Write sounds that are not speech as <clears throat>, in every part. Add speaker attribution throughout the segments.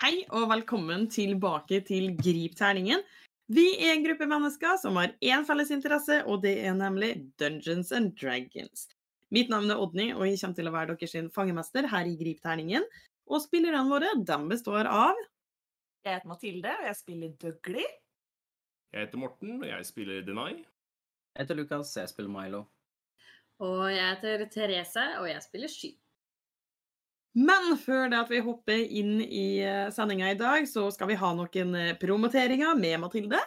Speaker 1: Hei og velkommen tilbake til Grip terningen. Vi er en gruppe mennesker som har én felles interesse, og det er nemlig Dungeons and Dragons. Mitt navn er Odny, og jeg kommer til å være deres sin fangemester her i Grip terningen. Og spillerne våre, dem består av
Speaker 2: Jeg heter Mathilde, og jeg spiller Dougley.
Speaker 3: Jeg heter Morten, og jeg spiller Denai.
Speaker 4: Jeg heter Lukas, jeg spiller
Speaker 2: <laughs>
Speaker 4: Milo.
Speaker 5: Og jeg heter Therese, og jeg spiller sky.
Speaker 1: Men før det at vi hopper inn i eh, sendinga i dag, så skal vi ha noen eh, promoteringer med Mathilde.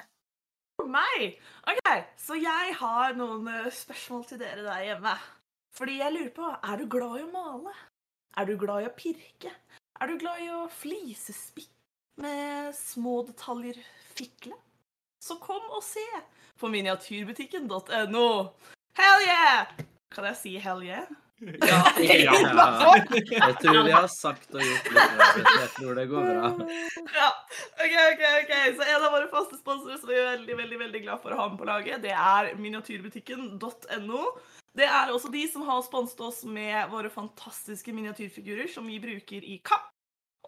Speaker 2: For meg! Ok, Så jeg har noen eh, spørsmål til dere der hjemme. Fordi jeg lurer på Er du glad i å male? Er du glad i å pirke? Er du glad i å flisespikke med små detaljer fikle? Så kom og se på miniatyrbutikken.no. Hell yeah! Kan jeg si hell yeah?
Speaker 3: Ja,
Speaker 2: <laughs>
Speaker 4: Ja. Jeg tror vi har sagt og gjort litt rart. Jeg tror det går bra.
Speaker 2: <laughs> Ja, ok, ok, ok. Så en av våre faste sponsorer som vi er veldig, veldig, veldig glad for å ha med på laget, det er miniatyrbutikken.no. Det er også de som har sponset oss med våre fantastiske miniatyrfigurer som vi bruker i kapp.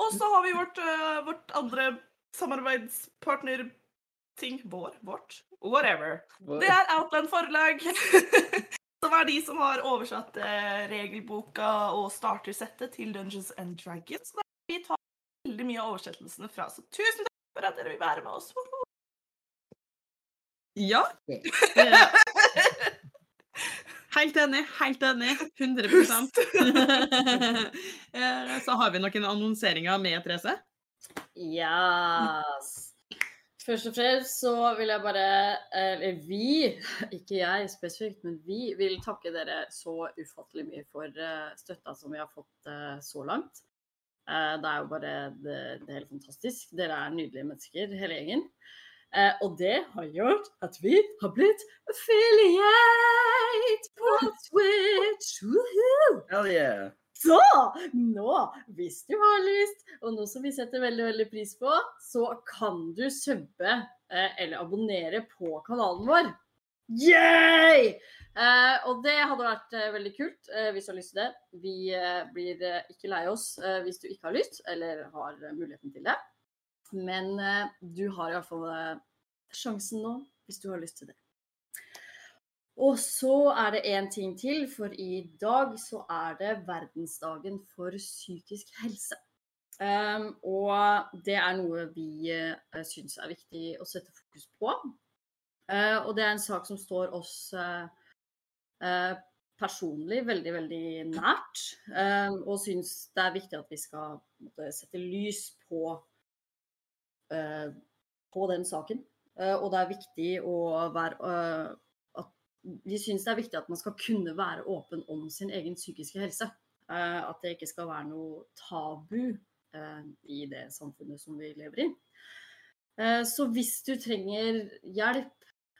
Speaker 2: Og så har vi vårt, øh, vårt andre samarbeidspartner-ting. Vår? Vårt? Whatever. Det er Outland Forlag. <laughs> Som er de som har oversatt eh, regelboka og startersettet til Dungeons and Dragons. Så vi tar veldig mye av oversettelsene fra. Så tusen takk for at dere vil være med oss.
Speaker 1: Ja. Eh, <laughs> Helt enig, helt enig. 100
Speaker 2: <laughs>
Speaker 1: <laughs> Eh, Så har vi noen annonseringer med Therese.
Speaker 5: Yes. Først og fremst så vil jeg bare Eller vi, ikke jeg spesifikt, men vi vil takke dere så ufattelig mye for eh, støtta som vi har fått eh, så langt. Eh, Det er jo bare det, det er helt fantastisk. Dere er nydelige mennesker, hele gjengen. Eh, Og det har gjort at vi har blitt affiliate på Twitch! Woohoo!
Speaker 4: Hell yeah!
Speaker 5: Så nå, hvis du har lyst, og noe som vi setter veldig veldig pris på, så kan du subbe eh, eller abonnere på kanalen vår. Yay! Eh, og det hadde vært eh, veldig kult eh, hvis du har lyst til det. Vi eh, blir eh, ikke lei oss eh, hvis du ikke har lyst, eller har eh, muligheten til det. Men eh, du har i hvert fall eh, sjansen nå, hvis du har lyst til det. Og så er det én ting til, for i dag så er det verdensdagen for psykisk helse. Ehm, og det er noe vi uh, syns er viktig å sette fokus på. Eh, og det er en sak som står oss eh, eh, personlig veldig, veldig nært. ehm, og syns det er viktig at vi skal på en måte, sette lys på, eh, på den saken. Eh, og det er viktig å være eh, vi syns det er viktig at man skal kunne være åpen om sin egen psykiske helse. Eh, at det ikke skal være noe tabu eh, i det samfunnet som vi lever i. Eh, så hvis du trenger hjelp,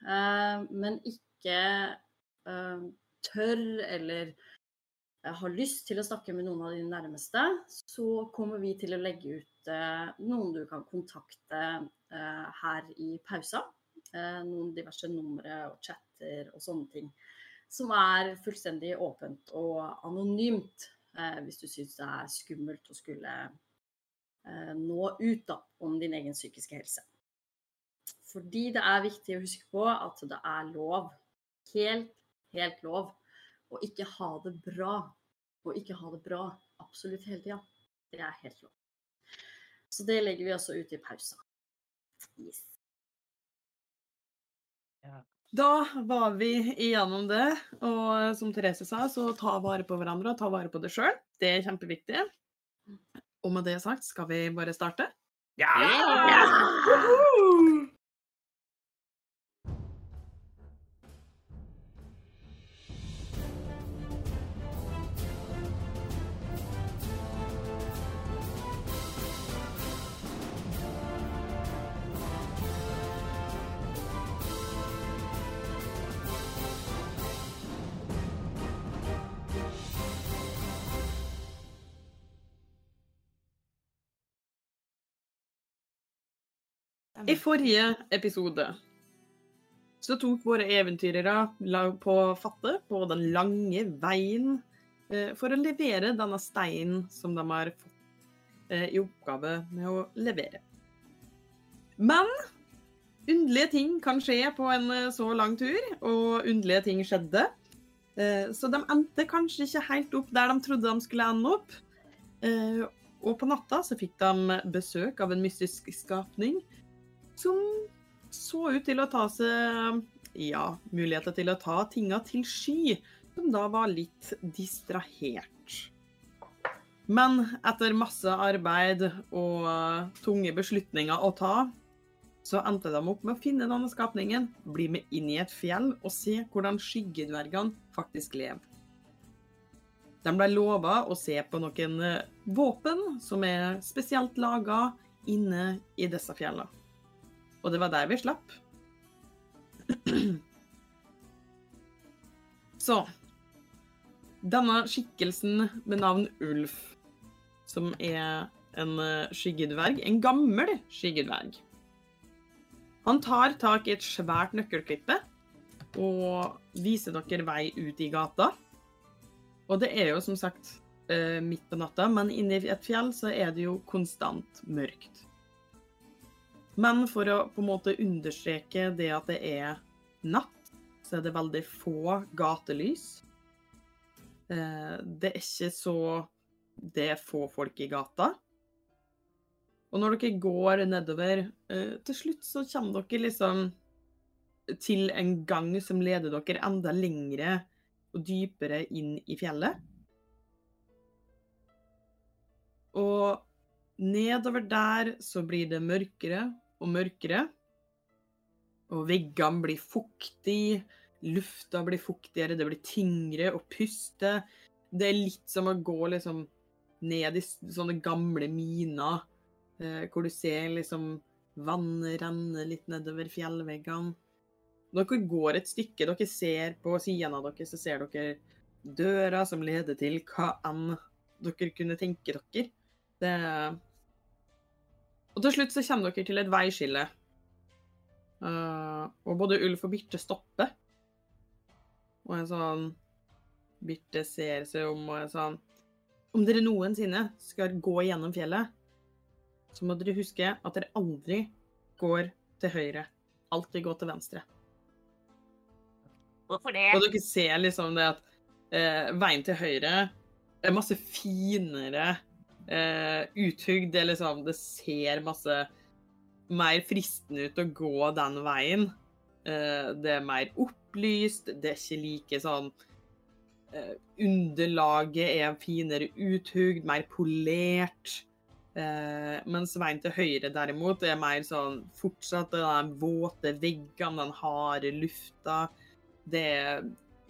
Speaker 5: eh, men ikke eh, tør eller eh, har lyst til å snakke med noen av dine nærmeste, så kommer vi til å legge ut eh, noen du kan kontakte eh, her i pausa eh, noen diverse numre og chatter og sånne ting. Som er fullstendig åpent og anonymt, eh, hvis du syns det er skummelt å skulle eh, nå ut da, om din egen psykiske helse. Fordi det er viktig å huske på at det er lov, helt, helt lov, å ikke ha det bra. Og ikke ha det bra absolutt hele tida. Det er helt lov. Så det legger vi også ut i pausa. Yes.
Speaker 1: Da var vi igjennom det. Og eh, som Therese sa, så ta vare på hverandre og ta vare på deg sjøl. Det er kjempeviktig. Og med det sagt, skal vi bare starte? I forrige episode så tok våre eventyrere la- på fatte på den lange veien eh, for å levere denne steinen som de har fått eh, i oppgave med å levere. Men underlige ting kan skje på en eh, så lang tur, og underlige ting skjedde. Eh, Så de endte kanskje ikke helt opp der de trodde de skulle ende opp. Eh, Og på natta så fikk de besøk av en mystisk skapning som så ut til å ta seg ja, muligheter til å ta tinga til sky, som da var litt distrahert. Men etter masse arbeid og eh, tunge beslutninger å ta, så endte de opp med å finne denne skapningen, bli med inn i et fjell og se hvordan skyggedvergene faktisk lever. De ble lova å se på noen eh, våpen som er spesielt laga inne i disse fjellene. Og det var der vi slapp. <clears throat> Så Denne skikkelsen med navn Ulf, som er en eh, skyggedverg, en gammel skyggedverg han tar tak i et svært nøkkelklippe og viser dere vei ut i gata. Og det er jo som sagt eh, midt på natta, men inne i et fjell så er det jo konstant mørkt. Men for å på en måte understreke det at det er natt, så er det veldig få gatelys. Eh, det er ikke så Det er få folk i gata. Og når dere går nedover, eh, til slutt så kommer dere liksom til en gang som leder dere enda lengre og dypere inn i fjellet. Og nedover der så blir det mørkere og mørkere. Og veggene blir fuktig, lufta blir fuktigere, det blir tyngre å puste. Det er litt som å gå liksom ned i s- sånne gamle miner. Eh, hvor du ser liksom vann renne litt nedover fjellveggene. Dere går et stykke, dere ser på sidene av dere, så ser dere døra som leder til hva enn dere kunne tenke dere. Det... Og til slutt så kommer dere til et veiskille. Eh, og både Ulf og Birte stopper. Og en sånn Birte ser seg om og er sånn Om dere noensinne skal gå gjennom fjellet, så må dere huske at dere aldri går til høyre. Alltid går til venstre.
Speaker 6: Hvorfor det?
Speaker 1: Og dere ser liksom det at eh, veien til høyre er masse finere eh, uthugd. Det, er liksom, det ser masse mer fristende ut å gå den veien. Eh, det er mer opplyst, det er ikke like sånn eh, Underlaget er finere uthugd, mer polert. Eh, mens veien til høyre derimot er mer sånn fortsatt den våte veggene, den harde lufta. Det er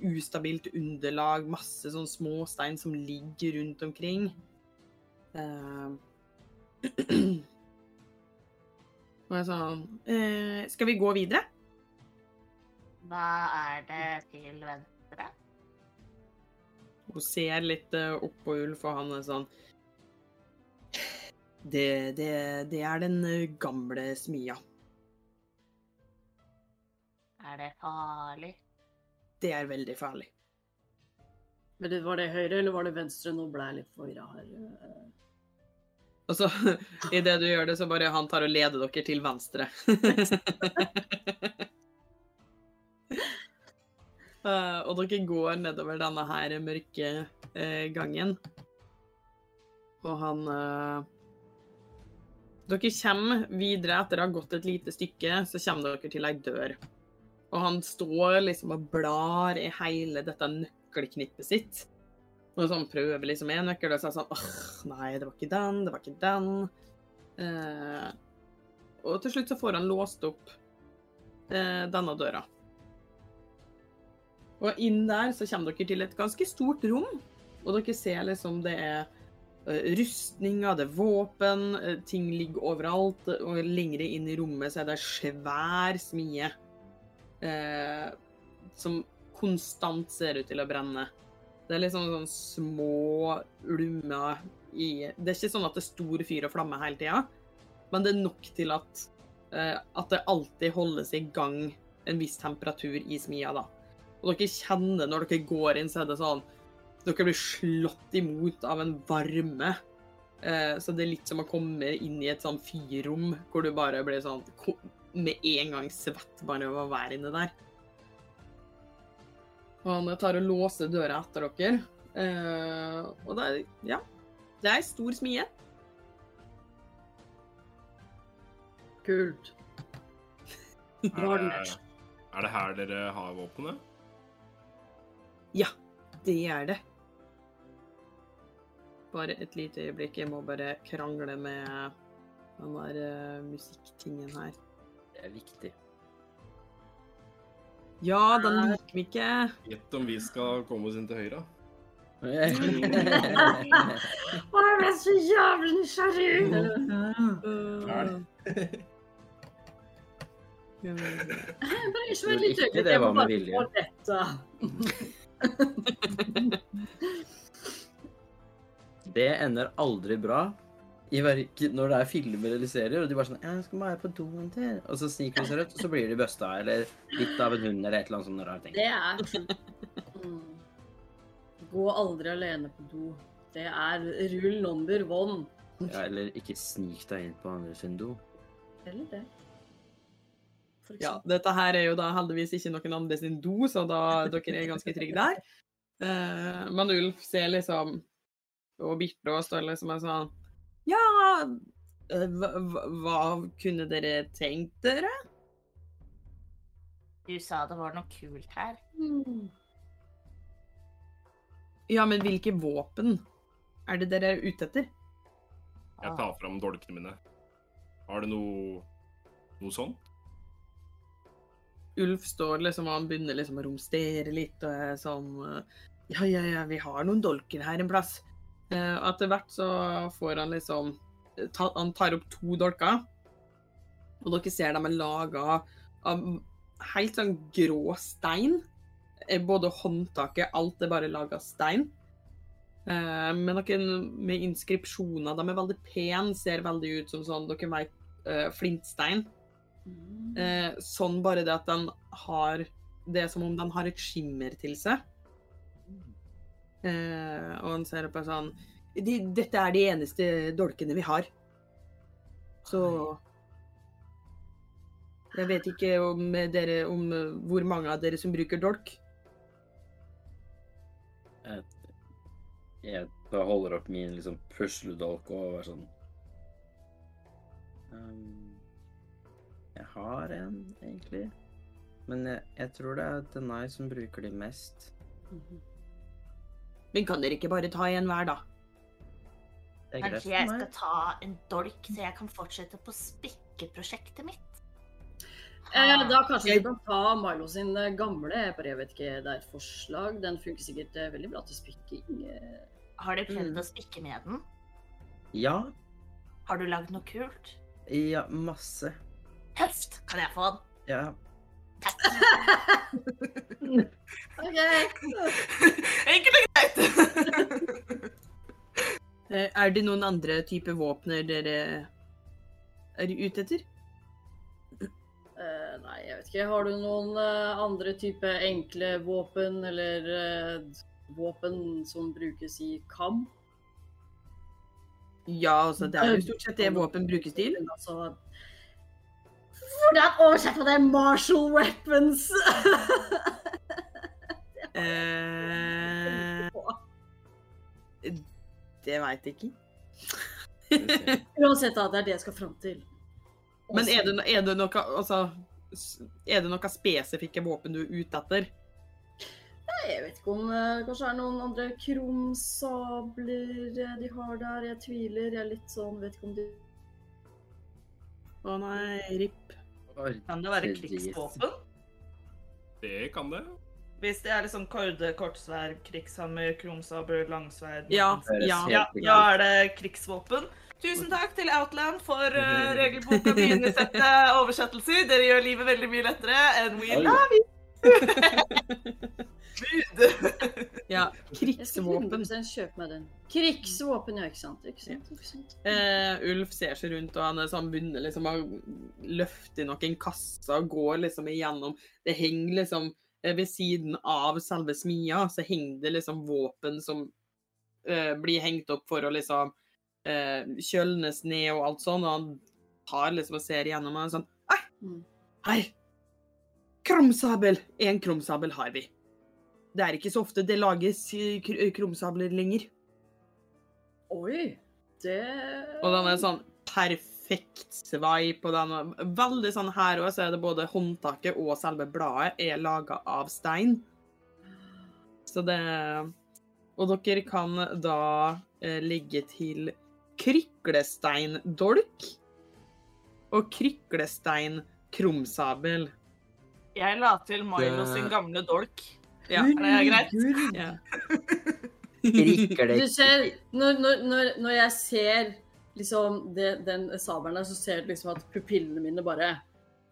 Speaker 1: ustabilt underlag, masse sånn småstein som ligger rundt omkring. Eh, <clears throat> Og jeg sa eh, Skal vi gå videre?
Speaker 6: Hva er det til venstre?
Speaker 1: Hun ser litt eh, opp på Ulf, og han er sånn det, det, det er den eh, gamle smia.
Speaker 6: Er det farlig?
Speaker 1: Det er veldig farlig.
Speaker 5: Men det- var det høyre eller var det venstre? Nå ble jeg litt forvirra her. eh.
Speaker 1: Og så, <laughs> idet du gjør det, så bare han tar og leder dere til venstre. <laughs> Eh, og dere går nedover denne her mørke eh, gangen. Og han eh, Dere kommer videre etter å ha gått et lite stykke, så kommer dere til ei dør. Og han står liksom og blar i hele dette nøkkelknippet sitt. Og sånn prøver liksom en nøkkel, og så er det sånn åh, nei, det var ikke den, det var ikke den. Eh, og til slutt så får han låst opp eh, denne døra. Og inn der så kommer dere til et ganske stort rom, og dere ser liksom det er eh, rustninger, det er våpen, eh, ting ligger overalt, og lengre inn i rommet så er det en svær smie eh, som konstant ser ut til å brenne. Det er liksom sånn små ulmer i Det er ikke sånn at det er stor fyr og flamme hele tida, men det er nok til at, eh, at det alltid holdes i gang en viss temperatur i smia, da. Og dere kjenner når dere går inn, så er det sånn Dere blir slått imot av en varme. eh, Eh, Så det er litt som å komme inn i et sånn fyrrom, hvor du bare blir sånn ko- med en gang svett bare av å være inne der. Og han tar og låser døra etter dere. Eh, Og det er, ja, det er ei stor smie. Kult.
Speaker 3: Er det, er det her dere har våpenet?
Speaker 1: Det er det. Bare et lite øyeblikk. Jeg må bare krangle med den der eh, musikktingen her.
Speaker 4: Det er viktig.
Speaker 1: Ja, den liker vi ikke.
Speaker 3: Gjett om vi skal komme oss inn til høyre.
Speaker 5: Å, jeg ble så jævlig
Speaker 4: <laughs>
Speaker 5: nysgjerrig!
Speaker 1: Uh,
Speaker 3: <laughs>
Speaker 5: Jeg Bare ikke
Speaker 4: Tror
Speaker 5: vær litt
Speaker 4: ikke
Speaker 5: øyeblikk,
Speaker 4: det
Speaker 5: jeg må
Speaker 4: var med
Speaker 5: bare
Speaker 4: vilje.
Speaker 5: få dette.
Speaker 4: <laughs> Det ender aldri bra. I verken når det er filmer eller serier, og de bare sånn «Ja, 'Jeg skal bare på do en til.' Og så sniker de seg rødt, og så blir de busta, eller litt av en hund, eller et eller annet sånt rart. ting.
Speaker 5: Det er Mm. Gå aldri alene på do. Det er rule number one.
Speaker 4: Ja, eller ikke snik deg inn på andre sin do.
Speaker 5: Eller det. For
Speaker 1: ja, dette her er jo da heldigvis ikke noen andre sin do, så da dere er ganske trygge der. Eh, men Ulf ser liksom Og Birte og står liksom og sånn Ja, eh, hva, hva- hva kunne dere tenkt dere?
Speaker 6: Du sa det var noe kult her.
Speaker 5: eksempel.
Speaker 1: Ja, men hvilke våpen er det dere er ute etter?
Speaker 3: Jeg tar fram dolkene mine. Har du noe noe sånt?
Speaker 1: Ulf står liksom, og han begynner liksom å romstere litt, og er sånn eh, Ja, ja, ja, vi har noen dolker her en plass. Eh, og etter hvert så får han liksom ta, Han tar opp to dolker, og dere ser de er laga av helt sånn grå stein. Eh, Både håndtaket, alt er bare laga av stein. Eh, men noen med inskripsjoner. De er veldig pene, ser veldig ut som sånn Dere vet, eh, flintstein. Eh, sånn bare det at den har Det er som om den har et skimmer til seg. Eh, og han ser på sånn de, Dette er de eneste dolkene vi har. Så Jeg vet ikke om dere Om eh, hvor mange av dere som bruker dolk.
Speaker 4: Jeg, jeg bare holder opp min liksom pusledolk og er sånn «Ehm, Jeg har en, egentlig. Men jeg, jeg tror det er Denai som bruker de mest.
Speaker 1: Men kan dere ikke bare ta en hver, da?
Speaker 4: Det er greit
Speaker 6: Kanskje
Speaker 4: for
Speaker 6: jeg
Speaker 4: meg.
Speaker 6: skal ta en dolk, så jeg kan fortsette på spekkeprosjektet mitt?
Speaker 5: Eh, da kanskje
Speaker 1: Jeg-
Speaker 5: du kan ta Milo sin eh, gamle jeg bare jeg vet ikke, det er et forslag. Den funker sikkert eh, veldig bra til spikking.
Speaker 4: <laughs>
Speaker 5: <laughs> eh.
Speaker 6: Har du prøvd
Speaker 1: Mm.
Speaker 6: å spikke med den?
Speaker 4: Ja,
Speaker 6: Har du lagd noe kult?
Speaker 4: ja, masse.
Speaker 6: Høft! Kan jeg få den?
Speaker 2: <laughs>
Speaker 4: Ja.
Speaker 6: Takk. Enkelt og greit.
Speaker 1: Eh, er det noen andre typer våpner dere er ute etter?
Speaker 5: Eh, nei, jeg vet ikke. Har du noen eh, andre type enkle våpen, eller eh, våpen som brukes i kamp?
Speaker 1: Ja, altså, det er jo stort sett det våpen brukes til.
Speaker 5: Men Altså, hvordan oversetter det martial weapons?
Speaker 1: Eh, det veit jeg ikke.
Speaker 5: <laughs>
Speaker 6: <laughs>
Speaker 5: Uansett, da. Det er det jeg skal fram til.
Speaker 1: Men er det, er det noe Altså, s- er det noe spesifikke våpen du er ute etter?
Speaker 5: Nei, Jeg vet ikke om eh, kanskje det er noen andre krumsabler eh, de har der. Jeg tviler. Jeg er litt sånn Vet ikke om de
Speaker 1: Å nei, RIP.
Speaker 6: Kan det
Speaker 2: <laughs>
Speaker 6: være
Speaker 4: Drit.
Speaker 6: krigsvåpen?
Speaker 3: Det kan det.
Speaker 2: Hvis det er liksom korde, kortsverd, krigshammer, krumsabel, langsverd
Speaker 1: Ja.
Speaker 4: Høres
Speaker 1: ja.
Speaker 4: helt
Speaker 2: ja,
Speaker 4: riktig
Speaker 2: da
Speaker 4: ut.
Speaker 2: er det krigsvåpen. Tusen takk til Outland for uh,
Speaker 4: <laughs>
Speaker 2: regelboka med innesette oversettelser. Dere gjør livet veldig mye lettere enn we
Speaker 4: Oi.
Speaker 2: love you!
Speaker 1: ja.
Speaker 5: Jeg skal
Speaker 1: Krigsvåpen.
Speaker 5: 100 kjøpe meg den. Krigsvåpen, ja. Ikke sant? Ikke sant? Ikke sant?
Speaker 1: Eh, Ulf ser seg rundt, og han er sånn, begynner liksom å løfte i noen kasser og går liksom igjennom Det henger liksom eh, Ved siden av selve smia så henger det liksom våpen som eh, blir hengt opp for å liksom eh, kjølnes ned og alt sånn, og han tar liksom og ser igjennom og er sånn Hei!
Speaker 5: Mm.
Speaker 1: Hei! Krumsabel! En krumsabel har vi. Det er ikke så ofte det lages eh, kr- krumsabler lenger.
Speaker 5: Oi, det
Speaker 1: Og den er sånn perfekt sveip, og den er veldig sånn her òg, så er det både håndtaket og selve bladet er laga av stein. Så det Og dere kan da eh, ligge til kryklesteindolk og kryklesteinkrumsabel.
Speaker 6: Jeg la til Milo
Speaker 4: Det-
Speaker 6: sin gamle dolk.
Speaker 1: Ja,
Speaker 5: Gud,
Speaker 6: er det greit?
Speaker 5: Gud.
Speaker 1: Ja.
Speaker 4: Rikker det
Speaker 6: <laughs>
Speaker 5: Du ser, når, når, når, når jeg ser liksom det, den sabelen der, så ser du liksom at pupillene mine bare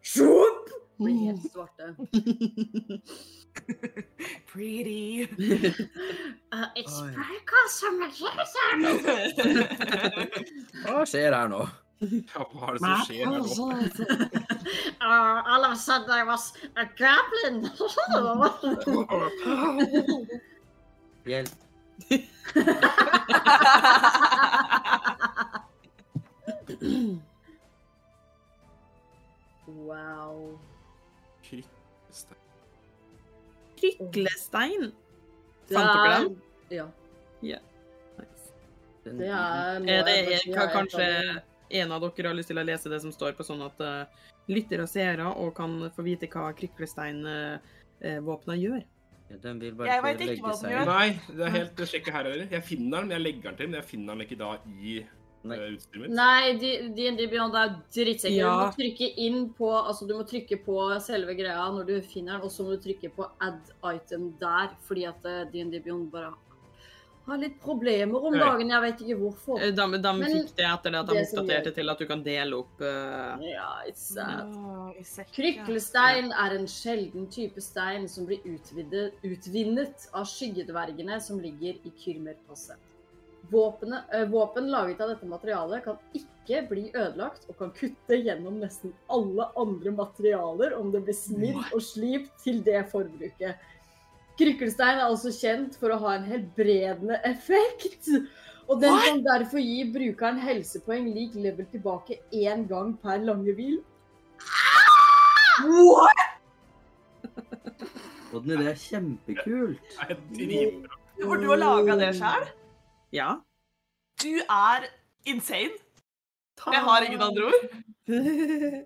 Speaker 5: Sjopp! Blir helt
Speaker 1: Mm.
Speaker 5: svarte.
Speaker 2: Mm.
Speaker 6: Pretty.
Speaker 5: Uh, it's
Speaker 4: Oi.
Speaker 5: Parker som er lesen!
Speaker 4: Hva skjer her nå?
Speaker 3: Ja, hva er sånn? det som skjer her nå?
Speaker 5: uh, all of a sudden I was a goblin!
Speaker 4: Hjelp.
Speaker 5: <laughs> wow.
Speaker 3: Kristestein.
Speaker 1: <laughs> Kryklestein.
Speaker 5: Det
Speaker 1: Fant dere
Speaker 5: er-
Speaker 1: den?
Speaker 5: Ja.
Speaker 4: Den-
Speaker 5: Det er noe
Speaker 1: Er Eh, det
Speaker 5: jeg
Speaker 1: er,
Speaker 5: faktisk- jeg- jeg-
Speaker 1: kanskje en av dere har lyst til å lese det som står på sånn at eh, lyttere og seere og kan få vite hva kryklesteinvåpna gjør?
Speaker 4: Ja, Den vil
Speaker 6: Jeg
Speaker 4: bare
Speaker 6: vet
Speaker 4: ikke
Speaker 6: ikke
Speaker 4: legge
Speaker 6: hva den
Speaker 4: seg
Speaker 6: gjør.
Speaker 4: ut.
Speaker 3: Nei, det er helt det sjekker her heller. Jeg finner den, men jeg legger den til. Men jeg finner den ikke da i
Speaker 4: Nei.
Speaker 3: eh, utstyret mitt.
Speaker 5: Nei, D- D&D Beyond er drittsekker. Du
Speaker 1: Ja.
Speaker 5: må trykke inn på altså du må trykke på selve greia når du finner den, og så må du trykke på add item der, fordi at eh, D&D Beyond bare har litt problemer om
Speaker 3: Nei.
Speaker 5: dagen. Jeg vet ikke hvorfor.
Speaker 1: Eh, De, de
Speaker 5: Men
Speaker 1: fikk det etter det at de
Speaker 5: det som
Speaker 1: oppdaterte
Speaker 5: gjør-
Speaker 1: til at du kan dele opp eh,
Speaker 5: Ja, it's sad.
Speaker 6: Åh, i sekken.
Speaker 5: Kryklestein er en sjelden type stein som blir utvidet, utvinnet av skyggedvergene som ligger i Kyrmerpasset. Våpenet, eh, våpen laget av dette materialet kan ikke bli ødelagt og kan kutte gjennom nesten alle andre materialer om det blir smidd og slipt til det forbruket. Krykkelstein er også kjent for å ha en helbredende effekt. Og den kan derfor gi brukeren helsepoeng lik level tilbake én gang per lange hvil.
Speaker 4: Odny, det er kjempekult.
Speaker 3: Det er dritbra.
Speaker 6: For du har laga det sjøl?
Speaker 1: Ja.
Speaker 5: <laughs>
Speaker 6: Du er insane. Jeg har ingen andre ord.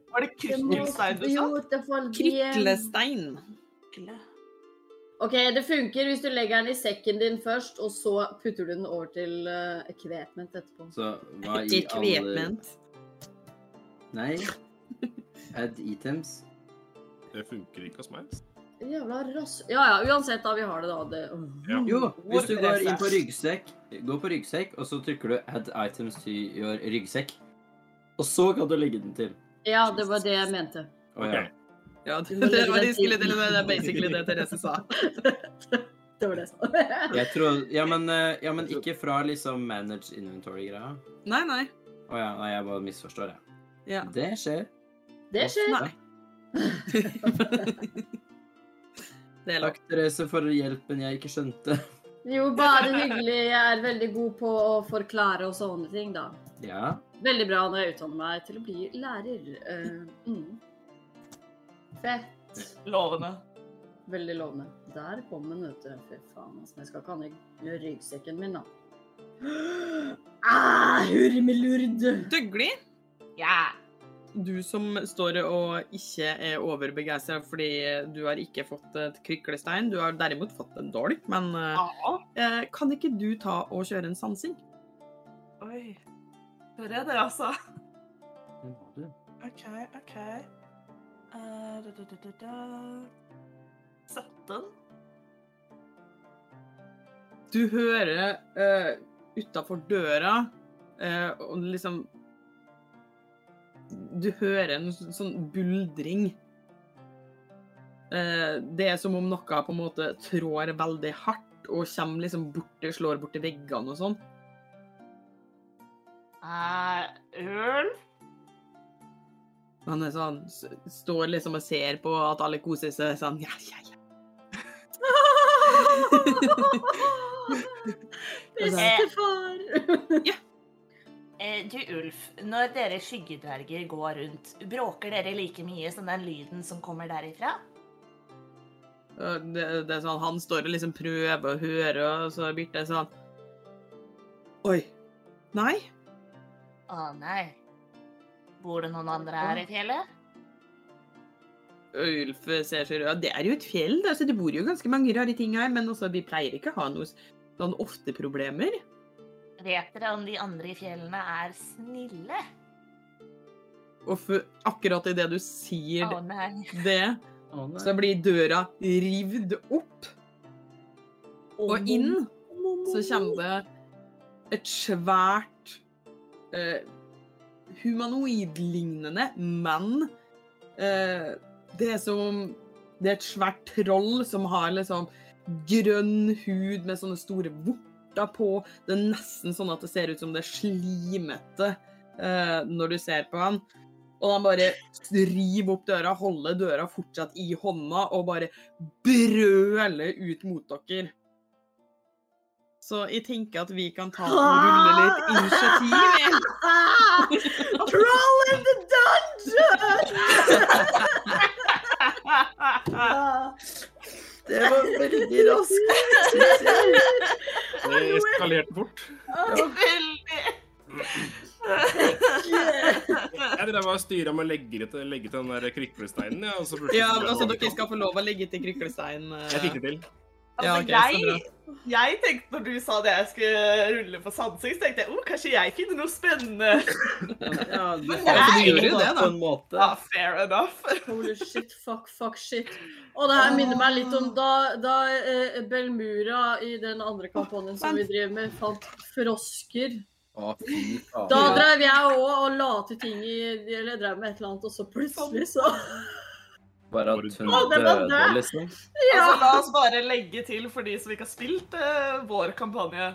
Speaker 6: Var det krykkelstein du sa?
Speaker 1: Kryklestein.
Speaker 5: OK, det funker hvis du legger den i sekken din først, og så putter du den over til uh, equipment etterpå.
Speaker 4: Så hva i alle
Speaker 1: Equipment.
Speaker 4: Nei. Add items.
Speaker 3: Det funker ikke hos meg.
Speaker 5: Jævla rass... Ja ja, uansett da, vi har det da. Det. Mm.
Speaker 3: Ja.
Speaker 4: Jo, hvis du går inn på
Speaker 6: Ordpresse.
Speaker 4: ryggsekk, gå på ryggsekk, og så trykker du 'add items to your ryggsekk'. Og så kan du legge den til.
Speaker 5: Ja, det var det jeg mente.
Speaker 4: Å ja.
Speaker 3: Ok.
Speaker 1: Ja, det, det var de skulle til det. Det er basically det Therese sa.
Speaker 5: Det var det jeg sa. <laughs>
Speaker 4: Jeg tror, ja, men, eh, ja, men ikke fra liksom manage inventory-greia.
Speaker 1: Nei, nei.
Speaker 4: Å ja, nei, jeg bare misforstår, jeg.
Speaker 5: <laughs>
Speaker 1: Ja.
Speaker 4: Det skjer.
Speaker 5: Det skjer.
Speaker 1: Nei. Det er lagt.
Speaker 4: Takk, Therese, for hjelpen jeg ikke skjønte. <laughs>
Speaker 5: Jo, bare hyggelig. Jeg er veldig god på å forklare og sånne ting, da.
Speaker 4: Ja.
Speaker 5: Veldig bra når jeg utdanner meg til å bli lærer. Eh, mm. Fett.
Speaker 6: Lovende.
Speaker 5: Veldig lovende. Der kom den, vet du. Fy faen, altså. Jeg skal ikke ha den i ryggsekken min, da. Ah, hurmelurd!
Speaker 1: Døglig.
Speaker 6: Ja.
Speaker 1: Du som står og ikke er overbegeistra fordi du har ikke fått et kryklestein, du har derimot fått en dolk, men eh, eh, kan ikke du ta og kjøre en sansing?
Speaker 6: Oi. Hører jeg dere, altså?
Speaker 4: det må du.
Speaker 6: OK, OK. Eh, da, da, da, da, da. 17?
Speaker 1: Du hører uh, utafor døra eh, og liksom Du hører en sånn- sånn buldring. Eh, det er som om noe på en måte trår veldig hardt og kommer liksom borti, slår borti veggene og sånn.
Speaker 6: Eh, øl?
Speaker 1: Han er sånn, s- står liksom og ser på at alle koser seg sånn ja, ja, ja. sånn,
Speaker 5: Eh. Bestefar!
Speaker 6: Eh, Du, Ulf, når dere skyggedverger går rundt, bråker dere like mye som den lyden som kommer derifra?
Speaker 1: Og Det, det er sånn, han står og liksom prøver å høre, og så er Birte sånn Oi. Nei.
Speaker 6: Å nei. Bor det noen andre her i fjellet?
Speaker 1: Ulf ser seg rød. Det er jo et fjell, da, så det bor jo ganske mange rare ting her. Men også, vi pleier ikke å ha noe s- sånn ofte problemer.
Speaker 6: Vet dere om de andre i fjellene er snille?
Speaker 1: Og f akkurat idet du
Speaker 6: Å
Speaker 1: sier
Speaker 6: nei.
Speaker 1: det,
Speaker 4: Å, nei.
Speaker 1: så blir døra rivd opp, og inn så kommer det et svært eh, humanoidlignende men eh, det er som Det er et svært troll som har liksom grønn hud med sånne store vorter på. Det er nesten sånn at det ser ut som det er slimete eh, når du ser på han. Og han bare river opp døra, holder døra fortsatt i hånda og bare brøler ut mot dere. Så jeg tenker at vi kan ta og rulle litt initiativ. jeg.
Speaker 5: Troll in the dungeon!
Speaker 4: Det var veldig raskt, synes jeg.
Speaker 3: Det eskalerte fort. Jeg drev og styra med å legge til, legge til den der kriklesteinen. Ja, og så plutselig-
Speaker 1: Ja, altså dere skal få lov å legge til kryklestein. eh.
Speaker 3: Jeg fikk det til.
Speaker 1: Ja,
Speaker 2: Altså,
Speaker 1: ok, så
Speaker 2: jeg, jeg tenkte når du sa det jeg skulle rulle for sansing, så tenkte jeg oh, kanskje jeg finner noe spennende.
Speaker 6: <laughs>
Speaker 4: Ja, du
Speaker 1: du gjør jo
Speaker 4: da,
Speaker 1: det, da.
Speaker 4: På en måte.
Speaker 2: Ja, fair enough.
Speaker 5: <laughs> Holy shit, fuck, fuck, shit. Og det her minner meg litt om da, da eh, Belmura i den andre kampanjen som vi drev med, fant frosker.
Speaker 4: Å, fy faen.
Speaker 5: Da drev jeg òg og la til ting i Eller jeg drev med et eller annet, og så plutselig så <laughs>
Speaker 4: Bare at hun
Speaker 5: Å, det var
Speaker 4: døde,
Speaker 5: død.
Speaker 4: liksom.
Speaker 2: Altså, la oss bare legge til for de som ikke har spilt eh, vår kampanje.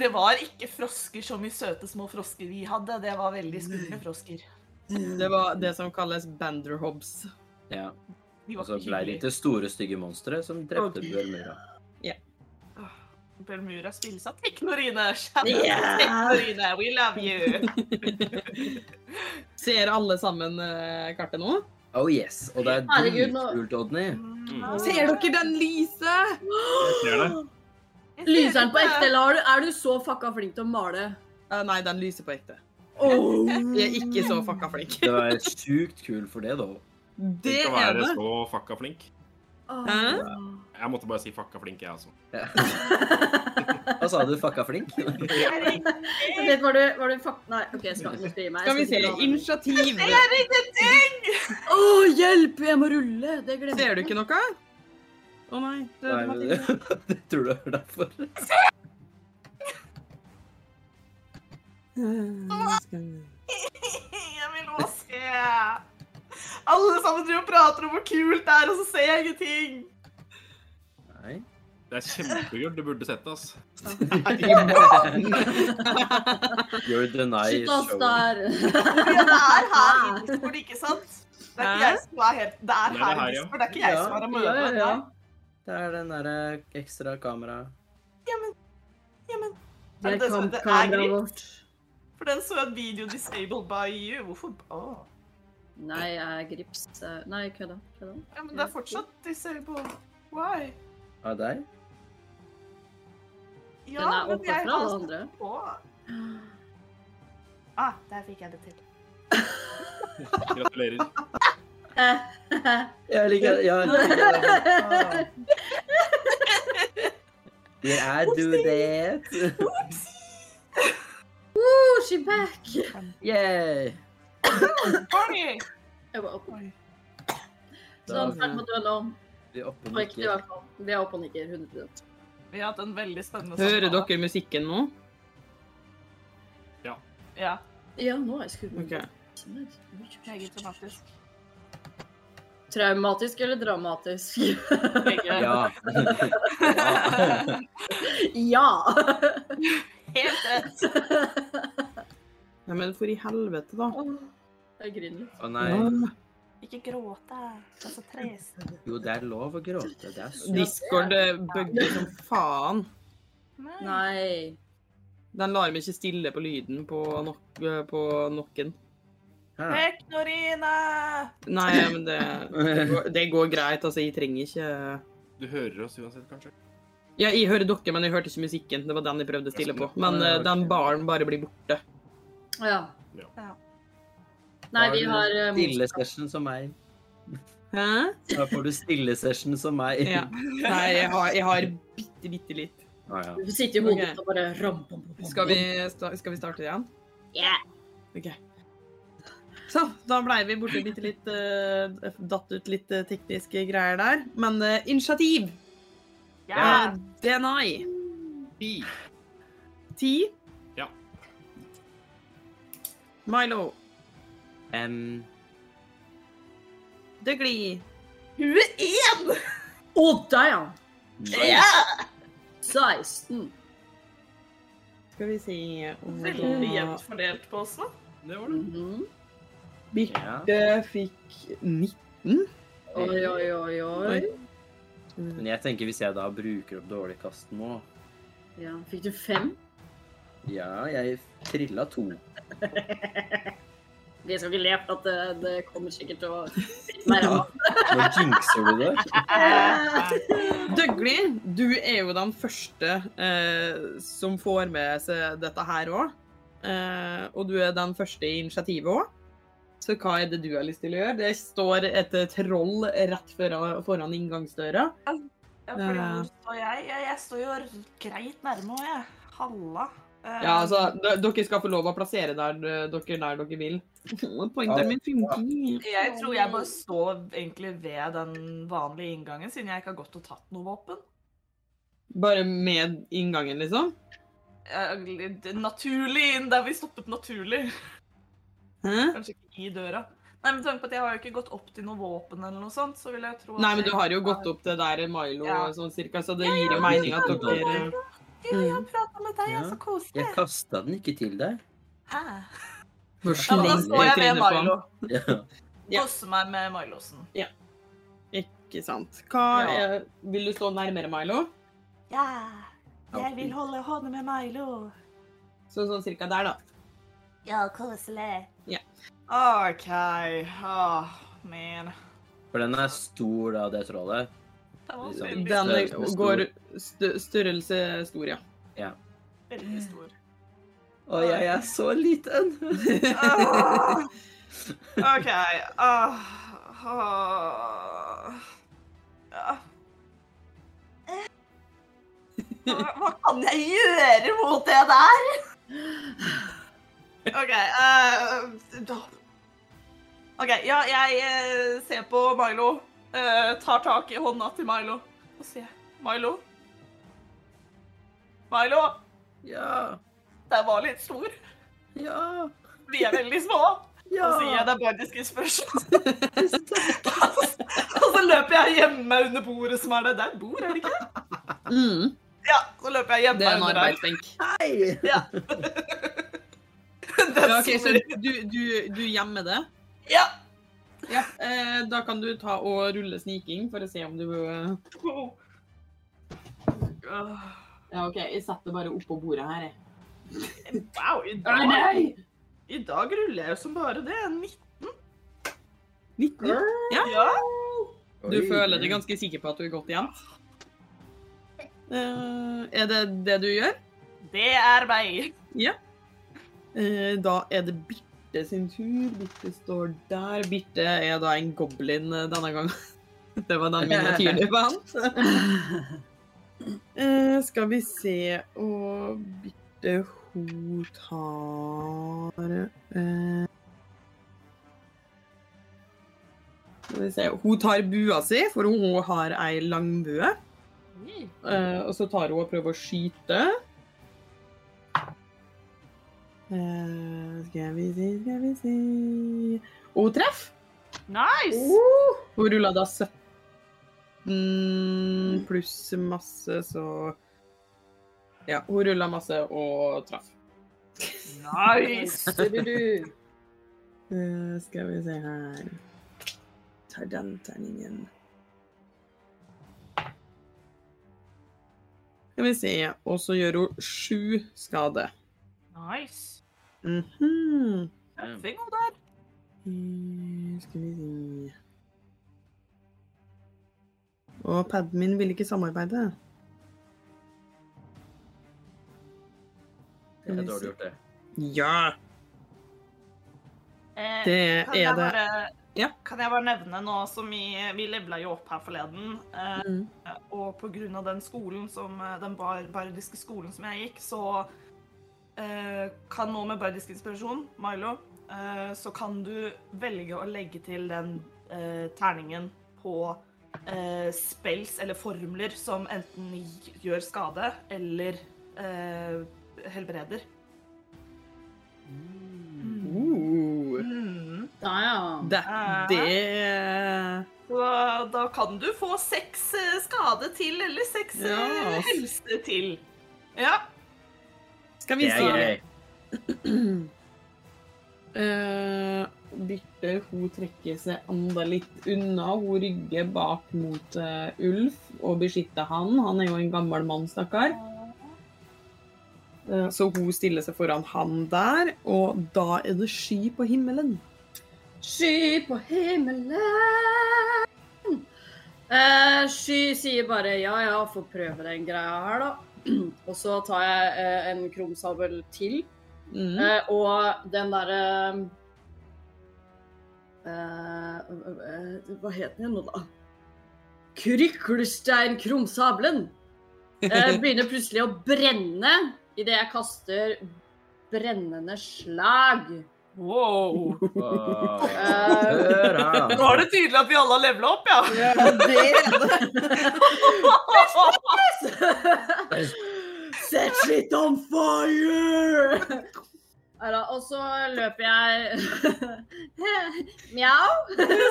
Speaker 2: Det var ikke frosker som i søte små frosker vi hadde. Det var veldig skumle frosker.
Speaker 1: Det var det som kalles banderhobs.
Speaker 4: Ja.
Speaker 2: De
Speaker 4: Og
Speaker 2: var
Speaker 4: så
Speaker 2: ikke
Speaker 4: Altså, ble de
Speaker 2: hyggelige.
Speaker 4: til store, stygge monstre som
Speaker 1: Ok.
Speaker 4: drepte Bjørnmyra.
Speaker 2: Belmura spilles av Teknorine. Shout out til
Speaker 5: Yeah!
Speaker 2: Teknorine, we love you.
Speaker 1: Ser alle sammen eh, kartet nå?
Speaker 4: Oh yes, og det er
Speaker 5: Herregud, nå-
Speaker 4: dritkult, Odny.
Speaker 1: Ser dere den lyse?
Speaker 3: Jeg ser det.
Speaker 2: Jeg ser
Speaker 5: Lyser den på
Speaker 2: ikke.
Speaker 5: ekte, eller har du- er du så fucka flink til å male?
Speaker 1: Eh, nei, den lyser på ekte.
Speaker 5: Oh.
Speaker 1: Jeg er ikke så fucka flink.
Speaker 4: Det var sjukt kul for det, da.
Speaker 1: Det
Speaker 3: Tenk å
Speaker 1: er
Speaker 3: være
Speaker 1: det.
Speaker 3: så fucka flink.
Speaker 1: Hæ?
Speaker 3: Jeg måtte bare si fucka flink, jeg altså. også.
Speaker 5: <laughs>
Speaker 4: Ja. Hva sa du, fucka flink?
Speaker 5: Vet, var du, var du fuck... Nei, OK, jeg skal, nå skal jeg gi meg.
Speaker 1: Skal vi se.
Speaker 5: Jeg skal ikke la det.
Speaker 1: Initiativ.
Speaker 5: Å, hjelp! Jeg må rulle! Det glemte
Speaker 1: Ser du ikke noe? Å nei. Det,
Speaker 4: Nei,
Speaker 1: det var
Speaker 4: men
Speaker 1: tidlig.
Speaker 4: det, det <laughs> tror du er derfor.
Speaker 1: Eh, skal vi-
Speaker 2: Jeg vil også se. Alle sammen driver og prater om hvor kult det er, og så ser jeg ingenting.
Speaker 4: Nei.
Speaker 3: Det er kjempekult. Du burde sett det, ass.
Speaker 4: You're the nice
Speaker 5: Shit, ass,
Speaker 4: show.
Speaker 5: der.
Speaker 2: Ja, det er her i Discord, ikke sant? Det er
Speaker 1: Hæ?
Speaker 2: ikke jeg som er helt Det er
Speaker 3: Nei, det er
Speaker 2: her
Speaker 3: her,
Speaker 2: i
Speaker 3: ja.
Speaker 2: Discord, det er ikke jeg som er
Speaker 5: Ja, ja,
Speaker 2: amøbe.
Speaker 5: ja.
Speaker 4: Det er den derre ekstra kamera.
Speaker 5: Det
Speaker 2: Men det-
Speaker 5: er
Speaker 2: det er
Speaker 5: kampkameraet
Speaker 2: greit.
Speaker 5: vårt.
Speaker 2: For den så en video disabled by you. Hvorfor Åh.
Speaker 5: Nei, jeg er grips. Nei, kødda. kødda.
Speaker 2: Ja, men det er fortsatt disabled. Why?
Speaker 4: Av deg?
Speaker 2: Ja,
Speaker 5: Den er
Speaker 2: men
Speaker 5: åpen
Speaker 2: jeg
Speaker 5: for
Speaker 2: har
Speaker 5: alle <laughs> andre.
Speaker 2: på. Ah, der fikk jeg det til.
Speaker 3: Gratulerer.
Speaker 4: Jeg liker ja,
Speaker 2: Ah.
Speaker 4: Did I do that?
Speaker 5: Oh, she back!
Speaker 4: Yeah!
Speaker 2: Party!
Speaker 5: Jeg var oppe. Så
Speaker 4: Da
Speaker 5: han er på død nå.
Speaker 4: er vi oppe og
Speaker 5: På ekte, i
Speaker 4: nikker.
Speaker 5: hvert fall. Vi er oppe og nikker. 100
Speaker 2: Vi har hatt en veldig spennende
Speaker 1: Hører dere musikken nå?
Speaker 2: Ja,
Speaker 5: Ja, nå er jeg skrudd
Speaker 1: Ok.
Speaker 2: meget
Speaker 5: <laughs>
Speaker 2: dramatisk.
Speaker 5: Traumatisk eller dramatisk?
Speaker 2: Begge.
Speaker 4: Ja.
Speaker 5: <laughs> ja! <laughs>
Speaker 2: Helt rett.
Speaker 1: Nei, men for i helvete, da.
Speaker 5: Jeg griner litt.
Speaker 4: Å nei.
Speaker 2: Ikke gråte. Det er så trist.
Speaker 4: Jo, det er lov å gråte. Det er så
Speaker 1: Discord eh, bugger som faen.
Speaker 2: Nei.
Speaker 5: Nei.
Speaker 1: Den lar meg ikke stille på lyden på, nok eh, på nokken.
Speaker 4: Her, da.
Speaker 2: Teknorine!
Speaker 1: Nei, men det, det, går, det går greit. Altså, jeg trenger ikke
Speaker 3: Du hører oss uansett, kanskje?
Speaker 1: Ja, jeg hører dere, men jeg hørte ikke musikken. Det var den jeg prøvde å stille på. Men
Speaker 4: Ja,
Speaker 1: eh,
Speaker 4: ok.
Speaker 1: den baren bare blir borte.
Speaker 5: Ja.
Speaker 3: Ja.
Speaker 2: Ja.
Speaker 4: Da
Speaker 5: Nei, vi
Speaker 4: du
Speaker 5: har eh,
Speaker 4: Stille session som meg.
Speaker 1: Hæ?
Speaker 4: Da får du stille session som meg.
Speaker 1: <laughs> Ja. Nei, jeg har, jeg har bitte, bitte litt.
Speaker 4: Ah, ja.
Speaker 5: Du får sitte i hodet
Speaker 1: Ok.
Speaker 5: ditt og bare ram, bom, bom, bom,
Speaker 1: Skal vi, sta- skal vi starte igjen?
Speaker 5: Ja.
Speaker 1: OK. Så, da blei vi borte bitte litt eh, Datt ut litt eh, tekniske greier der. Men eh, initiativ!
Speaker 2: Ja.
Speaker 1: Eh, DNI.
Speaker 3: Ti.
Speaker 1: Ti.
Speaker 3: Ja.
Speaker 1: Milo.
Speaker 4: Em,
Speaker 1: Dougley.
Speaker 2: Hun er én!
Speaker 5: Oh, damn!
Speaker 2: Ja!
Speaker 5: 16.
Speaker 1: Skal vi se om det
Speaker 2: Veldig
Speaker 1: var-
Speaker 2: jevnt fordelt på oss nå.
Speaker 3: Det var det.
Speaker 5: Mhm.
Speaker 4: ja.
Speaker 1: Birte fikk 19.
Speaker 5: Oi, oi, oi, oi.
Speaker 1: Oi.
Speaker 4: Men jeg tenker hvis jeg da bruker opp dårlig kast nå
Speaker 5: Ja, fikk du fem?
Speaker 4: Ja, jeg trilla to.
Speaker 5: Vi skal ikke le, for at det, det kommer sikkert <laughs> til å Nei, ja.
Speaker 4: Nå jinxer du det.
Speaker 1: Dougley, du er jo den første eh, som får med seg dette her òg. Eh, og du er den første i initiativet òg. Så hva er det du har lyst til å gjøre? Det står et eh, troll rett foran, foran inngangsdøra.
Speaker 2: Ja, fordi
Speaker 1: Ja.
Speaker 2: hvor står jeg? Jeg, jeg står jo greit nærme òg, jeg. Halla. Eh,
Speaker 1: Ja, altså, d- dere skal få lov å plassere der eh, dere, der dere vil. Å, Pointeren min funker.
Speaker 2: Jeg tror jeg bare står egentlig ved den vanlige inngangen, siden jeg ikke har gått og tatt noe våpen.
Speaker 1: Bare med inngangen, liksom?
Speaker 2: Eh, litt Naturlig inn der vi stoppet naturlig.
Speaker 1: Hæ?
Speaker 2: Kanskje ikke i døra. Nei, Med tanke på at jeg har jo ikke gått opp til noe våpen, eller noe sånt, så vil jeg tro at
Speaker 1: Nei, men du
Speaker 2: jeg-
Speaker 1: har jo gått opp til der Milo
Speaker 2: Ja.
Speaker 1: sånn cirka, så det gir jo mening at dere
Speaker 2: Ja, jeg
Speaker 1: Mm.
Speaker 2: har prata med deg, jeg.
Speaker 4: Ja.
Speaker 2: Så koselig.
Speaker 4: Jeg kasta den ikke til deg. <laughs>
Speaker 2: Hæ?
Speaker 1: Hvor
Speaker 2: Ja, men da
Speaker 4: Slenge
Speaker 2: står jeg ved Milo.
Speaker 4: Ja.
Speaker 1: Ja.
Speaker 2: Koser meg med Milosen.
Speaker 1: Ikke sant. Hva
Speaker 2: Ja.
Speaker 1: er, vil du stå nærmere Milo?
Speaker 2: Ja. Jeg vil holde hånda med Milo.
Speaker 1: Så, sånn cirka der, da.
Speaker 2: Ja, koselig.
Speaker 1: Ja.
Speaker 2: OK. Åh, man.
Speaker 4: For den er stor, da, det trollet.
Speaker 2: Det var
Speaker 4: Liksom.
Speaker 2: veldig,
Speaker 1: Den
Speaker 4: Størrelse stor.
Speaker 1: går stø størrelse stor, ja.
Speaker 2: veldig stor.
Speaker 4: Å, jeg er så liten! <laughs>
Speaker 2: Åh, OK. Åh, åh. Ja. Hva, hva kan jeg gjøre mot det der? OK. eh, da- OK, ja, jeg eh, ser på Milo. eh, tar tak i hånda til Milo og sier Milo? Milo,
Speaker 4: Ja,
Speaker 2: den var litt stor.
Speaker 4: ja,
Speaker 2: Vi er veldig små.
Speaker 4: ja.
Speaker 2: Og så gir jeg deg bardiske spørsmål.
Speaker 1: <laughs>
Speaker 2: og så løper jeg hjemme under bordet som er det der. Bord, er det ikke?
Speaker 1: Mm,
Speaker 2: Ja, så løper
Speaker 1: det
Speaker 2: jeg hjemme
Speaker 1: er en
Speaker 2: under der.
Speaker 1: arbeidsbenk. <laughs>
Speaker 4: Hei!
Speaker 2: Den
Speaker 1: Ja, ok, så
Speaker 2: store-
Speaker 1: du, du, du gjemmer det?
Speaker 2: ja.
Speaker 1: Ja. Eh, da kan du ta og rulle sniking for å se om du eh, Ja, OK, jeg setter bare oppå bordet her, jeg.
Speaker 2: Wow, i dag, i dag ruller jeg jo som bare det. 19.
Speaker 1: 19.
Speaker 2: Ja.
Speaker 1: Du føler deg ganske sikker på at du er godt igjen? Eh, er det det du gjør?
Speaker 2: Det er meg.
Speaker 1: Eh, da er det Birte sin tur. Birte står der. Birte er da en goblin eh, denne gangen. <laughs> Det var den miniatyren du fant. Eh, skal vi se Og Birte, hun tar eh, Skal vi se Hun tar bua si, for hun har ei langbue. Eh, og så tar hun og prøver å skyte. Eh, skal vi si, skal vi si Og hun treff!
Speaker 2: Nice.
Speaker 1: Uh, hun rulla da 17 pluss masse, så Ja, hun rulla masse og traff.
Speaker 2: Nice.
Speaker 5: Du-du-du.
Speaker 1: Eh, skal vi se her Tar den terningen. Skal vi se. Og så gjør hun sju skade.
Speaker 2: Nice.
Speaker 1: Mhm.
Speaker 4: Damn.
Speaker 2: Tøffing hun der.
Speaker 1: Mm, Skal vi si Og paden min ville ikke samarbeide.
Speaker 4: Det er dårlig gjort, det.
Speaker 1: Ja,
Speaker 2: Eh,
Speaker 1: det
Speaker 2: Kan
Speaker 1: er
Speaker 2: jeg
Speaker 1: det.
Speaker 2: bare,
Speaker 1: Ja.
Speaker 2: kan jeg bare nevne nå som vi, vi levela jo opp her forleden, eh,
Speaker 1: Mm.
Speaker 2: og på grunn av den skolen som, eh, den bar, bardiske skolen som jeg gikk, så eh, kan nå med bardisk inspirasjon, Milo, eh, så kan du velge å legge til den eh, terningen på eh, spells eller formler som enten gjør skade eller eh, helbreder.
Speaker 1: Uh,
Speaker 2: Mm.
Speaker 5: Da, ja.
Speaker 1: det, det
Speaker 2: Da, da kan du få seks eh, skade til, eller seks eh,
Speaker 1: Ja, ass.
Speaker 2: helse til. Ja.
Speaker 1: Skal vi
Speaker 4: Det er
Speaker 1: se.
Speaker 4: gøy.
Speaker 1: Eh, Birte hun trekker seg enda litt unna. Hun rygger bak mot eh, Ulf og beskytter han. Han er jo en gammel mann, stakkar. Eh, så hun stiller seg foran han der, og da er det sky på himmelen.
Speaker 5: Sky på himmelen. Eh, sky sier bare ja, ja, får prøve den greia her, da. <clears throat> Og så tar jeg eh, en krumsabel til.
Speaker 1: Mm.
Speaker 5: Eh, og den eh, derre eh, Hva het den igjen nå, da? Kryklesteinkrumsabelen! Eh, begynner plutselig å brenne idet jeg kaster brennende slag.
Speaker 2: Wow.
Speaker 4: Wow.
Speaker 5: Eh,
Speaker 4: Hør her,
Speaker 2: Nå
Speaker 4: da.
Speaker 2: er det tydelig at vi alle har levela opp, ja.
Speaker 5: Set shit on fire! Neida, og så løper <laughs> jeg Mjau?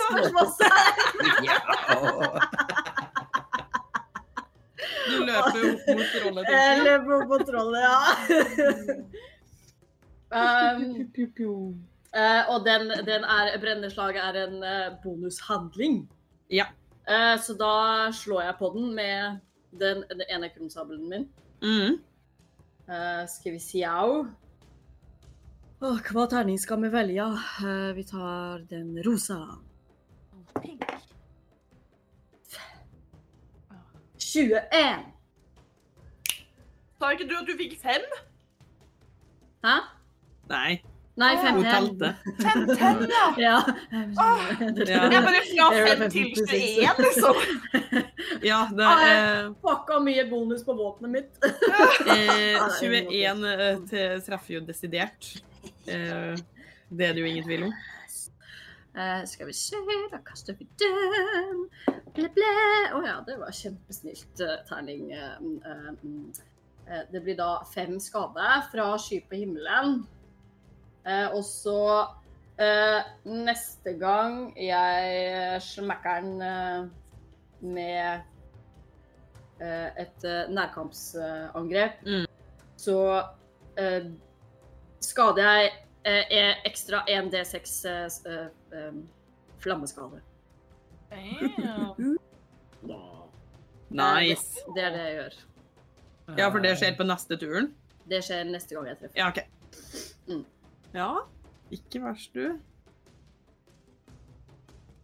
Speaker 5: Spørsmålstegn.
Speaker 4: Ja.
Speaker 1: Du løper opp mot
Speaker 5: Jeg løper på trollet, ja. Um,
Speaker 1: rollet.
Speaker 5: Eh, og den, den er, brennende slaget er en eh, bonushandling.
Speaker 1: Ja.
Speaker 5: Eh, så da slår jeg på den med den, den ene krumsabelen min.
Speaker 1: Mm.
Speaker 5: Eh, skal vi si au? Åh, hva terning skal vi velge? Eh, vi tar den rosa.
Speaker 2: Pink.
Speaker 5: 21.
Speaker 2: Sa ikke du at du fikk fem?
Speaker 5: Hæ?
Speaker 1: Nei,
Speaker 5: Nei,
Speaker 2: Åh,
Speaker 1: hun
Speaker 5: 15.
Speaker 1: talte.
Speaker 2: Fem, fem, ja.
Speaker 5: Ja. <laughs>
Speaker 2: Åh, Jeg bare fra
Speaker 5: Det er
Speaker 2: fem
Speaker 5: vel
Speaker 2: til
Speaker 5: 56.
Speaker 2: 21, liksom.
Speaker 1: Ja, det
Speaker 5: Ah,
Speaker 1: er
Speaker 5: jeg- Fucka mye bonus på våpenet mitt. Ah,
Speaker 1: eh, 21 eh, til treffer jo desidert. Eh, det er det jo ingen tvil om.
Speaker 5: Eh, skal vi se, da kaster vi den. Ble, ble. Å ja, det var kjempesnilt eh, terning. eh, mm, eh, mm. Eh, det blir da fem skade fra sky på himmelen. Eh, og så eh, neste gang jeg smekker den eh, med eh, et eh, nærkampsangrep,
Speaker 1: Mm.
Speaker 5: så eh, skader jeg eh, er ekstra 1D6 eh, s- eh, em, flammeskade.
Speaker 1: Nice.
Speaker 5: Eh, Det er det jeg gjør.
Speaker 1: Ja, for det skjer på neste turen.
Speaker 5: Det skjer neste gang jeg treffer.
Speaker 1: <laughs> Ja, OK.
Speaker 5: Mm.
Speaker 1: Ja, ikke verst, du.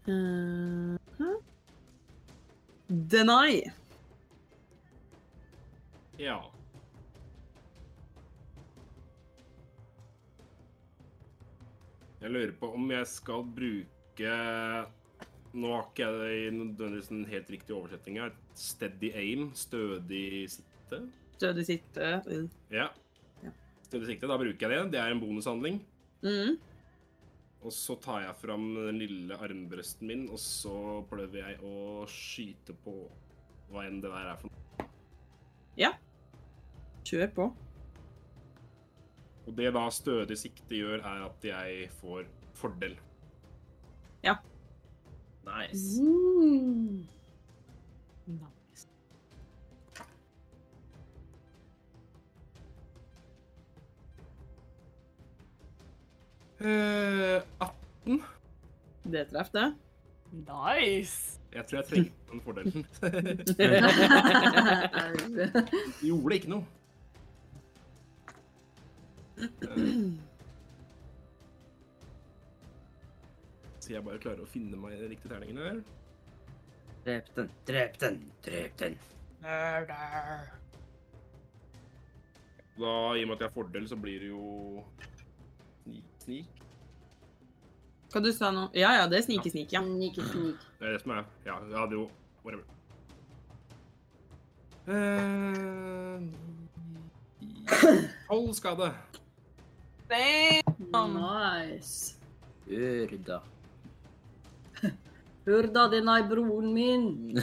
Speaker 1: Mhm. Deny.
Speaker 3: Ja. Jeg lurer på om jeg skal bruke Nå har ikke jeg nødvendigvis den helt riktige oversetninga. Steady aim, stødig sitte.
Speaker 1: Døde sitte. Mm.
Speaker 3: Ja.
Speaker 1: Ja.
Speaker 3: Stødig sikte, da bruker jeg det. Det er en bonushandling.
Speaker 1: Mm.
Speaker 3: Og så tar jeg fram den lille armbrøsten min, og så prøver jeg å skyte på hva enn det der er for noe.
Speaker 1: Kjør på.
Speaker 3: Og det da stødig sikte gjør, er at jeg får fordel.
Speaker 4: Nice.
Speaker 5: Mm.
Speaker 3: Eh, 18.
Speaker 1: Det treff, det.
Speaker 2: Nice.
Speaker 3: Jeg tror jeg trengte den fordelen.
Speaker 5: Au.
Speaker 3: Gjorde ikke noe. Eh, Så jeg bare klarer å finne meg i de riktige terningene her.
Speaker 4: Drep den, drep den, drep den.
Speaker 3: Da, I og med at jeg har fordel, så blir det jo snik, snik.
Speaker 1: Hva du sa nå? Ja, ja, det er snikesnik, ja.
Speaker 5: Snik, snik.
Speaker 3: Det er det som er Ja, jeg hadde jo Whatever. Eh, Tolv skade.
Speaker 5: Nice.
Speaker 4: Urda.
Speaker 5: Hør da, den er broren min.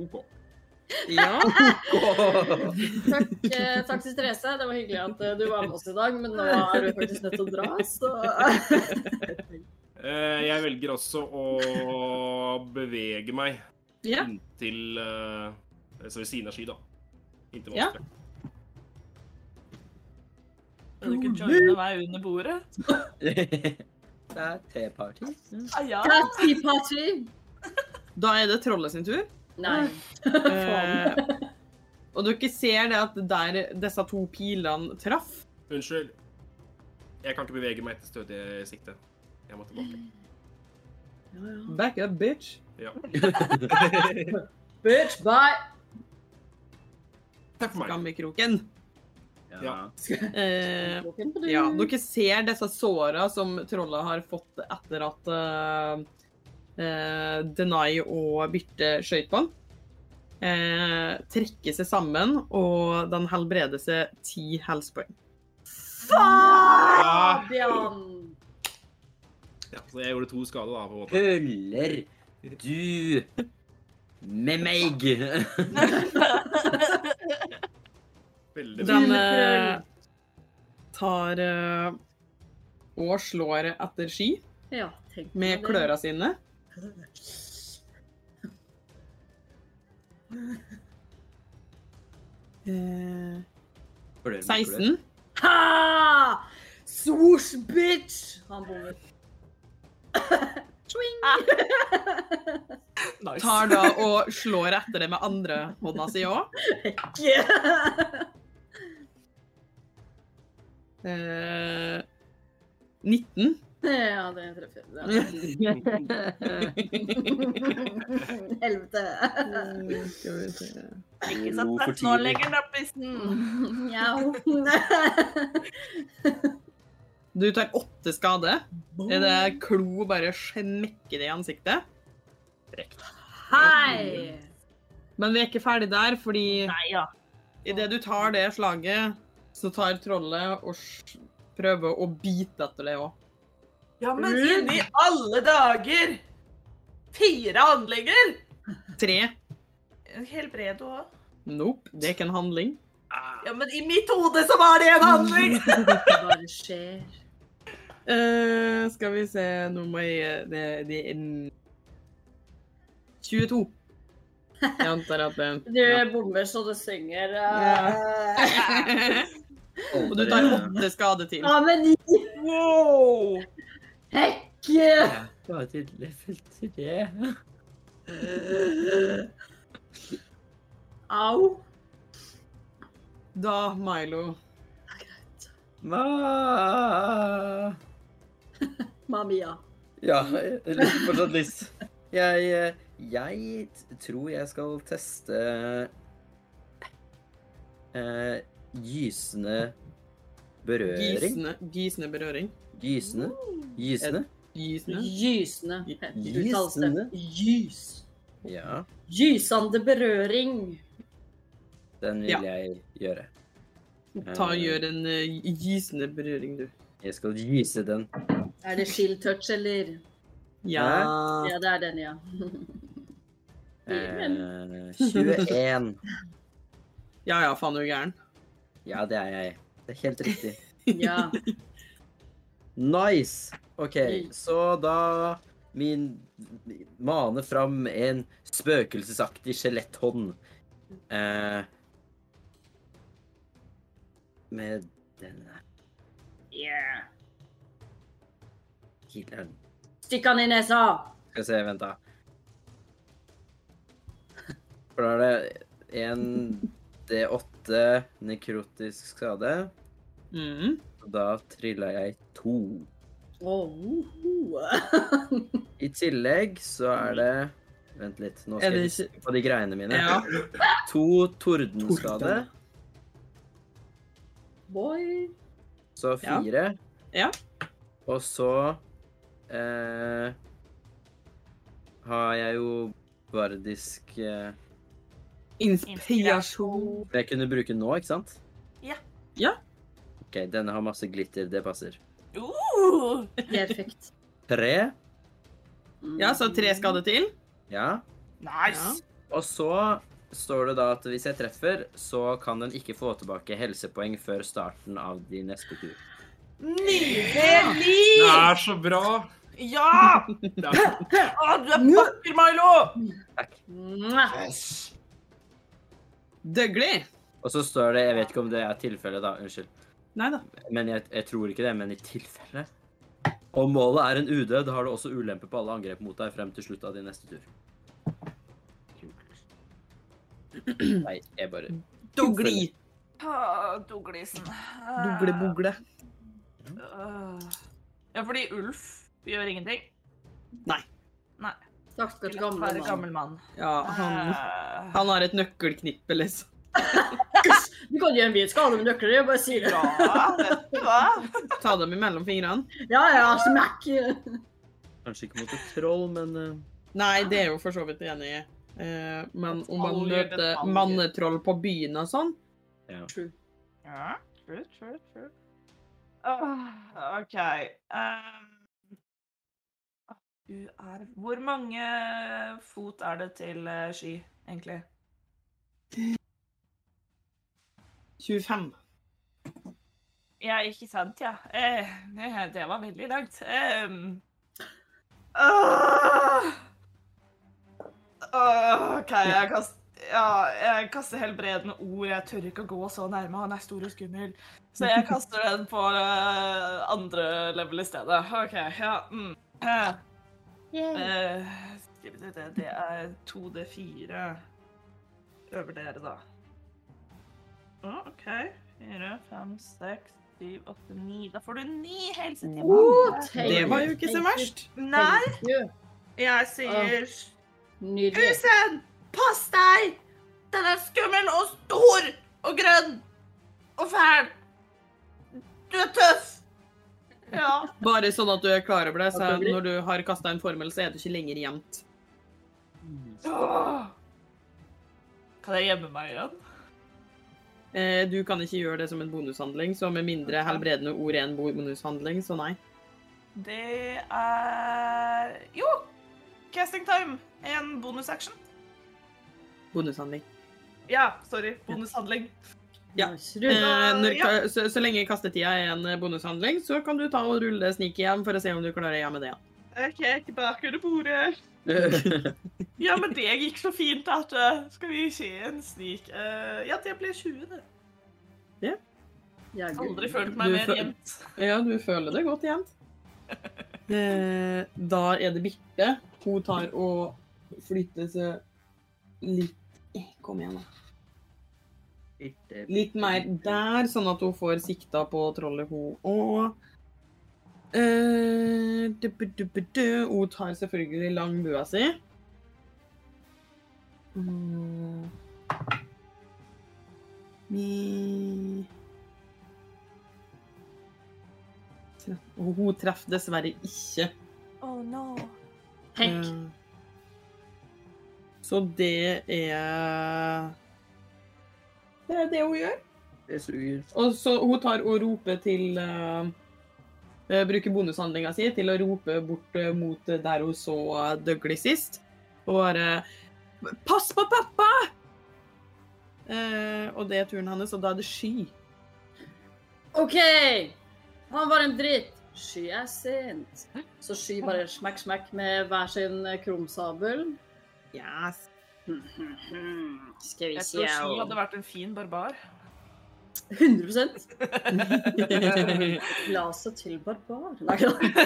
Speaker 3: OK.
Speaker 1: Ja,
Speaker 5: Takk, eh, takk til Therese. Det var hyggelig at eh, du var med oss i dag, men nå er du faktisk nødt til å dra, så
Speaker 3: Eh, jeg velger også å bevege meg
Speaker 1: ja.
Speaker 3: inntil eh, Så ved siden av sky, da. Inntil
Speaker 1: Ja.
Speaker 3: vanskelig.
Speaker 6: Kan du ikke joine meg under bordet?
Speaker 4: <laughs> det er teparty.
Speaker 6: Ah, ja.
Speaker 5: Happy party!
Speaker 1: Da er det trollet sin tur.
Speaker 5: Nei.
Speaker 1: Eh, og dere ser det at der disse to pilene traff
Speaker 3: Unnskyld. Jeg kan ikke bevege meg etter stødig sikte. Jeg må tilbake.
Speaker 5: Ja, ja.
Speaker 1: Back up, bitch.
Speaker 3: Ja.
Speaker 5: Bitch, bye!
Speaker 3: Takk for meg.
Speaker 1: Fram i kroken. Eh,
Speaker 3: Ja.
Speaker 1: Ja,
Speaker 5: Mm.
Speaker 1: dere ser disse såra som trollet har fått etter at eh, eh, Denai og Birte skøyt på han. Eh, trekker seg sammen, og den helbreder seg ti helsepoeng.
Speaker 3: Ja,
Speaker 5: Fabian!
Speaker 3: så jeg gjorde to skader, da, på en måte.
Speaker 4: Køller du med meg?
Speaker 3: Veldig bra.
Speaker 1: Den eh, tar eh, og slår etter sky
Speaker 5: Ja, tenk på
Speaker 1: med
Speaker 5: det.
Speaker 1: kløra sine. Eh, 16.
Speaker 5: Ha! Swoosh, bitch! Han bommer.
Speaker 1: Tar
Speaker 5: <laughs>
Speaker 1: da og slår etter det med andre hånda si òg.
Speaker 5: Yeah!
Speaker 1: Eh, 19.
Speaker 5: <laughs> Ja, det treffer. Det er- <laughs> Helvete. Eh,
Speaker 6: Ikke så tett nå, legger den opp i siden.
Speaker 5: Mjau.
Speaker 1: Du tar åtte skade. Er det klo bare smekker det i ansiktet?
Speaker 5: <laughs> Hei!
Speaker 1: Men vi er ikke ferdig der, fordi
Speaker 6: Nei, ja.
Speaker 1: idet du tar det slaget, så tar trollet og s- prøver å bite etter det òg.
Speaker 6: Ja, men
Speaker 1: Mm.
Speaker 6: inn i alle dager! Fire handlinger!
Speaker 1: Tre.
Speaker 6: Helbrede òg.
Speaker 1: Nope, det er ikke en handling.
Speaker 6: Ja, men i mitt hode så var det en handling!
Speaker 5: Det bare skjer.
Speaker 1: Eh, skal vi se Nå må jeg Det, det er en 22. Jeg antar at det
Speaker 5: Du bommer så det synger. eh.
Speaker 1: ja. Og du tar åtte skade til.
Speaker 5: Ja, men
Speaker 6: Wow!
Speaker 5: hekk!
Speaker 4: Bare til level 3.
Speaker 5: Au.
Speaker 1: Da, Milo
Speaker 4: Ma.
Speaker 5: Mamia.
Speaker 4: Ja, litt fortsatt lyst. Jeg, eh, jeg t- tror jeg skal teste eh, gysende berøring.
Speaker 1: Gysende, gysende berøring.
Speaker 4: Gysende? Gysende?
Speaker 1: Gysende.
Speaker 5: Gysende. uttales
Speaker 4: Gysende?
Speaker 5: det. Gys.
Speaker 4: Ja,
Speaker 5: Gysende berøring.
Speaker 4: den
Speaker 1: Ja.
Speaker 4: vil jeg gjøre.
Speaker 1: Ta og
Speaker 4: Eh,
Speaker 1: Gjør en eh, gysende berøring, du.
Speaker 4: Jeg skal gyse den.
Speaker 5: Er det shield touch, eller?
Speaker 1: Ja.
Speaker 5: Ja, det er
Speaker 1: <laughs>
Speaker 5: den, ja.
Speaker 4: Eh, 21.
Speaker 1: Ja ja, faen, du er gæren.
Speaker 4: Ja, det er jeg. Det er helt riktig.
Speaker 5: Ja.
Speaker 4: Nice! OK,
Speaker 5: Mm.
Speaker 4: så da min mane fram en spøkelsesaktig skjeletthånd. Eh, med denne
Speaker 5: Yeah.
Speaker 4: healeren.
Speaker 5: Stikk han i nesa!
Speaker 4: Skal vi se, vent, da. For da er det 1 D8 åtte nekrotisk skade.
Speaker 1: Mm.
Speaker 4: Og da trilla jeg to.
Speaker 5: Oh, Åh.
Speaker 4: I tillegg så er det Vent litt, nå
Speaker 1: Er
Speaker 4: skal
Speaker 1: det
Speaker 4: jeg liste på de greiene mine.
Speaker 1: Ja.
Speaker 4: To tordenskade,
Speaker 1: Torden.
Speaker 5: Boy.
Speaker 4: så
Speaker 1: Ja.
Speaker 4: fire.
Speaker 1: Ja.
Speaker 4: Og så eh, har jeg jo bardisk eh,
Speaker 1: Inspirasjon.
Speaker 4: Jeg kunne bruke nå, ikke sant?
Speaker 6: Ja.
Speaker 1: Ja.
Speaker 4: OK, denne har masse glitter. Det passer.
Speaker 6: Uh,
Speaker 5: Perfekt.
Speaker 4: Tre.
Speaker 1: <laughs> Ja, så tre skader til.
Speaker 4: Ja.
Speaker 1: Ja.
Speaker 2: Nice!
Speaker 4: Og så står det da at hvis jeg treffer, så kan den ikke få tilbake helsepoeng før starten av de neste tur.
Speaker 6: Nydelig!
Speaker 3: Det er så bra!
Speaker 2: Ja!
Speaker 3: Det er så...
Speaker 2: Å, du er vakker, Milo!
Speaker 5: Mwah.
Speaker 1: Døglig.
Speaker 4: Og så står det Jeg vet ikke om det er tilfellet, da. Unnskyld.
Speaker 1: Nei da.
Speaker 4: Men jeg, jeg tror ikke det. Men i tilfelle Om målet er en udød, har du også ulempe på alle angrep mot deg frem til slutt av din neste tur. Nei, jeg bare
Speaker 1: Dogli.
Speaker 2: Ah, Doglisen. Ah,
Speaker 1: Dogle bogle.
Speaker 2: ah. Ja, fordi Ulf gjør ingenting.
Speaker 5: Stakkars
Speaker 2: Vil
Speaker 5: gamle
Speaker 2: være
Speaker 5: mann.
Speaker 2: gammel mann.
Speaker 1: Ja, han,
Speaker 2: Ah.
Speaker 1: han har et nøkkelknippe, liksom.
Speaker 5: Du kan gjøre mye skade med nøkler, jeg bare sier det.
Speaker 2: Ja, vet du hva?
Speaker 1: Ta dem imellom fingrene.
Speaker 5: Ja, ja, smack.
Speaker 4: Kanskje ikke mot et troll, men eh,
Speaker 1: Nei, det er jo for så vidt enig i. Eh, men om man
Speaker 2: Detaljer,
Speaker 1: møter
Speaker 2: detaljer.
Speaker 1: mannetroll på byen og sånn
Speaker 2: <laughs> Ja, true, true, true. Ah, OK. ehm. Ah, du er Hvor mange fot er det til eh, sky, egentlig?
Speaker 1: 25.
Speaker 2: Ja, ikke sant, ja. Eh, det- det var veldig langt. Ehm. Ah! Ah, OK, jeg kaster ja, jeg kaster helbredende ord. Jeg tør ikke å gå så nærme. Han er stor og skummel. Så jeg kaster den på eh, andre level i stedet. OK, ja. Mm. Eh, eh, skal vi se, det, det er 2D4 over dere, da. Ja, OK. 4, 5, 6, 7, 8, 9. Da får du 9 helsetimer.
Speaker 1: Det var jo ikke så verst.
Speaker 2: Nei,
Speaker 5: Nei.
Speaker 2: jeg sier
Speaker 5: Nydelig.
Speaker 2: Husen, pass deg! Den er skummel og stor og grønn og fæl. Du er tøff. Ja.
Speaker 1: Bare sånn at du er klar over det, så
Speaker 5: At det blir-
Speaker 1: når du har kasta en formel, så er du ikke lenger gjemt.
Speaker 2: Kan jeg gjemme meg igjen?
Speaker 1: Eh, Du kan ikke gjøre det som en bonushandling, så med mindre helbredende ord er en bonushandling, så nei.
Speaker 2: Det er Jo! Casting time. En bonusaction.
Speaker 1: Bonushandling.
Speaker 2: Ja, sorry. Bonushandling.
Speaker 1: Ja.
Speaker 5: Nice.
Speaker 1: Eh,
Speaker 5: Rull.
Speaker 1: når,
Speaker 2: Ja.
Speaker 1: så, så lenge kastetida er en bonushandling, så kan du ta og rulle sneak igjen for å se om du klarer å gjemme det igjen.
Speaker 2: OK, tilbake under bordet.
Speaker 4: eh, <laughs>
Speaker 2: Ja, men det gikk så fint at eh, Skal vi se en snik Eh, Ja, det ble 20, det.
Speaker 5: Ja, gud.
Speaker 2: Aldri følt meg
Speaker 1: Du
Speaker 2: mer
Speaker 1: føl-
Speaker 2: gjemt.
Speaker 1: Ja, du føler det godt igjen. <laughs> Eh, da er det Birte. Hun tar og flytter seg litt Eh, Kom igjen, da. Litt mer der, sånn at hun får sikta på trollet hun òg. Eh, dubbe, dubbe, dø. hun tar selvfølgelig langbua si. Mm. Ni. Tre- Og Hun treffer dessverre ikke.
Speaker 6: oh no.
Speaker 5: Hekk.
Speaker 1: Eh, Så det er Det er det hun gjør.
Speaker 4: Det suger.
Speaker 1: Og så hun tar og roper til eh, eh, Bruker bonushandlinga si til å rope bort eh, mot der hun så eh, Dougley sist. Og bare Pass på pappa! Eh, og det er turen hennes, og da er det sky.
Speaker 5: OK! Han var en dritt. Sky er sint. Så Sky bare smekk, smekk med hver sin krumsabel.
Speaker 1: Yes.
Speaker 5: Skal vi
Speaker 2: Hmm. Jeg
Speaker 5: se
Speaker 2: tror Ski
Speaker 5: og-
Speaker 2: hadde vært en fin barbar.
Speaker 5: 100 Glaset til barbar. Nei, ikke da.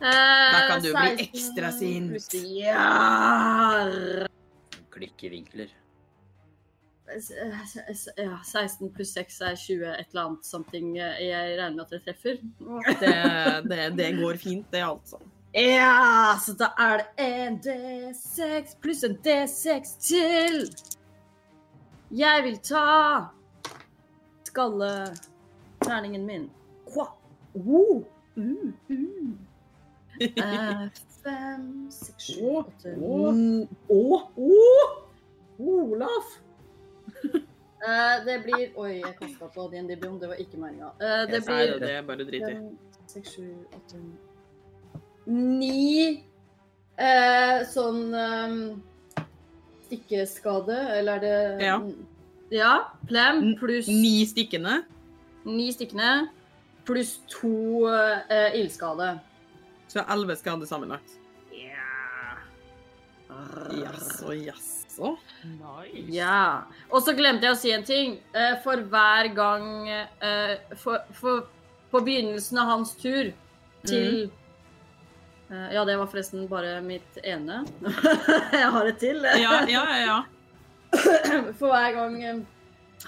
Speaker 5: Eh,
Speaker 1: Da kan du bli ekstra sint.
Speaker 5: Ja!
Speaker 4: Klikkevinkler.
Speaker 5: s- s- ja, 16 pluss 6 er 20 et eller annet something eh, jeg regner med at jeg treffer.
Speaker 1: Det, det, det går fint, det, altså.
Speaker 5: Ja, så da er det en D6 pluss en D6 til. Jeg vil ta skalleterningen min. Kva. Uh, uh, uh. Eh, fem, seks, sju,
Speaker 4: Å,
Speaker 5: åtte,
Speaker 4: å.
Speaker 5: ni Å, å! Olaf! Eh, det blir Oi, jeg kasta på DND-bom. Det var ikke meninga. Eh, det
Speaker 1: Nei,
Speaker 5: blir
Speaker 1: det, det er bare å drite i.
Speaker 5: Fem, seks, sju, åtte Ni eh, sånn eh, stikkeskade, eller er det
Speaker 1: Ja.
Speaker 5: Ja, plem
Speaker 1: N-
Speaker 5: pluss ni.
Speaker 1: Ni stikkende.
Speaker 5: stikkene pluss to eh, ildskade.
Speaker 1: Så elleve skader sammenlagt.
Speaker 5: Yes.
Speaker 1: Jaså, jaså.
Speaker 6: Nice.
Speaker 5: <laughs> Ja. Og så glemte jeg å si en ting. Eh, For hver gang eh, for, for, På begynnelsen av hans tur til
Speaker 1: Mm.
Speaker 5: Eh, Ja, det var forresten bare mitt ene. <laughs> jeg har et til.
Speaker 1: Ja, ja, ja. ja.
Speaker 5: For hver gang eh,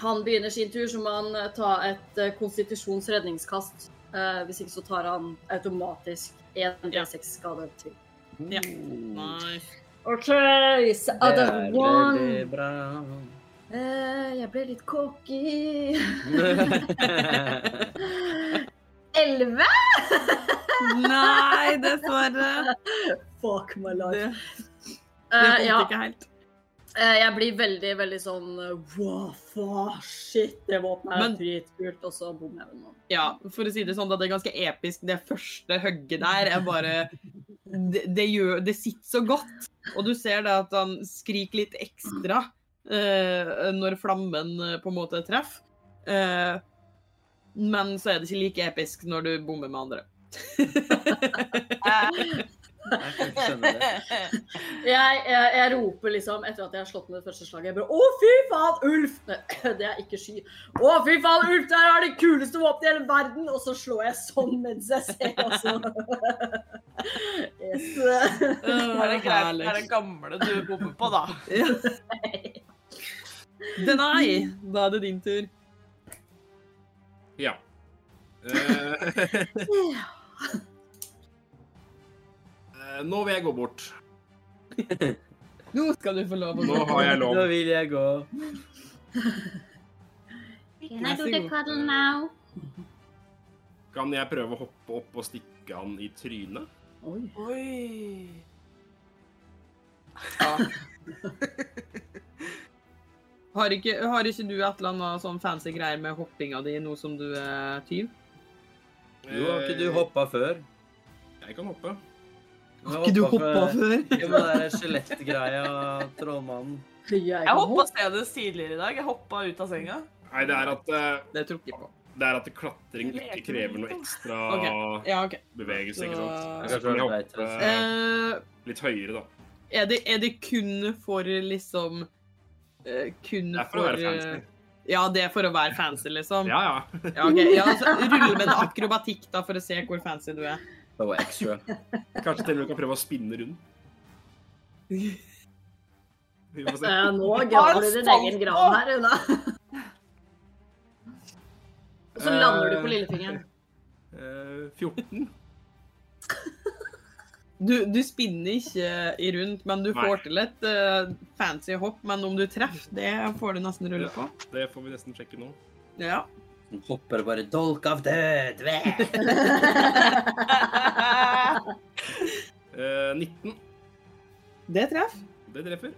Speaker 5: han begynner sin tur, så må han eh, ta et eh, konstitusjonsredningskast. Eh, Hvis ikke så tar han automatisk en
Speaker 1: Ja.
Speaker 5: D6-skade til.
Speaker 1: Ja.
Speaker 4: Mm.
Speaker 1: Nice.
Speaker 5: OK, så
Speaker 4: Det
Speaker 5: other
Speaker 4: er
Speaker 5: one.
Speaker 4: veldig bra. <laughs>
Speaker 5: Eh, jeg ble litt cocky. Elleve?
Speaker 1: Nei, dessverre.
Speaker 5: Fuck my
Speaker 1: Det, det
Speaker 5: Eh,
Speaker 1: holdt
Speaker 5: ja,
Speaker 1: ikke helt.
Speaker 5: eh, jeg blir veldig, veldig sånn eh, Wow, fuck, shit, det våpenet er
Speaker 1: Men-
Speaker 5: dritkult, og så bommer jeg med noen.
Speaker 1: Ja, for å si det sånn, da, det er ganske episk. Det første hugget der er bare Det, det, gjør, det sitter så godt. Og du ser det at han skriker litt ekstra eh, når flammen eh, på en måte treffer. Eh, men så er det ikke like episk når du bommer med andre.
Speaker 4: Jeg kan ikke skjønne det.
Speaker 5: Jeg, jeg, jeg roper liksom etter at jeg har slått med det første slaget. Jeg bare Å, fy faen, Ulf! Nei, <clears throat> Det er ikke sky. Å, fy faen, Ulf, det her er det kuleste våpenet i hele verden! Og så slår jeg sånn mens jeg ser, altså. <laughs> Yes.
Speaker 1: Er
Speaker 2: Eh,
Speaker 6: Er det greit? Det er det gamle du bommer på, da.
Speaker 1: Denai, da er det din tur.
Speaker 3: Ja. Eh, <laughs> eh, nå vil jeg gå bort.
Speaker 1: Nå skal du få lov å
Speaker 3: Nå har jeg lov.
Speaker 4: Nå vil jeg gå.
Speaker 1: Can I do the cuddle
Speaker 5: now?
Speaker 3: Kan jeg prøve å hoppe opp og stikke han i trynet?
Speaker 5: Oi.
Speaker 6: Oi.
Speaker 1: Har ikke, har ikke du et eller annet sånn fancy greier med hoppinga di nå som du er tyv?
Speaker 4: Jo, har ikke du hoppa før?
Speaker 3: Eh, Jeg kan hoppe.
Speaker 1: Har ikke du hoppa før?
Speaker 4: Jo, men det er skjelettgreia, trollmannen.
Speaker 5: Jeg
Speaker 6: Jeg hoppa senest tidligere i dag. Jeg hoppa ut av senga.
Speaker 3: Nei, det er at, eh,
Speaker 1: Det tror jeg ikke på.
Speaker 3: det er at klatring ikke krever noe ekstra
Speaker 1: Ja, ok.
Speaker 3: bevegelse, ikke sant?
Speaker 4: Så-
Speaker 3: Så kan jeg hoppe
Speaker 1: Eh,
Speaker 3: litt høyere, da.
Speaker 1: er, det, er det kun for liksom eh, Kun
Speaker 3: Det er
Speaker 1: for,
Speaker 3: for å være
Speaker 1: eh,
Speaker 3: fancy.
Speaker 1: Ja, det er for å være fancy, liksom?
Speaker 3: Ja, ja.
Speaker 1: Ja, ok. ja altså, Rulle med en akrobatikk da, for å se hvor fancy du er.
Speaker 4: Det var extra.
Speaker 3: Kanskje til og med kan prøve å spinne rundt. Vi får se.
Speaker 5: Eh, nå graver du din egen grav her, Una. Og så lander du på lillefingeren.
Speaker 3: Eh, 14.
Speaker 1: Du, du spinner ikke i rundt, men du
Speaker 3: Nei.
Speaker 1: får til et eh, fancy hopp. Men om du treffer, det får du nesten rulle på.
Speaker 3: Det får vi nesten sjekke nå.
Speaker 1: Ja.
Speaker 4: Den hopper og bare Dolk av død! Væ!
Speaker 3: Eh, 19.
Speaker 1: Det treffer.
Speaker 3: Det treffer.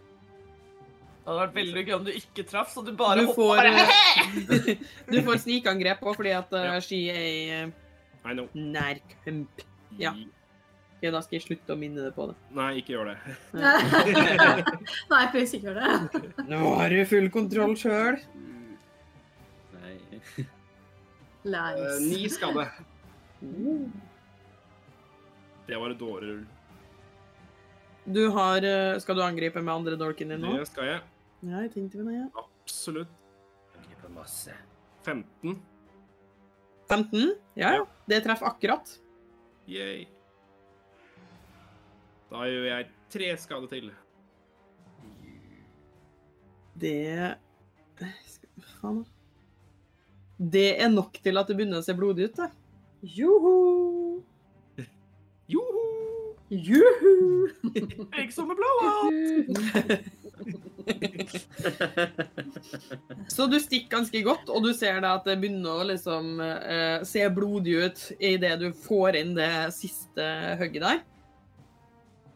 Speaker 6: Det hadde vært veldig gøy om du ikke traff, så du bare
Speaker 1: du
Speaker 6: hoppa.
Speaker 1: får,
Speaker 6: bare, «Hehe!»
Speaker 1: eh, du får snikangrep òg, fordi at eh,
Speaker 3: Ja.
Speaker 1: ski er i eh,
Speaker 3: I know.
Speaker 1: nærkamp. Ja. Ok, da skal jeg slutte å minne deg på det.
Speaker 3: Nei, ikke gjør det.
Speaker 5: <laughs> Nei, please ikke gjør det.
Speaker 1: Nå har du full kontroll sjøl.
Speaker 4: Nei.
Speaker 3: Eh,
Speaker 5: Lines.
Speaker 3: Ni skade. Det var et dårlig rull.
Speaker 1: Du har eh, Skal du angripe med andre dolken din nå?
Speaker 3: Det skal jeg.
Speaker 1: Ja, jeg tenkte på det, ja.
Speaker 3: Absolutt.
Speaker 4: Angriper masse.
Speaker 3: 15.
Speaker 1: 15? Ja, ja. Det treffer akkurat.
Speaker 3: Yay. Da gjør jeg tre skader til.
Speaker 1: Det Skal- Faen. da. Det er nok til at det begynner å se blodig ut, da.
Speaker 5: Joho!
Speaker 3: Joho!
Speaker 5: Juhu!
Speaker 2: Ikke som med blowout!
Speaker 1: <laughs> Så du stikker ganske godt, og du ser da at det begynner å liksom eh, se blodig ut idet du får inn det siste hugget der.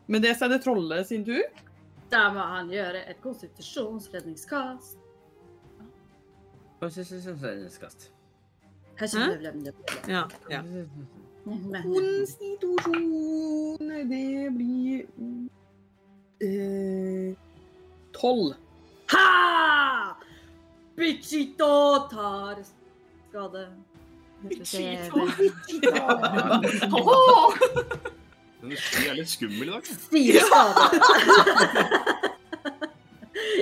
Speaker 1: Med det så er det trollet sin tur.
Speaker 5: Der må han gjøre et konstitusjonsredningskast.
Speaker 4: Konstitusjonskast.
Speaker 5: Hæ?
Speaker 1: Ja, ja. Konstitusjon, det blir eh, Tolv.
Speaker 5: Ha! Bichito tar skade.
Speaker 2: Åh!
Speaker 3: Den er litt skummel i dag.
Speaker 5: Stiv skade.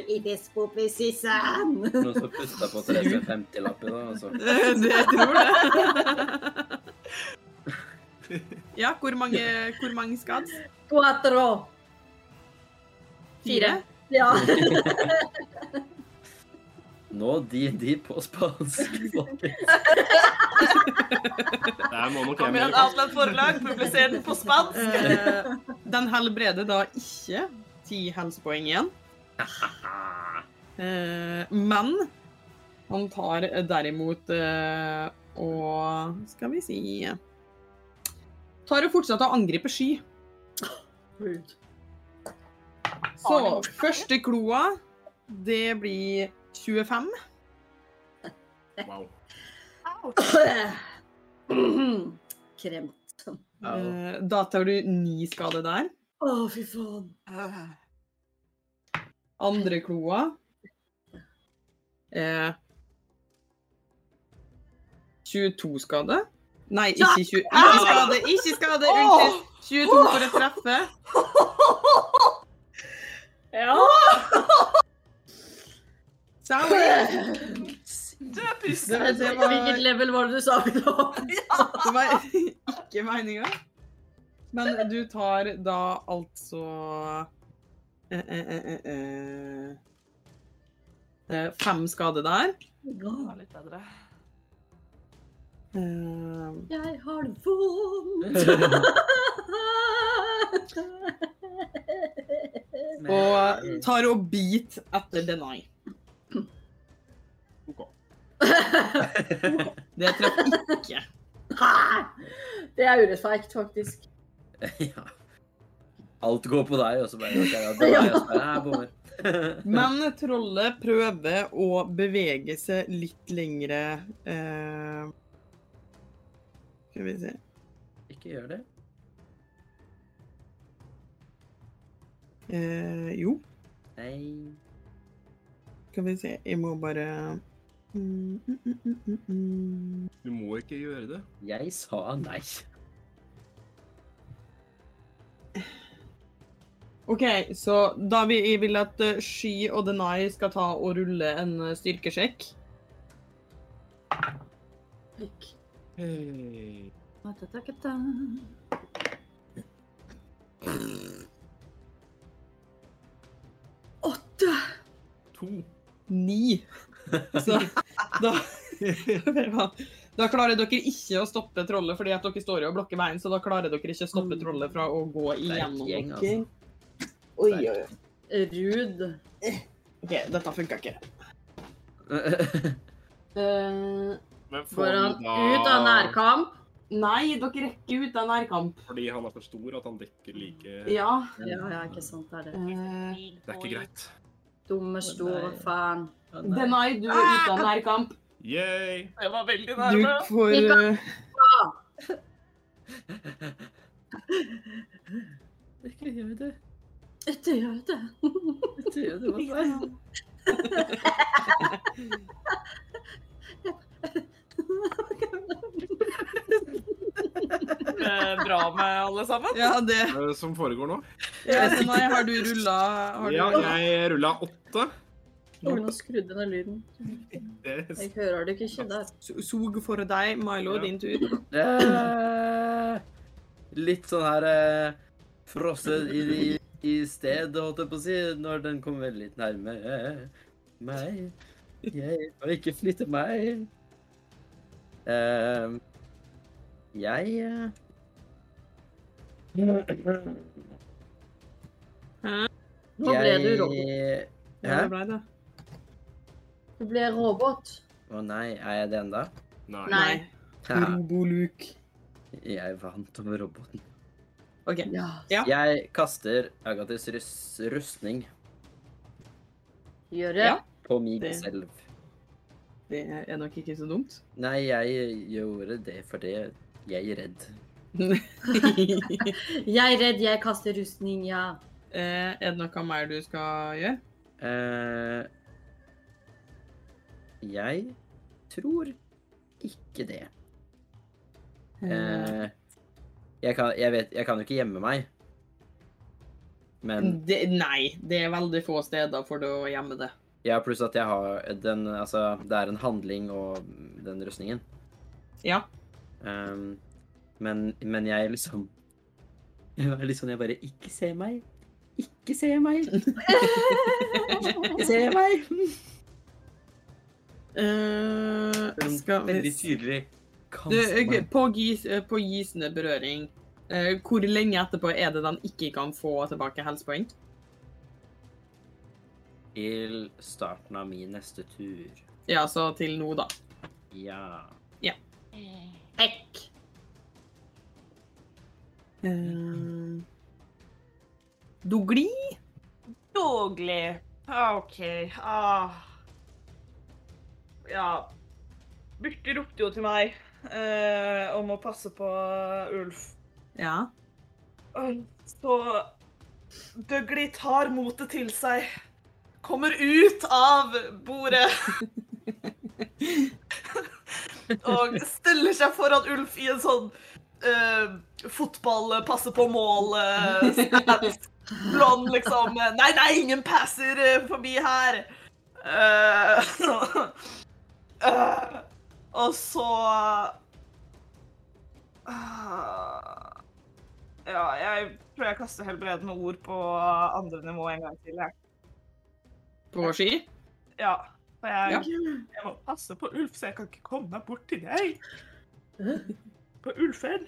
Speaker 5: It is poopy season.
Speaker 4: Noen som pusta på 350-lappen da, altså.
Speaker 1: Eh, Det jeg tror det. <laughs> Ja, hvor mange, hvor mange skads?
Speaker 5: Quattro. Fire. Ja.
Speaker 4: Nå de de på spansk, folkens.
Speaker 3: Der må nok
Speaker 2: Kom
Speaker 3: jeg
Speaker 2: igjen,
Speaker 3: med.
Speaker 2: Outland forlag, publiser den på spansk!
Speaker 1: Eh, Den helbreder da ikke ti helsepoeng igjen. Eh, Men han tar derimot eh, og Skal vi si Tar og fortsetter å angripe sky. Så første kloa, det blir 25.
Speaker 3: Wow.
Speaker 5: Kremt. Å,
Speaker 1: Eh, Da tar du ni skade der.
Speaker 5: fy faen.
Speaker 1: Andre kloa eh, 22 skade. Nei, ikke 20. Ikke skade, ikke skade! Unnskyld. 22 for å treffe.
Speaker 5: Ja.
Speaker 1: Sorry.
Speaker 2: Du er pust!
Speaker 1: Det, det, var,
Speaker 5: Hvilket level var det du sa vi lå på?
Speaker 1: det var <laughs> ikke meninga. Men du tar da altså eh, eh, eh, eh, eh, eh, Fem skade der.
Speaker 2: Litt bedre.
Speaker 1: Eh,
Speaker 5: Jeg har det vondt.
Speaker 1: og tar og bit etter deny.
Speaker 3: Ok.
Speaker 1: Det treffer ikke.
Speaker 5: Det er urettferdig, faktisk.
Speaker 4: <laughs> Ja. Alt går på deg, og så bare ok, ja, det er jeg som er her, bommer. <laughs>
Speaker 1: Men trollet prøver å bevege seg litt lengre eh, Skal vi se
Speaker 4: Ikke gjør det.
Speaker 1: eh, Jo,
Speaker 4: Nei.
Speaker 1: skal vi se. Jeg må bare mm, mm, mm, mm, mm, mm.
Speaker 3: Du må ikke gjøre det.
Speaker 4: Jeg sa nei.
Speaker 1: OK, så da vi, jeg vil at eh, Sky og Denai skal ta og rulle en eh, styrkesjekk.
Speaker 5: Åtte.
Speaker 3: To.
Speaker 1: Ni.
Speaker 3: <laughs>
Speaker 1: Så da <laughs> Da klarer dere ikke å stoppe trollet, fordi at dere står jo og blokker veien, så da klarer dere ikke å stoppe trollet fra å gå igjennom
Speaker 4: gjeng,
Speaker 1: dere.
Speaker 4: altså.
Speaker 1: Oi,
Speaker 4: <laughs>
Speaker 1: oi, oi.
Speaker 5: Rud.
Speaker 1: OK, dette funka ikke.
Speaker 3: Men får
Speaker 5: Går han
Speaker 3: han
Speaker 5: ut av nærkamp?
Speaker 1: Nei, dere rekker ut av nærkamp.
Speaker 3: Fordi han er for stor, at han dekker like
Speaker 1: Ja.
Speaker 5: Ja, ja, ikke sant. Det er det.
Speaker 1: Eh,
Speaker 3: Det er ikke greit.
Speaker 5: Dumme, store Ah! faen.
Speaker 4: Ja, nei.
Speaker 1: Denai, du er ute av nærkamp.
Speaker 3: Yay!
Speaker 2: Jeg var veldig
Speaker 1: Du
Speaker 2: nærme.
Speaker 1: får eh,
Speaker 4: Ikke gjør det.
Speaker 5: Ikke gjør det.
Speaker 4: Ikke gjør
Speaker 5: <laughs>
Speaker 4: det. Hva faen?
Speaker 2: Eh, Bra med alle sammen.
Speaker 1: Ja, det
Speaker 3: Hva er det som foregår nå?
Speaker 1: Denai, har du rulla har du-
Speaker 3: Ja, jeg rulla åtte.
Speaker 5: Oi, nå skrudde ned lyden.
Speaker 3: Det
Speaker 5: Jeg hører det ikke der.
Speaker 1: so- Sog for deg, Milo,
Speaker 3: Ja.
Speaker 1: din tur.
Speaker 4: Eh, Litt sånn her eh, frosset i, i, i stedet, holdt jeg på å si, når den kom veldig nærme eh, meg. Jeg bare ikke flytte meg. Ehm, jeg eh,
Speaker 5: Nå ble du robot.
Speaker 4: jeg-
Speaker 1: Ja, det
Speaker 4: Hæ?
Speaker 1: ble det.
Speaker 5: Du ble robot.
Speaker 4: Å nei, er jeg det enda?
Speaker 3: Nei.
Speaker 5: Nei. Mm.
Speaker 4: Ha,
Speaker 1: Roboluk.
Speaker 4: Jeg vant over roboten.
Speaker 1: OK.
Speaker 5: Ja.
Speaker 4: Jeg kaster Agathys rus rustning
Speaker 5: Gjør det.
Speaker 1: Ja.
Speaker 4: på meg
Speaker 1: Det-
Speaker 4: selv.
Speaker 1: Det er nok ikke så dumt.
Speaker 4: Nei, jeg gjorde det fordi jeg er redd.
Speaker 5: Jeg er redd jeg kaster rustning, ja.
Speaker 1: Eh, er det noe mer du skal gjøre?
Speaker 4: Eh, jeg tror ikke det.
Speaker 1: Mm.
Speaker 4: Eh, jeg, kan, jeg, vet, jeg kan jo ikke gjemme meg. Men
Speaker 2: Mm.
Speaker 1: det, nei, det er veldig få steder for å gjemme det.
Speaker 4: ja, pluss at jeg har den Altså, det er en handling og den rustningen.
Speaker 1: Ja.
Speaker 4: Ehm, men, men jeg liksom <laughs> Jeg er litt sånn jeg bare Ikke se meg! Ikke se meg! Ikke se meg!
Speaker 1: Eh, skal vi
Speaker 4: Veldig
Speaker 1: s-
Speaker 4: tydelig. Kast
Speaker 1: du, ok,
Speaker 4: meg.
Speaker 1: på, gis, eh, på gisende berøring, eh, hvor lenge etterpå er det den ikke kan få tilbake helsepoeng?
Speaker 4: Til starten av min neste tur.
Speaker 1: Ja, så til nå, da.
Speaker 4: Ja.
Speaker 5: Hekk.
Speaker 1: Eh, Dogli?
Speaker 2: Doglig. OK. Ah. Ja Birte ropte jo til meg eh, om å passe på Ulf.
Speaker 1: Ja.
Speaker 2: Så Dougley tar motet til seg. Kommer ut av bordet. og stiller seg foran Ulf i en sånn eh, fotball, passe på mål eh, stance. Blond, liksom. Nei, nei, ingen passer eh, forbi her. <laughs> Eh, eh, og så Ah. Ja, jeg tror jeg kaster helbredende ord på andre nivå en gang til. Jeg.
Speaker 1: På ski?
Speaker 2: Ja, for jeg,
Speaker 1: Ja.
Speaker 2: jeg må passe på Ulf, så jeg kan ikke komme meg bort til deg. På Ulfen.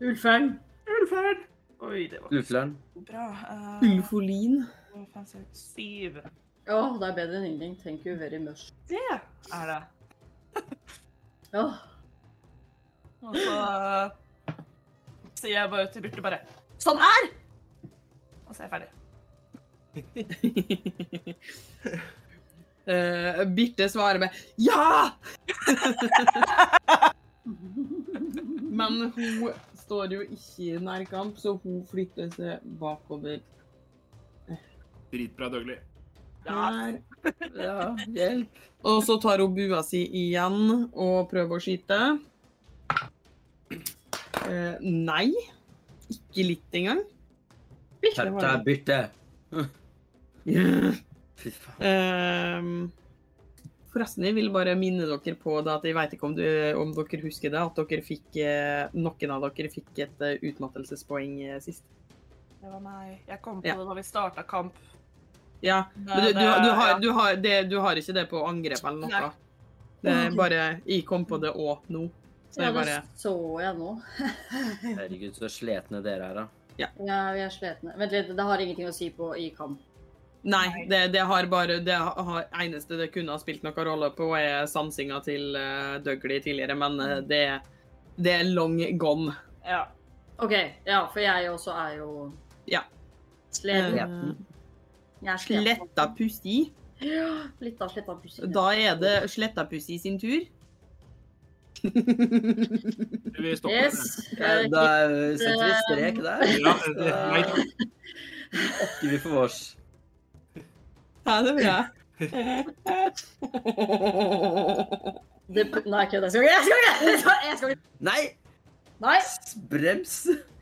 Speaker 5: Ulferen.
Speaker 2: Ulfen! Oi, det var
Speaker 4: Lufleren.
Speaker 2: ikke bra. Eh,
Speaker 1: Ulfolin?
Speaker 2: hvor faen ser jeg ut? Syv.
Speaker 5: Å, det er bedre enn ingenting. Thank you very much.
Speaker 2: Det er det.
Speaker 5: Åh,
Speaker 2: Og så eh, sier jeg bare til Birte bare Sånn her! Og så er jeg ferdig.
Speaker 1: <laughs> Eh, Birte svarer med ja! Men hun står jo ikke i nærkamp, så hun flytter seg bakover.
Speaker 3: Dritbra, Dougley.
Speaker 1: Der.
Speaker 4: Ja, hjelp.
Speaker 1: Og så tar hun bua si igjen og prøver å skyte. Eh, nei. Ikke litt engang. Birte
Speaker 4: Skjerp
Speaker 1: var
Speaker 4: deg,
Speaker 1: det.
Speaker 4: Birte. Fy faen.
Speaker 1: Ehm, forresten, jeg vil bare minne dere på det at jeg vet ikke om, du, om dere husker det, at dere fikk, eh, noen av dere fikk et eh, utmattelsespoeng eh, sist.
Speaker 2: Det var meg. Jeg kom på
Speaker 1: Ja.
Speaker 2: det da vi starta kamp.
Speaker 1: Ja, men du,
Speaker 2: Det-
Speaker 1: du, du, har,
Speaker 2: ja.
Speaker 1: du, har, det, du har ikke det på angrep eller noe?
Speaker 2: Nei.
Speaker 1: Det er bare Jeg kom på det òg nå. Så
Speaker 5: ja,
Speaker 1: jeg
Speaker 5: det
Speaker 1: bare
Speaker 5: så jeg nå. <laughs>
Speaker 4: Herregud, så sletne dere er, da.
Speaker 5: Ja, vi er sletne. Vent litt, det har ingenting å si på i kamp.
Speaker 1: Nei, det, det har bare Det har, eneste det kunne ha spilt noen rolle på, er sansinga til uh, Dougley tidligere, men eh, det, det er long gone.
Speaker 2: Ja.
Speaker 5: OK, ja, for jeg også er jo
Speaker 1: Ja.
Speaker 5: Sleten.
Speaker 1: Eh,
Speaker 5: Jeg er sleten.
Speaker 1: Sletta Pusti.
Speaker 5: Ja, litt av sletta pussig.
Speaker 1: Da er det Sletta Pusti sin tur.
Speaker 3: Vi stopper
Speaker 5: Yes.
Speaker 3: det.
Speaker 5: eh,
Speaker 4: Da setter vi strek der.
Speaker 3: Ja, det, nei, takk.
Speaker 4: Ikke vi for vårs.
Speaker 1: Ja, det er bra.
Speaker 5: <laughs> Det, nei, kødd. Jeg skal ikke! Jeg skal ikke! Jeg skal- Jeg skal ikke.
Speaker 4: Nei!
Speaker 5: Nei!
Speaker 4: Brems!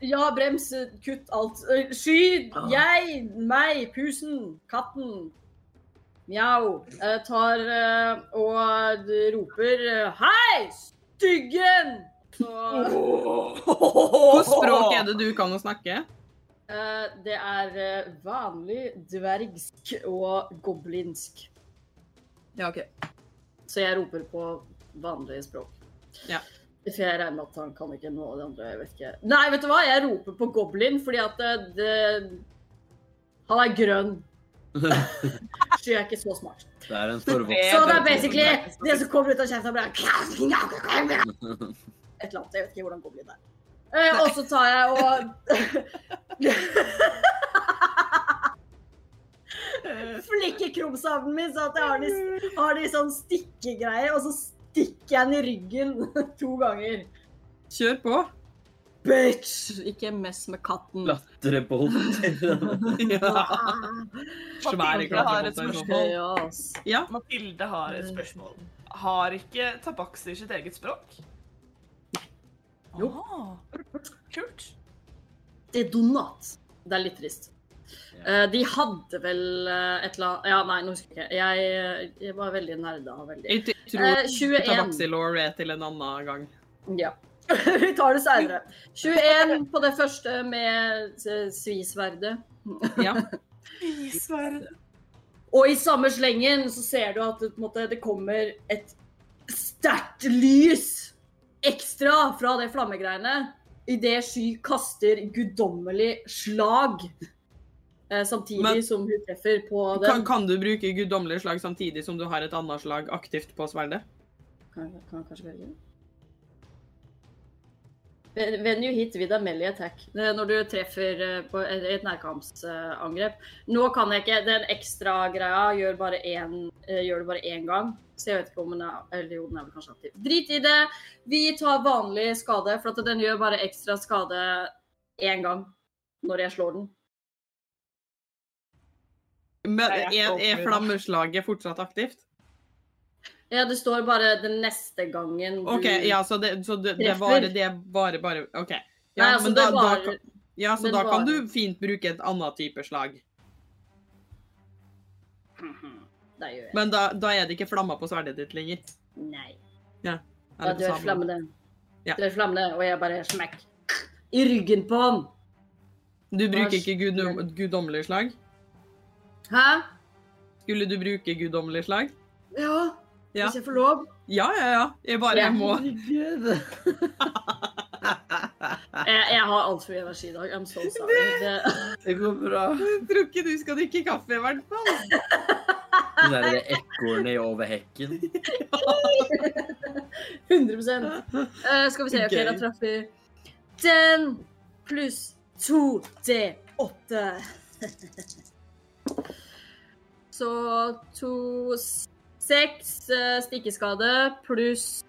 Speaker 5: Ja, brems, kutt alt. Øy, Sky, jeg, meg, pusen, katten. Mjau. Eh, Tar eh, og roper eh, Hei, styggen! Og
Speaker 1: Hvilket språk er det du kan å snakke?
Speaker 5: eh, det er eh, vanlig dvergsk og goblinsk.
Speaker 1: Ja, OK.
Speaker 5: Så jeg roper på vanlig språk.
Speaker 1: Ja.
Speaker 5: For jeg regner med at han kan ikke noe av det andre. jeg vet ikke. Nei, vet du hva? Jeg roper på goblin fordi at det, det Han er grønn. Så jeg er ikke så smart.
Speaker 4: Det er en forvokst
Speaker 5: Så det er basically det som kommer ut av kjeften, bare Et eller annet. Jeg vet ikke hvordan goblin er. Eh, Og <laughs> så tar jeg og Flikker krumsavnen min så at jeg har de, har de sånn stikkegreier, og så stikker jeg den i ryggen <laughs> to ganger.
Speaker 1: Kjør på.
Speaker 5: Bitch! Ikke mess med katten.
Speaker 4: Latrebolt.
Speaker 1: Ja. Svære
Speaker 2: Mathilde har et spørsmål.
Speaker 5: Ja, ass.
Speaker 2: Mathilde har
Speaker 5: Mm.
Speaker 2: et spørsmål. Har ikke tabaxi sitt eget språk?
Speaker 5: Jo.
Speaker 2: Ah, Kult.
Speaker 5: Det er donat. Det er litt trist. Eh, de hadde vel eh, et eller annet Ja, nei, nå husker jeg ikke. Jeg, eh, jeg var veldig nerda. Veldig.
Speaker 1: Jeg t-
Speaker 5: Eh,
Speaker 1: tror
Speaker 5: 21.
Speaker 1: Tabaxilor er til en annen gang.
Speaker 5: Ja. <laughs> Vi tar det seinere. <laughs> 21 på det første med eh, svisverdet.
Speaker 1: Ja.
Speaker 5: Og i samme slengen så ser du at det, på en måte, det kommer et sterkt lys ekstra fra det flammegreiene. Idet Sky kaster guddommelig slag eh, samtidig
Speaker 1: Men-
Speaker 5: som hun treffer på den.
Speaker 1: Kan, kan du bruke guddommelig slag samtidig som du har et annet slag aktivt på sverdet?
Speaker 5: Kan, kan jeg kanskje velge det? When- When you hit with a melee attack. Det er Når du treffer eh, på et et nærkampsangrep. Nå kan jeg ikke. Den ekstra greia gjør, bare én- eh, gjør det bare én gang. Så jeg vet ikke om den er Eller jo, den er vel kanskje aktiv. Drit i det. Vi tar vanlig skade, for at den gjør bare ekstra skade én gang når jeg slår den.
Speaker 1: Men
Speaker 2: Nei, jeg er
Speaker 1: er,
Speaker 2: ikke
Speaker 1: er
Speaker 2: oppi det.
Speaker 1: flammeslaget fortsatt aktivt?
Speaker 5: Ja, det står bare den neste gangen du
Speaker 1: OK, ja, så det, så det, det
Speaker 5: Treffer.
Speaker 1: varer Det varer bare OK. Ja,
Speaker 5: Nei, altså,
Speaker 1: men
Speaker 5: det
Speaker 1: da, da,
Speaker 5: var
Speaker 1: kan- ja, så
Speaker 5: den
Speaker 1: da kan
Speaker 5: varer.
Speaker 1: du fint bruke et annet type slag.
Speaker 5: Det gjør jeg.
Speaker 1: Men da, da er det ikke flammer på sverdet ditt lenger.
Speaker 5: Nei.
Speaker 1: Er
Speaker 5: Ja,
Speaker 1: det
Speaker 5: du
Speaker 1: på
Speaker 5: er
Speaker 1: samme-
Speaker 5: flammende.
Speaker 1: Ja.
Speaker 5: Du er flammende, og jeg bare smekk i ryggen på han.
Speaker 1: Du bruker ikke gud, guddommelig slag?
Speaker 5: Hæ?
Speaker 1: Skulle du bruke guddommelig slag?
Speaker 5: Ja,
Speaker 1: Ja.
Speaker 5: hvis jeg får lov.
Speaker 1: Ja, ja, ja. Jeg bare
Speaker 5: Ja.
Speaker 1: jeg må
Speaker 5: Jeg, jeg har altfor mye energi i dag. I'm so sorry.
Speaker 1: <laughs>
Speaker 5: Det,
Speaker 4: <laughs> Det går bra.
Speaker 1: Jeg tror ikke du skal drikke kaffe, i hvert fall.
Speaker 4: Så er det det ekornet over hekken.
Speaker 5: 100 Eh, Skal vi se, ok,
Speaker 1: Gøy.
Speaker 5: da traff vi den pluss 2D8. <laughs> Så to s- Seks eh, stikkeskade pluss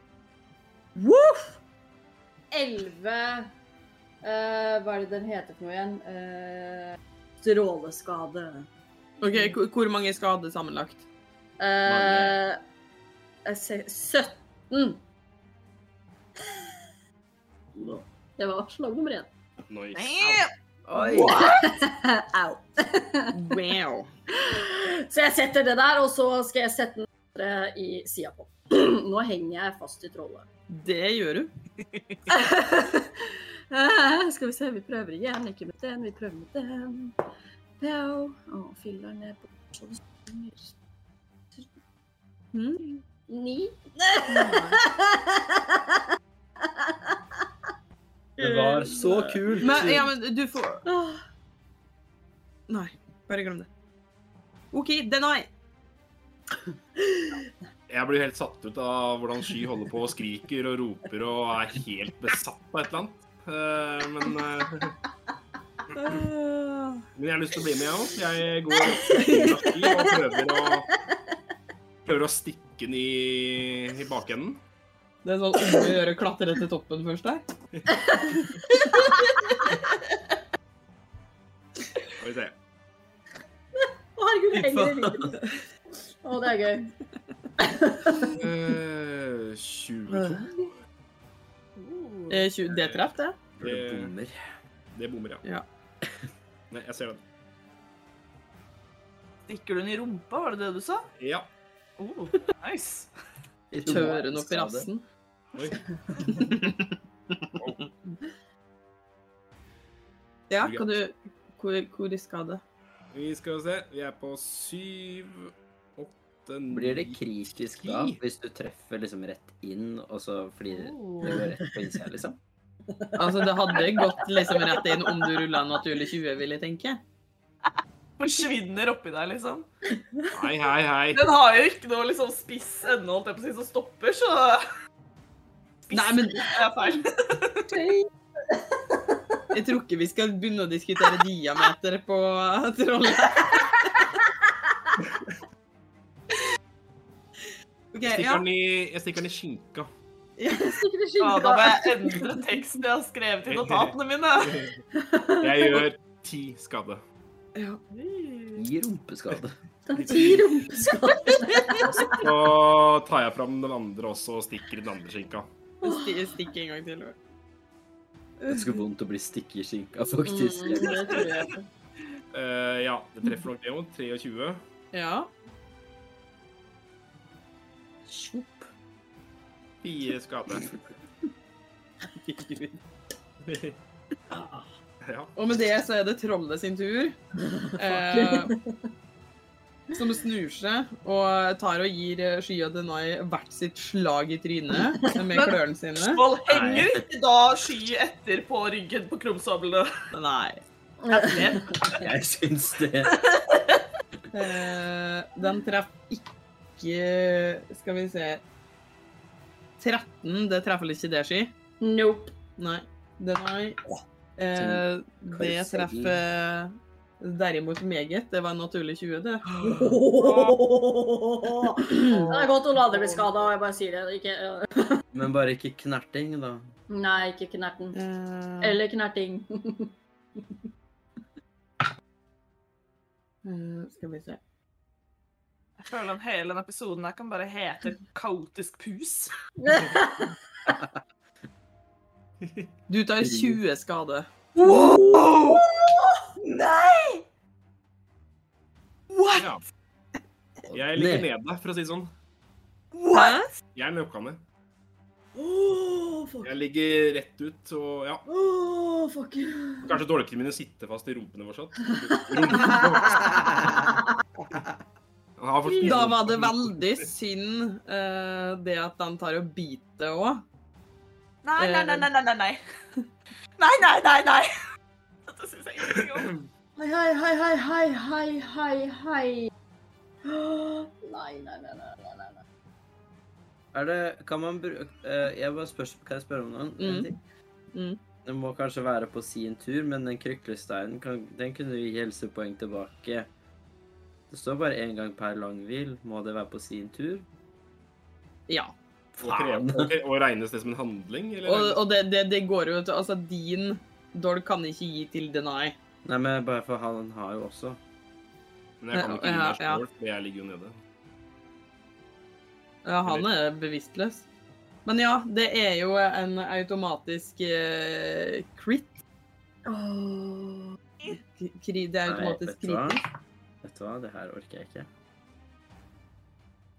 Speaker 5: Woof! Elleve eh, Hva er det den heter for noe igjen? Eh, stråleskade.
Speaker 1: OK,
Speaker 4: Mm.
Speaker 1: hvor- hvor mange skader sammenlagt?
Speaker 5: Eh, jeg ser 17. Det var slag nummer én.
Speaker 3: Nice.
Speaker 4: Oi!
Speaker 5: <laughs> Au.
Speaker 1: Wow.
Speaker 5: Så jeg setter det der, og så skal jeg sette den andre i sida på. <clears throat> Nå henger jeg fast i trollet.
Speaker 1: Det gjør du.
Speaker 5: Eh, <laughs> Skal vi se, vi prøver igjen. Ikke med den, vi prøver med den. Pjau. Å, fyller ned på så det synger.
Speaker 1: Mm.
Speaker 5: Ni. Mm.
Speaker 4: Det var så kult.
Speaker 1: Men, ja, men du får Nei, bare glem det. OK, deny.
Speaker 3: Jeg blir helt satt ut av hvordan Sky holder på og skriker og roper og er helt besatt av et eller annet. Eh, Men, eh, men jeg har lyst til å bli med, jeg òg. Jeg går opp til Sky og prøver å, prøver å stikke den i, i bakenden.
Speaker 1: Det er sånn om å gjøre å klatre til toppen først der.
Speaker 3: Skal vi se.
Speaker 5: Å, herregud, det henger i ryggen. Å, det er gøy.
Speaker 3: Eh, 22.
Speaker 4: Mm.
Speaker 1: Eh, tjue- Det traff, det.
Speaker 4: Det bommer.
Speaker 3: Det bommer, ja.
Speaker 1: Ja.
Speaker 3: Nei, jeg ser den.
Speaker 2: Stikker du den i rumpa, var det det du sa?
Speaker 3: Ja.
Speaker 2: Oh, <laughs> nice.
Speaker 1: Tøren opp i rassen.
Speaker 3: Oi.
Speaker 1: Ja, kan du Hvor, hvor i skade?
Speaker 3: Vi skal se. Vi er på 7, 8, åtte, ni
Speaker 4: Blir det kritisk da,
Speaker 3: Ti?
Speaker 4: hvis du treffer liksom rett inn, og så fordi det går rett på innsida, liksom?
Speaker 1: Altså, det hadde gått liksom rett inn om du rulla en naturlig 20, vil jeg tenke.
Speaker 2: Forsvinner oppi deg, liksom.
Speaker 3: Hei, hei, hei.
Speaker 2: Den har jo ikke noe liksom spiss ende, holdt jeg på å si, som stopper, så
Speaker 1: Nei, men
Speaker 2: det er feil.
Speaker 1: jeg tror ikke vi skal begynne å diskutere diameter på trollet. OK, ja.
Speaker 3: Jeg stikker den i- jeg stikker den i skinka.
Speaker 5: Stikker i
Speaker 2: Ja, da må
Speaker 5: skinka.
Speaker 2: jeg endre teksten jeg har skrevet i notatene mine.
Speaker 3: <laughs> Jeg gjør ti skade.
Speaker 4: Gi
Speaker 3: <laughs>
Speaker 4: rumpeskade.
Speaker 5: Ti <laughs> rumpeskader.
Speaker 3: Så tar jeg fram den andre også og stikker i den andre skinka.
Speaker 1: Sti- Stikk en gang til.
Speaker 4: Det skulle vondt å bli stikk i skinka, faktisk.
Speaker 5: Mm, det tror jeg på.
Speaker 3: Eh, ja, det treffer nok det òg. 23.
Speaker 1: Ja.
Speaker 3: Fire skade. Ja.
Speaker 1: Og med det så er det trollet sin tur. Eh, som snur seg og tar og gir eh, Sky og Denai hvert sitt slag i trynet med
Speaker 2: Men-
Speaker 1: klørne sine.
Speaker 2: Skjold henger ikke da sky etter på ryggen på krumsablene.
Speaker 1: Nei.
Speaker 4: Jeg syns det.
Speaker 1: Eh, den traff ikke Skal vi se 13, det treffer vel ikke det, Sky?
Speaker 5: Nope.
Speaker 1: Nei. Denai. Eh, det treffer derimot meget. Det var en naturlig 20, det.
Speaker 5: Det er godt hun aldri blir skada, jeg bare sier det. Ikke, øh,
Speaker 4: Men bare ikke knerting, da.
Speaker 5: nei, ikke knerten.
Speaker 1: Eh,
Speaker 5: Eller knerting. <laughs>
Speaker 1: eh, skal vi se.
Speaker 2: Jeg føler at hele denne episoden her kan bare hete kaotisk pus.
Speaker 1: Du tar 20 skade.
Speaker 3: ja. Jeg ligger nede, for å si det sånn.
Speaker 1: Hæ? Oh,
Speaker 3: Jeg er nøkka ned.
Speaker 5: Åh, fuck.
Speaker 3: Jeg ligger rett ut og ja.
Speaker 5: Åh, fuck.
Speaker 3: Kanskje dolkene mine sitter fast i rumpene fortsatt.
Speaker 1: <laughs>
Speaker 3: Rumpene. Jeg har fortsatt-
Speaker 1: Da var det veldig synd eh, det at den tar og biter òg.
Speaker 2: Nei, nei, nei, nei, nei, nei, nei.
Speaker 6: <laughs>
Speaker 2: Nei, nei, nei, nei. Dette synes jeg ingenting om.
Speaker 5: Hei, hei, hei, hei, hei, hei, hei, hei. Åh, Nei, nei, nei, nei, nei, nei. nei.
Speaker 4: Er det Kan man bruke Jeg bare spør, Kan jeg spørre om noen? en
Speaker 1: Mm.
Speaker 4: ting?
Speaker 1: Mm.
Speaker 4: Det må kanskje være på sin tur, men den kryklesteinen, kan, den kunne vi gi helsepoeng tilbake. Det står bare én gang per lang hvil. Må det være på sin tur?
Speaker 1: Ja.
Speaker 3: Og, kreve, og, og regnes det som en handling, eller?
Speaker 1: Og, og det, det, det går jo til Altså, din dolk kan ikke gi til Denai.
Speaker 4: Nei, men bare for han har jo også.
Speaker 3: Men jeg kan jo ikke gi
Speaker 1: Ja,
Speaker 3: meg
Speaker 1: ja.
Speaker 3: sjøl, for jeg ligger jo nede.
Speaker 1: Ja, han er bevisstløs. Men ja, det er jo en automatisk eh, crit.
Speaker 5: Åh.
Speaker 1: K- Kri, det er
Speaker 4: Nei,
Speaker 1: automatisk
Speaker 4: vet du hva?
Speaker 1: kritisk.
Speaker 4: Vet du hva, det her orker jeg ikke.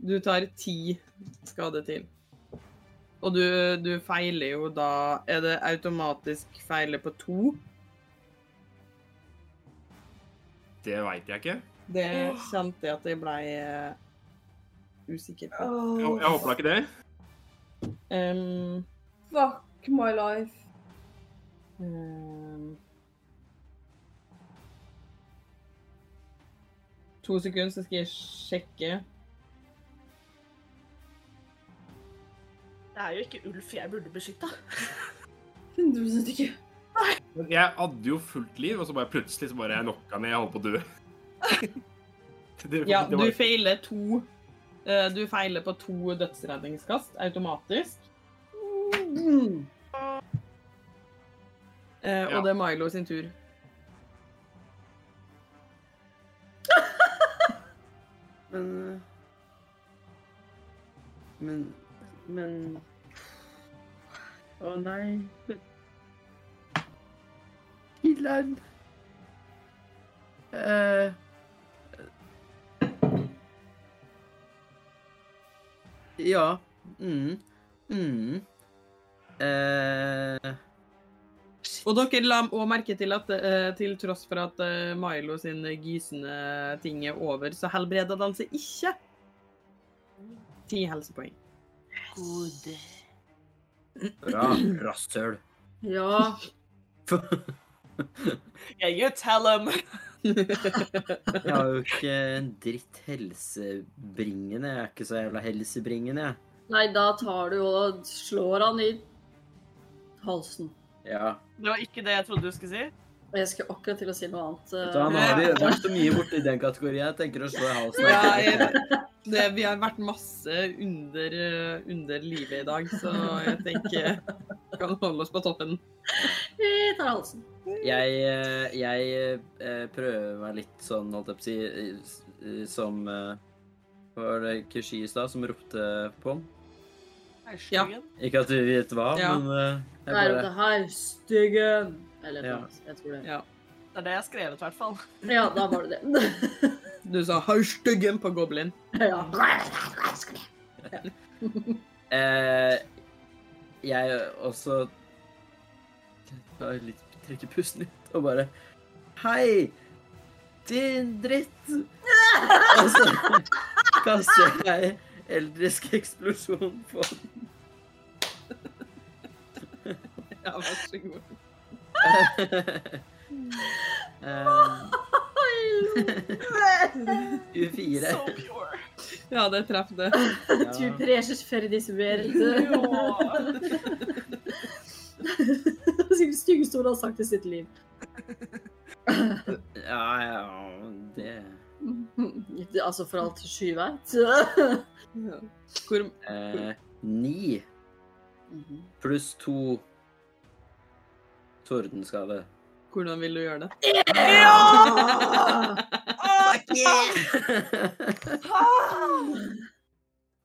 Speaker 1: Du tar ti skade til. Og du, du feiler jo da Er det automatisk feiler på to?
Speaker 3: Det veit jeg ikke.
Speaker 1: Det kjente jeg at jeg blei eh, usikker på.
Speaker 3: Jeg, jeg håper da ikke det.
Speaker 1: Ehm,
Speaker 5: Fuck my life.
Speaker 1: ehm. To sekunder, så skal jeg sjekke.
Speaker 2: Det er jo ikke Ulf jeg burde
Speaker 1: <laughs>
Speaker 2: beskytte.
Speaker 5: 100 ikke.
Speaker 3: Men Jeg hadde jo fullt liv, og så bare plutselig så bare jeg knocka ned. Jeg holdt på å dø. <laughs> Det,
Speaker 1: Ja,
Speaker 3: det
Speaker 1: du
Speaker 3: var,
Speaker 1: feiler to eh, Du feiler på to dødsredningskast automatisk. Eh,
Speaker 3: Ja.
Speaker 1: og det er Milo sin tur.
Speaker 4: Men eh, Men Men Å nei. Hilland. Eh Ja. Mm. Mm. Eh
Speaker 1: Og dere la også merke til at eh, til tross for at eh, Milo sin gysende ting er over, så helbreder han seg ikke. Ti helsepoeng.
Speaker 4: Bra. Rasshøl.
Speaker 5: Ja.
Speaker 6: Yeah, you tell them.
Speaker 4: Jeg har jo ikke en dritt helsebringende. Jeg er ikke så jævla helsebringende, jeg.
Speaker 5: Nei, da tar du og slår han i halsen.
Speaker 4: Ja.
Speaker 2: Det var ikke det jeg trodde du skulle si.
Speaker 5: Og jeg skulle akkurat til å si noe annet.
Speaker 4: Vet
Speaker 5: eh,
Speaker 4: du hva, Nå har vi vært så mye borti den kategorien. Jeg tenker å slå i halsen.
Speaker 1: Ja, jeg- Det, vi har vært masse under, eh, under livet i dag, så jeg tenker vi kan holde oss på toppen.
Speaker 5: Vi øh. tar halsen.
Speaker 4: Jeg, eh, jeg eh, prøver meg litt sånn, holdt jeg på å si, eh, s- eh, som eh, Var det Kushi i stad som ropte på han?
Speaker 1: Ja.
Speaker 4: Ikke at vi vet hva,
Speaker 1: Ja.
Speaker 4: men eh, jeg
Speaker 5: Der
Speaker 4: bare
Speaker 5: oppe her, styggen. Eller
Speaker 4: Ja.
Speaker 5: noe, jeg tror det.
Speaker 1: Ja.
Speaker 2: Det er det jeg har skrevet, i hvert fall.
Speaker 5: Ja, da var det det. <laughs>
Speaker 1: Du sa 'hau styggen' på goblin.
Speaker 5: ja.
Speaker 4: Eh, jeg også tar litt, trekker pusten ut og bare Hei, din dritt! Og så <laughs> kaster jeg eldrisk eksplosjon på den. <laughs>
Speaker 1: Ja, vær så god.
Speaker 4: Eh, <laughs> U4.
Speaker 2: So pure.
Speaker 1: Ja, det traff det.
Speaker 5: Du preses ferdis <laughs> verde.
Speaker 2: Ja.
Speaker 5: Det er sikkert styggeste ordet han har sagt i sitt liv. <laughs>
Speaker 4: Ja, ja, ja, det
Speaker 5: Det- Altså for alt sky vet.
Speaker 1: Ja. Hvor
Speaker 4: eh, Ni pluss to tordenskade.
Speaker 1: Hvordan vil du gjøre det?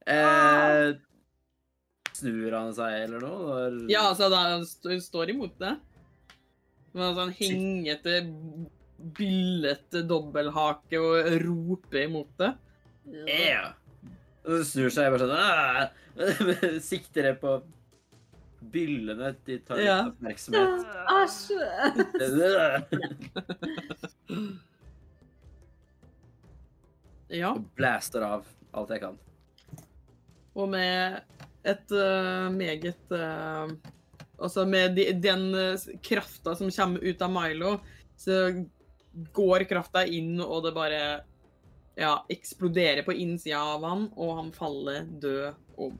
Speaker 4: eh, snur han seg eller noe? Når...
Speaker 1: Ja, altså, da han st står imot det. Med en sånn hengete, byllete dobbelthake og roper imot det.
Speaker 5: Ja.
Speaker 4: Yeah. Og så snur seg bare sånn «Ah!» <laughs> Sikter jeg på byllene de tar litt
Speaker 1: Ja.
Speaker 4: oppmerksomhet.
Speaker 5: Æsj.
Speaker 1: Ja,
Speaker 4: Og <laughs> blaster av alt jeg kan.
Speaker 1: og med et eh, meget eh, Altså, med de, den eh, krafta som kommer ut av Milo, så går krafta inn, og det bare ja, eksploderer på innsida av han, og han faller død om.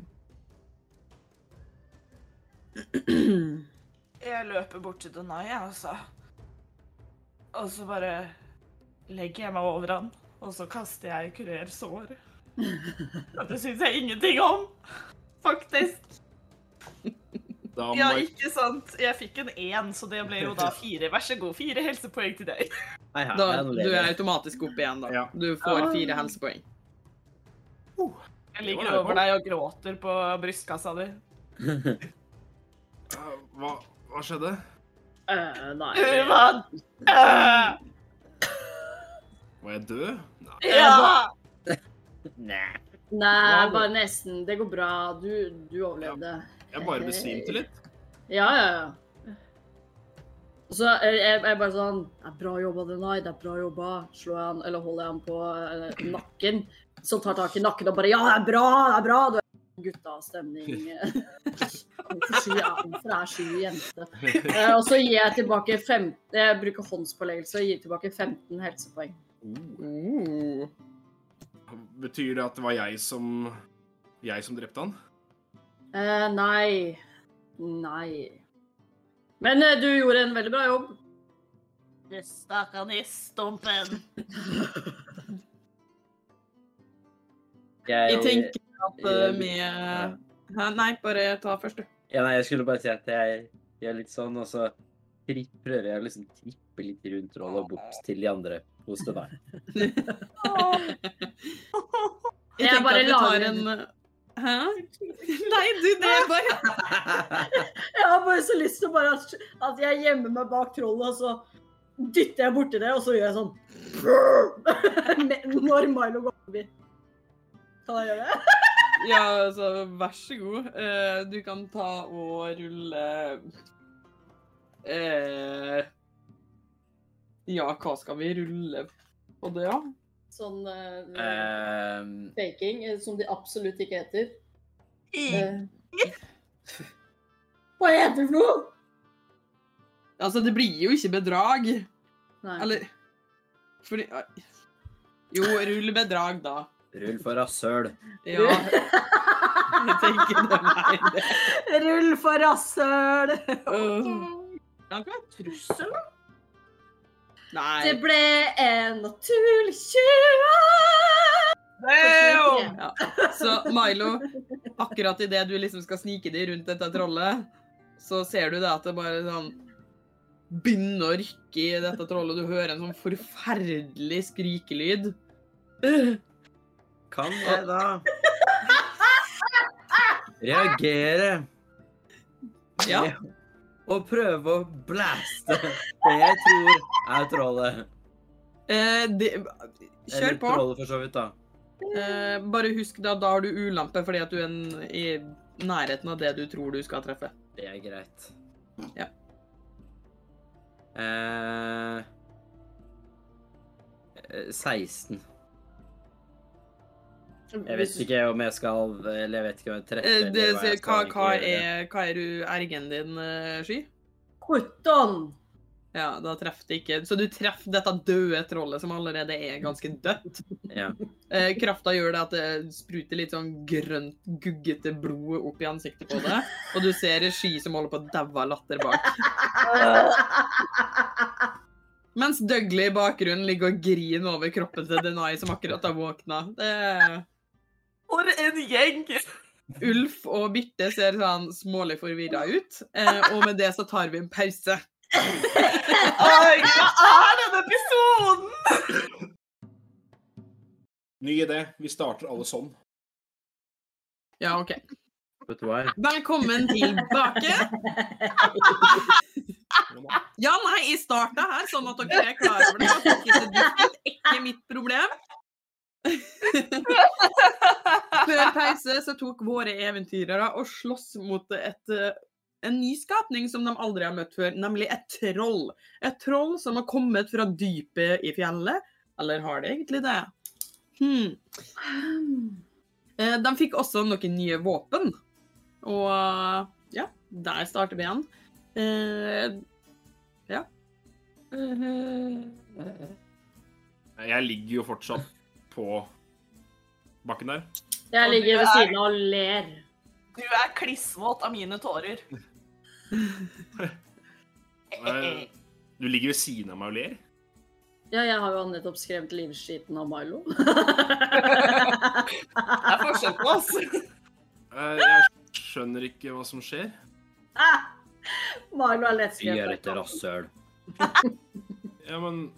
Speaker 2: Jeg løper bort til Denai, jeg, altså. Og så bare legger jeg meg over han, og så kaster jeg kurer sår. Dette syns jeg ingenting om, faktisk.
Speaker 3: Da må
Speaker 2: Ja,
Speaker 3: jeg
Speaker 2: ikke sant. Jeg fikk en én, så det ble jo da fire. Vær så god, fire helsepoeng til deg.
Speaker 4: Hei, hei,
Speaker 1: Da,
Speaker 4: jeg
Speaker 1: du
Speaker 4: lever.
Speaker 1: er automatisk opp igjen, da.
Speaker 3: Ja.
Speaker 1: Du får fire helsepoeng.
Speaker 2: Jeg
Speaker 3: Det var
Speaker 2: ligger
Speaker 3: nærmere.
Speaker 2: over deg og gråter på brystkassa di.
Speaker 3: Eh, Hva, hva skjedde?
Speaker 5: Eh,
Speaker 2: <laughs>
Speaker 5: Nei.
Speaker 3: <laughs>
Speaker 2: Urvan! Øh,
Speaker 3: Var jeg død? Nei.
Speaker 2: Ja!
Speaker 4: Nei.
Speaker 5: Nei, bare nesten. Det går bra. Du, du overlevde.
Speaker 3: Jeg bare besvimte litt. <laughs>
Speaker 5: Ja, ja, ja. Og så er jeg, jeg er bare sånn Det er bra jobba, Denai. Det er bra jobba. Slår jeg han, eller holder jeg han på eh, nakken, så tar tak i nakken og bare Ja, det er bra! Det er bra! Du er guttastemning. Hvorfor sky er hvorfor er sky jente? Eh, Og så gir jeg tilbake 15 Jeg bruker håndspåleggelse og gir tilbake 15 helsepoeng.
Speaker 3: Oh.
Speaker 1: Uh.
Speaker 3: Betyr det at det var jeg som Jeg som drepte han?
Speaker 5: Eh, nei. Nei. Men eh, du gjorde en veldig bra jobb.
Speaker 6: Du stakk han i stumpen.
Speaker 4: Jeg,
Speaker 1: Jeg tenker at eh,
Speaker 4: Ja.
Speaker 1: med Hæ, Nei, bare ta først, du.
Speaker 4: Ja, nei, jeg skulle bare si at jeg gjør litt sånn, og så tri- prøver jeg å liksom trippe litt rundt rollen bort til de andre hos
Speaker 1: <laughs>
Speaker 4: det der.
Speaker 1: Jeg,
Speaker 5: Jeg
Speaker 1: tenker
Speaker 5: bare
Speaker 1: at vi tar
Speaker 5: lager
Speaker 1: en eh,
Speaker 5: <laughs>
Speaker 1: Hæ? Nei, du, det er bare
Speaker 5: Jeg har bare så lyst til å bare at, at jeg gjemmer meg bak trollet, og så dytter jeg borti det, og så gjør jeg sånn <laughs> Men- Når Milo går forbi. Kan jeg gjøre det?
Speaker 1: Ja, altså, vær så god. Eh, Du kan ta og rulle eh... Ja, hva skal vi rulle på det, da?
Speaker 5: Sånn eh,
Speaker 4: Ehm,
Speaker 5: faking, eh, som de absolutt ikke heter.
Speaker 6: I-
Speaker 5: Eh. Hva heter det for noe?
Speaker 1: Altså, det blir jo ikke bedrag.
Speaker 5: Nei.
Speaker 1: Eller Fordi Jo, rull bedrag, da.
Speaker 4: rull for rasshøl.
Speaker 5: <laughs>
Speaker 1: Ja, jeg tenker det er det.
Speaker 5: Rull for rasshøl!
Speaker 1: kan ikke være trussel, da.
Speaker 5: Det
Speaker 1: Nei.
Speaker 5: ble en naturlig 20!
Speaker 6: Damn!
Speaker 1: Ja. Så Milo, akkurat idet du liksom skal snike deg rundt dette trollet, så ser du det at det bare sånn begynner å rykke i dette trollet, og du hører en sånn forferdelig skrikelyd.
Speaker 4: Kan jeg da reagere
Speaker 1: Ja.
Speaker 4: med å prøve å blaste det jeg tror er trollet?
Speaker 1: Eh, det, kjør på.
Speaker 4: Eller trollet, for så vidt, da.
Speaker 1: Eh, bare husk da, da har du ulampe fordi at du er en, i nærheten av det du tror du skal treffe.
Speaker 4: Det er greit.
Speaker 1: Ja.
Speaker 4: Eh, eh, 16. Jeg vet ikke om jeg skal Eller jeg vet ikke om jeg treffer.
Speaker 1: Eh, det,
Speaker 4: eller jeg
Speaker 1: hva,
Speaker 4: skal
Speaker 1: hva,
Speaker 4: egentlig gjøre.
Speaker 1: er, hva er du- ergen din, eh, Sky?
Speaker 5: 17!
Speaker 1: Ja, da treffer det ikke. Så du treffer dette døde trollet som allerede er ganske dødt.
Speaker 4: <laughs> Ja.
Speaker 1: Eh, krafta gjør det at det spruter litt sånn grønt, guggete blod opp i ansiktet på det. Og du ser Sky som holder på å daue av latter bak. Mens Dougley i bakgrunnen ligger og griner over kroppen til Denai som akkurat har våkna. Det er-
Speaker 6: For en gjeng!
Speaker 1: Ulf og Birte ser sånn smålig forvirra ut. Eh, og med det så tar vi en pause.
Speaker 6: Oi, hva er denne episoden?
Speaker 3: Ny idé. Vi starter alle sånn.
Speaker 1: Ja, OK.
Speaker 4: Vet du hva?
Speaker 1: Velkommen tilbake. Ja, nei, jeg starta her, sånn at dere er klar over det. at dere ikke drukket, Ikke mitt problem. Før pause så tok våre eventyrere og sloss mot et, eh, en ny skapning som de aldri har møtt før, nemlig et troll. Et troll som har kommet fra dypet i fjellet. Eller har det egentlig det? Hmm. Eh, De fikk også noen nye våpen. Og eh, ja, der starter vi igjen. Eh,
Speaker 3: Jeg ligger jo fortsatt på bakken der.
Speaker 5: Jeg
Speaker 6: Og
Speaker 5: ligger
Speaker 6: du
Speaker 5: ved
Speaker 6: er-
Speaker 5: siden av og ler.
Speaker 6: Du er klissvåt av mine tårer.
Speaker 3: Eh, Du ligger ved siden av meg og ler.
Speaker 5: Ja, jeg har jo nettopp skrevet livskiten av Milo. <laughs>
Speaker 6: Det er forskjell på
Speaker 2: <laughs>
Speaker 6: oss.
Speaker 3: Eh, Jeg skjønner ikke hva som skjer.
Speaker 5: Milo er
Speaker 4: Vi er
Speaker 5: lettskrevet.
Speaker 4: et rasshøl.
Speaker 3: Ja, men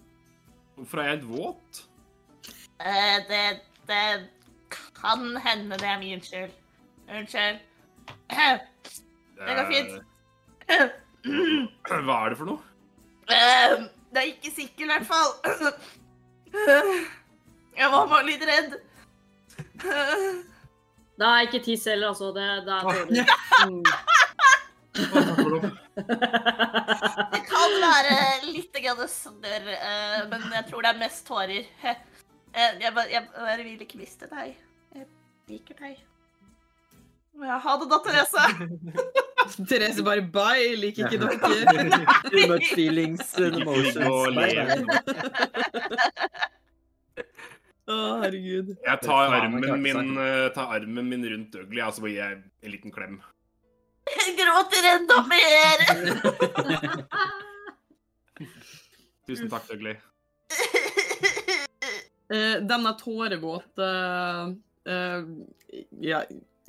Speaker 3: Hvorfor er jeg helt våt?
Speaker 6: Eh, Det, det kan hende det er min skyld. Unnskyld. Det går fint.
Speaker 3: Eh, Hva er det for noe?
Speaker 6: Eh, Det er ikke sikkert, i hvert fall. Jeg var bare litt redd.
Speaker 5: Det er ikke tiss heller, altså. Det, det er tårer.
Speaker 1: <laughs>
Speaker 5: Mm.
Speaker 3: Hva er det for noe?
Speaker 6: Det kan være litt grann snørr, eh, men jeg tror det er mest tårer. Eh, Jeg, bare- jeg bare vil ikke miste deg. Jeg liker deg. Ja, ha det da, Therese.
Speaker 1: Therese bare bye, liker ikke dere.
Speaker 4: <laughs> Too much feelings and
Speaker 3: Ikke ligg og
Speaker 4: emotions.
Speaker 3: le.
Speaker 4: Nei,
Speaker 1: Å, herregud.
Speaker 3: Jeg tar
Speaker 4: Faen, jeg
Speaker 3: armen
Speaker 4: klarte seg.
Speaker 3: min, eh, tar armen min rundt Ugly, og så bare gir jeg en liten klem.
Speaker 6: Jeg gråter enda mer.
Speaker 3: Tusen takk, Ugly.
Speaker 1: Eh, denne tårevåte eh, ja,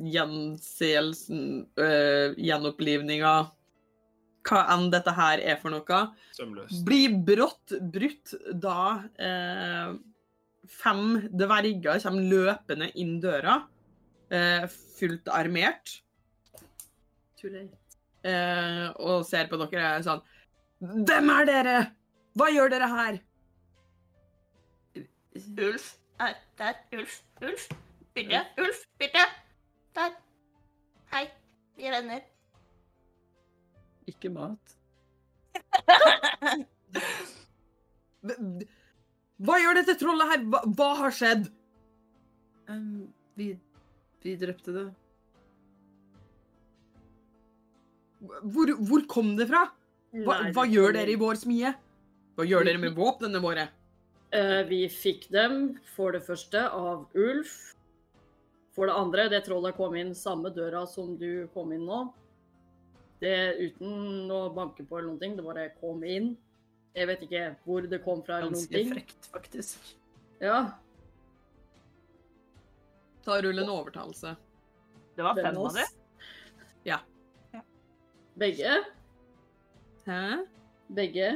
Speaker 1: gjenseelsen, eh, gjenopplivninga, hva enn dette her er for noe,
Speaker 3: Sømløst.
Speaker 1: blir brått brutt da eh, fem dverger kommer løpende inn døra, eh, fullt armert.
Speaker 5: Too late.
Speaker 1: eh, og ser på dere og er sånn Hvem er dere? Hva gjør dere her?
Speaker 6: Ulf er der. Ulf, Ulf. Birte, Ulf, Birte. Der. Hei, vi er venner.
Speaker 4: Ikke mat.
Speaker 1: Hv- Hva gjør dette trollet her? Hva, hva har skjedd?
Speaker 4: Um, vi, vi drepte det.
Speaker 1: Hvor, hvor kom det fra? Hva,
Speaker 5: Nei,
Speaker 1: hva
Speaker 5: det
Speaker 1: gjør
Speaker 5: kommer-
Speaker 1: dere i vår smie? Hva gjør dere med våpnene våre?
Speaker 5: Eh, vi fikk dem for det første av Ulf. For det andre, det trollet kom inn samme døra som du kom inn nå. Det uten å banke på eller noen ting, det bare kom inn. Jeg vet ikke hvor det kom fra eller noen
Speaker 4: Ganske
Speaker 5: ting.
Speaker 4: frekt, faktisk.
Speaker 5: Ja,
Speaker 1: Ta rull en overtalelse.
Speaker 2: Det var
Speaker 5: hvem
Speaker 2: fem
Speaker 5: av
Speaker 2: av de.
Speaker 5: oss?
Speaker 1: Ja.
Speaker 2: Ja.
Speaker 5: Begge?
Speaker 1: Hæ?
Speaker 5: Begge?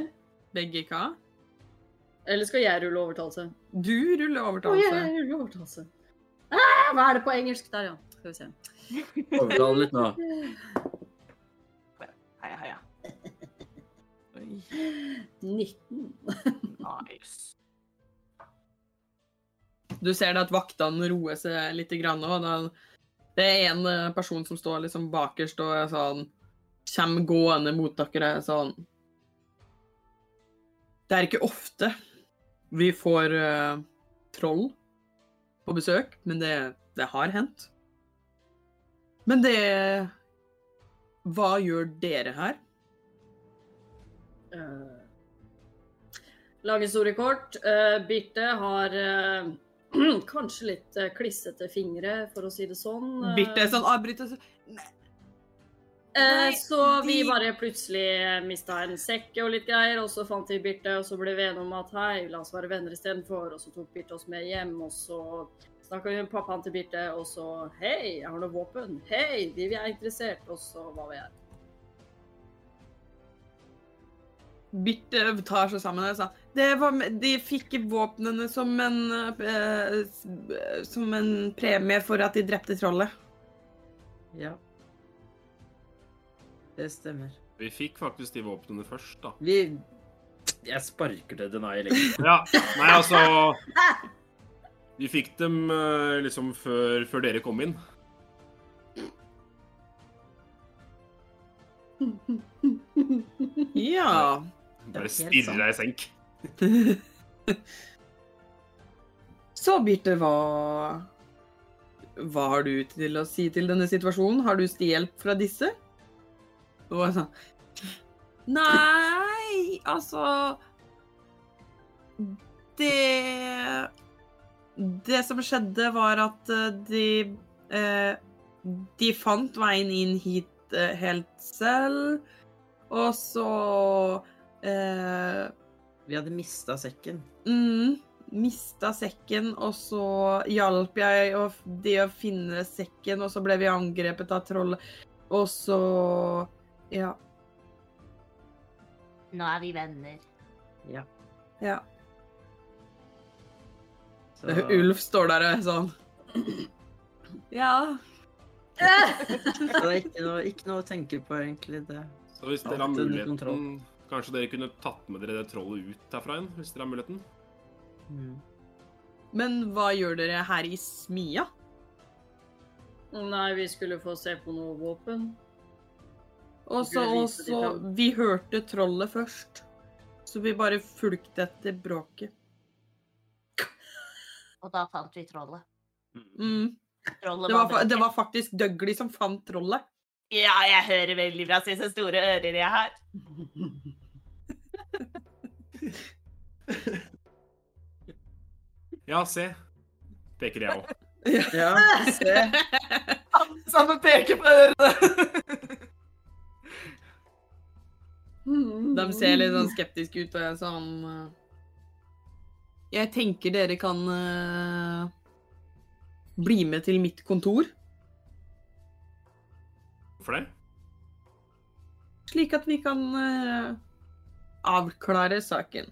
Speaker 1: Begge hva?
Speaker 5: Eller skal jeg rulle overtalelse?
Speaker 1: Du ruller
Speaker 5: Å, jeg,
Speaker 1: overtalelse.
Speaker 5: jeg ruller overtalelse. Ah, hva er det på engelsk? Der, ja. Skal vi se.
Speaker 4: Overtale litt nå.
Speaker 2: Heia, heia.
Speaker 5: 19.
Speaker 2: Nice.
Speaker 1: Du ser det at vaktene roer seg litt grann nå. da- Det er en eh, person som står liksom bakerst og er sånn Kjem gående mot dere er sånn Det er ikke ofte vi får eh, troll på besøk, men det, det har hendt. Men det Hva gjør dere her?
Speaker 5: Eh, Lang historie kort. eh, Birte har eh, <clears throat> kanskje litt eh, klissete fingre, for å si det sånn. Eh,
Speaker 1: Birte sånn avbryter
Speaker 5: eh,
Speaker 1: Nei,
Speaker 5: så vi
Speaker 1: de-
Speaker 5: bare plutselig mista en sekk og litt greier, og så fant vi Birte, og så ble vi enige om at hei, la oss være venner istedenfor, og så tok Birte oss med hjem, og så snakka vi med pappaen til Birte, og så hei, jeg har noe våpen, hei, de vi er interessert, og så var vi her.
Speaker 1: Birte tar seg sammen og sa det var, De fikk våpnene som en eh, s- eh, Som en premie for at de drepte trollet.
Speaker 4: Ja. Det stemmer.
Speaker 3: Vi fikk faktisk de våpnene først, da.
Speaker 4: Vi Jeg sparker til Denai litt.
Speaker 3: Ja, nei, altså Vi fikk dem eh, liksom før, før dere kom inn.
Speaker 1: Ja.
Speaker 4: var
Speaker 3: Bare
Speaker 4: helt
Speaker 3: stirrer deg i senk.
Speaker 1: <laughs> Så Birte, hva Hva har du til å si til denne situasjonen? Har du hjelp fra disse? Og jeg sånn Nei, altså Det Det som skjedde, var at eh, de eh, De fant veien inn hit eh, helt selv, og så eh,
Speaker 4: Vi hadde mista sekken.
Speaker 1: Mm, mista sekken, og så hjalp jeg å, de å finne sekken, og så ble vi angrepet av trollet. Og så Ja.
Speaker 7: Nå er vi venner.
Speaker 1: ja.
Speaker 4: Så
Speaker 1: Ulf står der og er sånn <clears throat> Ja. <laughs>
Speaker 4: så det er ikke noe, ikke noe å tenke på, egentlig. det.
Speaker 3: Så hvis dere har
Speaker 4: Alt under
Speaker 3: muligheten,
Speaker 4: kontroll.
Speaker 3: kanskje dere kunne tatt med dere det trollet ut herfra igjen? Hvis dere har muligheten?
Speaker 4: Mm.
Speaker 1: Men hva gjør dere her i smia?
Speaker 5: Nei, vi skulle få se på noe våpen.
Speaker 1: Og så
Speaker 5: Skulle
Speaker 1: og
Speaker 5: vise de
Speaker 1: så-
Speaker 5: fram.
Speaker 1: Vi hørte trollet først. Så vi bare fulgte etter bråket.
Speaker 7: Og da fant vi trollet.
Speaker 1: Mm.
Speaker 7: Trollet
Speaker 1: Det, var,
Speaker 7: vandret.
Speaker 1: fa- det var faktisk Dougley som fant trollet.
Speaker 7: Ja, jeg hører veldig bra. Se så store ører jeg har.
Speaker 3: Ja, se. Peker jeg òg.
Speaker 4: Ja, se.
Speaker 2: Alle sammen peker på ørene.
Speaker 1: De ser litt sånn skeptiske ut og er sånn eh, Jeg tenker dere kan eh, bli med til mitt kontor,
Speaker 3: For det?
Speaker 1: slik at vi kan eh, avklare saken.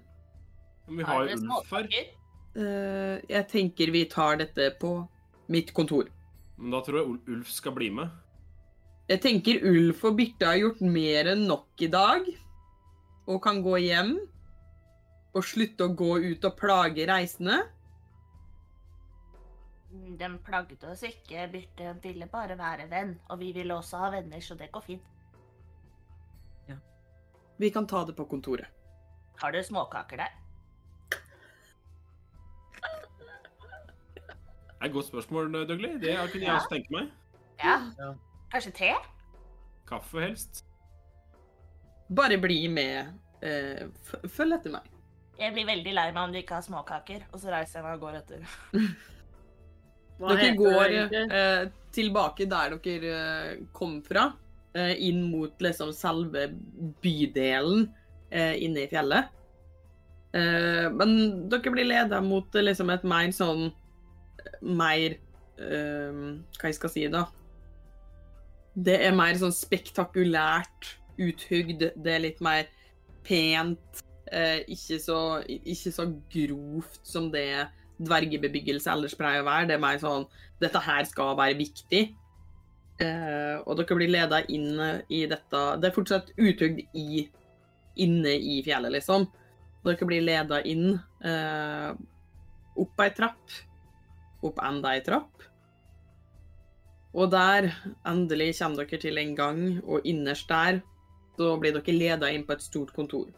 Speaker 3: Men vi har
Speaker 7: Er
Speaker 3: jo
Speaker 7: det
Speaker 3: Ulf her.
Speaker 7: småkaker?
Speaker 1: Eh, jeg tenker vi tar dette på mitt kontor.
Speaker 3: Men da tror jeg Ul- Ulf skal bli med.
Speaker 1: Jeg tenker Ulf og Birte har gjort mer enn nok i dag, og kan gå hjem. Og slutte å gå ut og plage reisende.
Speaker 7: Mm, De plagde oss ikke. Birte ville bare være venn. Og vi ville også ha venner, så det går fint.
Speaker 1: Vi kan ta det på kontoret.
Speaker 7: Har du småkaker der?
Speaker 3: Det er et godt spørsmål, Dougley. Det kunne jeg også tenke meg.
Speaker 7: Ja.
Speaker 4: Ja.
Speaker 7: Kanskje te?
Speaker 3: Kaffe helst.
Speaker 1: Bare bli med. eh, f- følg etter meg.
Speaker 7: Jeg blir veldig lei meg om du ikke har småkaker.
Speaker 6: Og så reiser jeg meg og går etter.
Speaker 1: sånn,
Speaker 5: Hva
Speaker 1: Dere
Speaker 5: heter
Speaker 1: går
Speaker 5: det egentlig?
Speaker 1: eh, tilbake der dere eh, kom fra, eh, inn mot liksom selve bydelen eh, inne i fjellet. Eh, men dere blir leda mot eh, liksom et mer sånn Mer eh, Hva jeg skal si, da? Det er mer sånn spektakulært uthugd. Det er litt mer pent. Eh, ikke, så, ikke så grovt som det er dvergebebyggelse ellers pleier å være. Det er mer sånn Dette her skal være viktig. Eh, og dere blir leda inn i dette Det er fortsatt utugd i inne i fjellet, liksom. Dere blir leda inn eh, opp ei trapp. Opp enda ei trapp. Og der, endelig, kommer dere til en gang, og innerst der så blir dere leda inn på et stort kontor.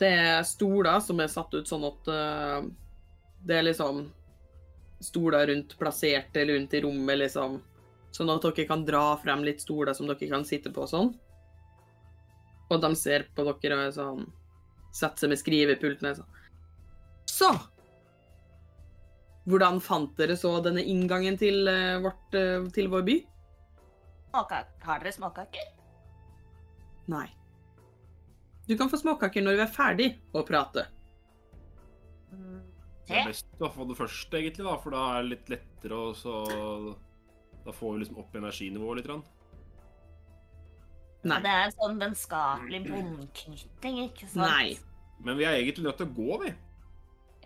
Speaker 1: Det er stoler som er satt ut sånn at eh, det er liksom stoler rundt, plasserte rundt i rommet, liksom. Sånn at dere kan dra frem litt stoler som dere kan sitte på og sånn. Og de ser på dere og er sånn Setter seg med skrivepulten og er sånn Så! Hvordan fant dere så denne inngangen til, eh, vårt, eh, til vår by?
Speaker 7: Småkak- Har dere småkaker?
Speaker 1: Nei. Du kan få småkaker når vi er ferdig å prate.
Speaker 4: Mm.
Speaker 3: Det
Speaker 7: Te?
Speaker 3: er best å få det først, egentlig, da, for da er det litt lettere, og så Da får vi liksom opp energinivået litt. grann.
Speaker 1: Nei.
Speaker 7: Det er en sånn vennskapelig bondknytting, ikke sant?
Speaker 1: Nei.
Speaker 3: Men vi er egentlig nødt til å gå, vi.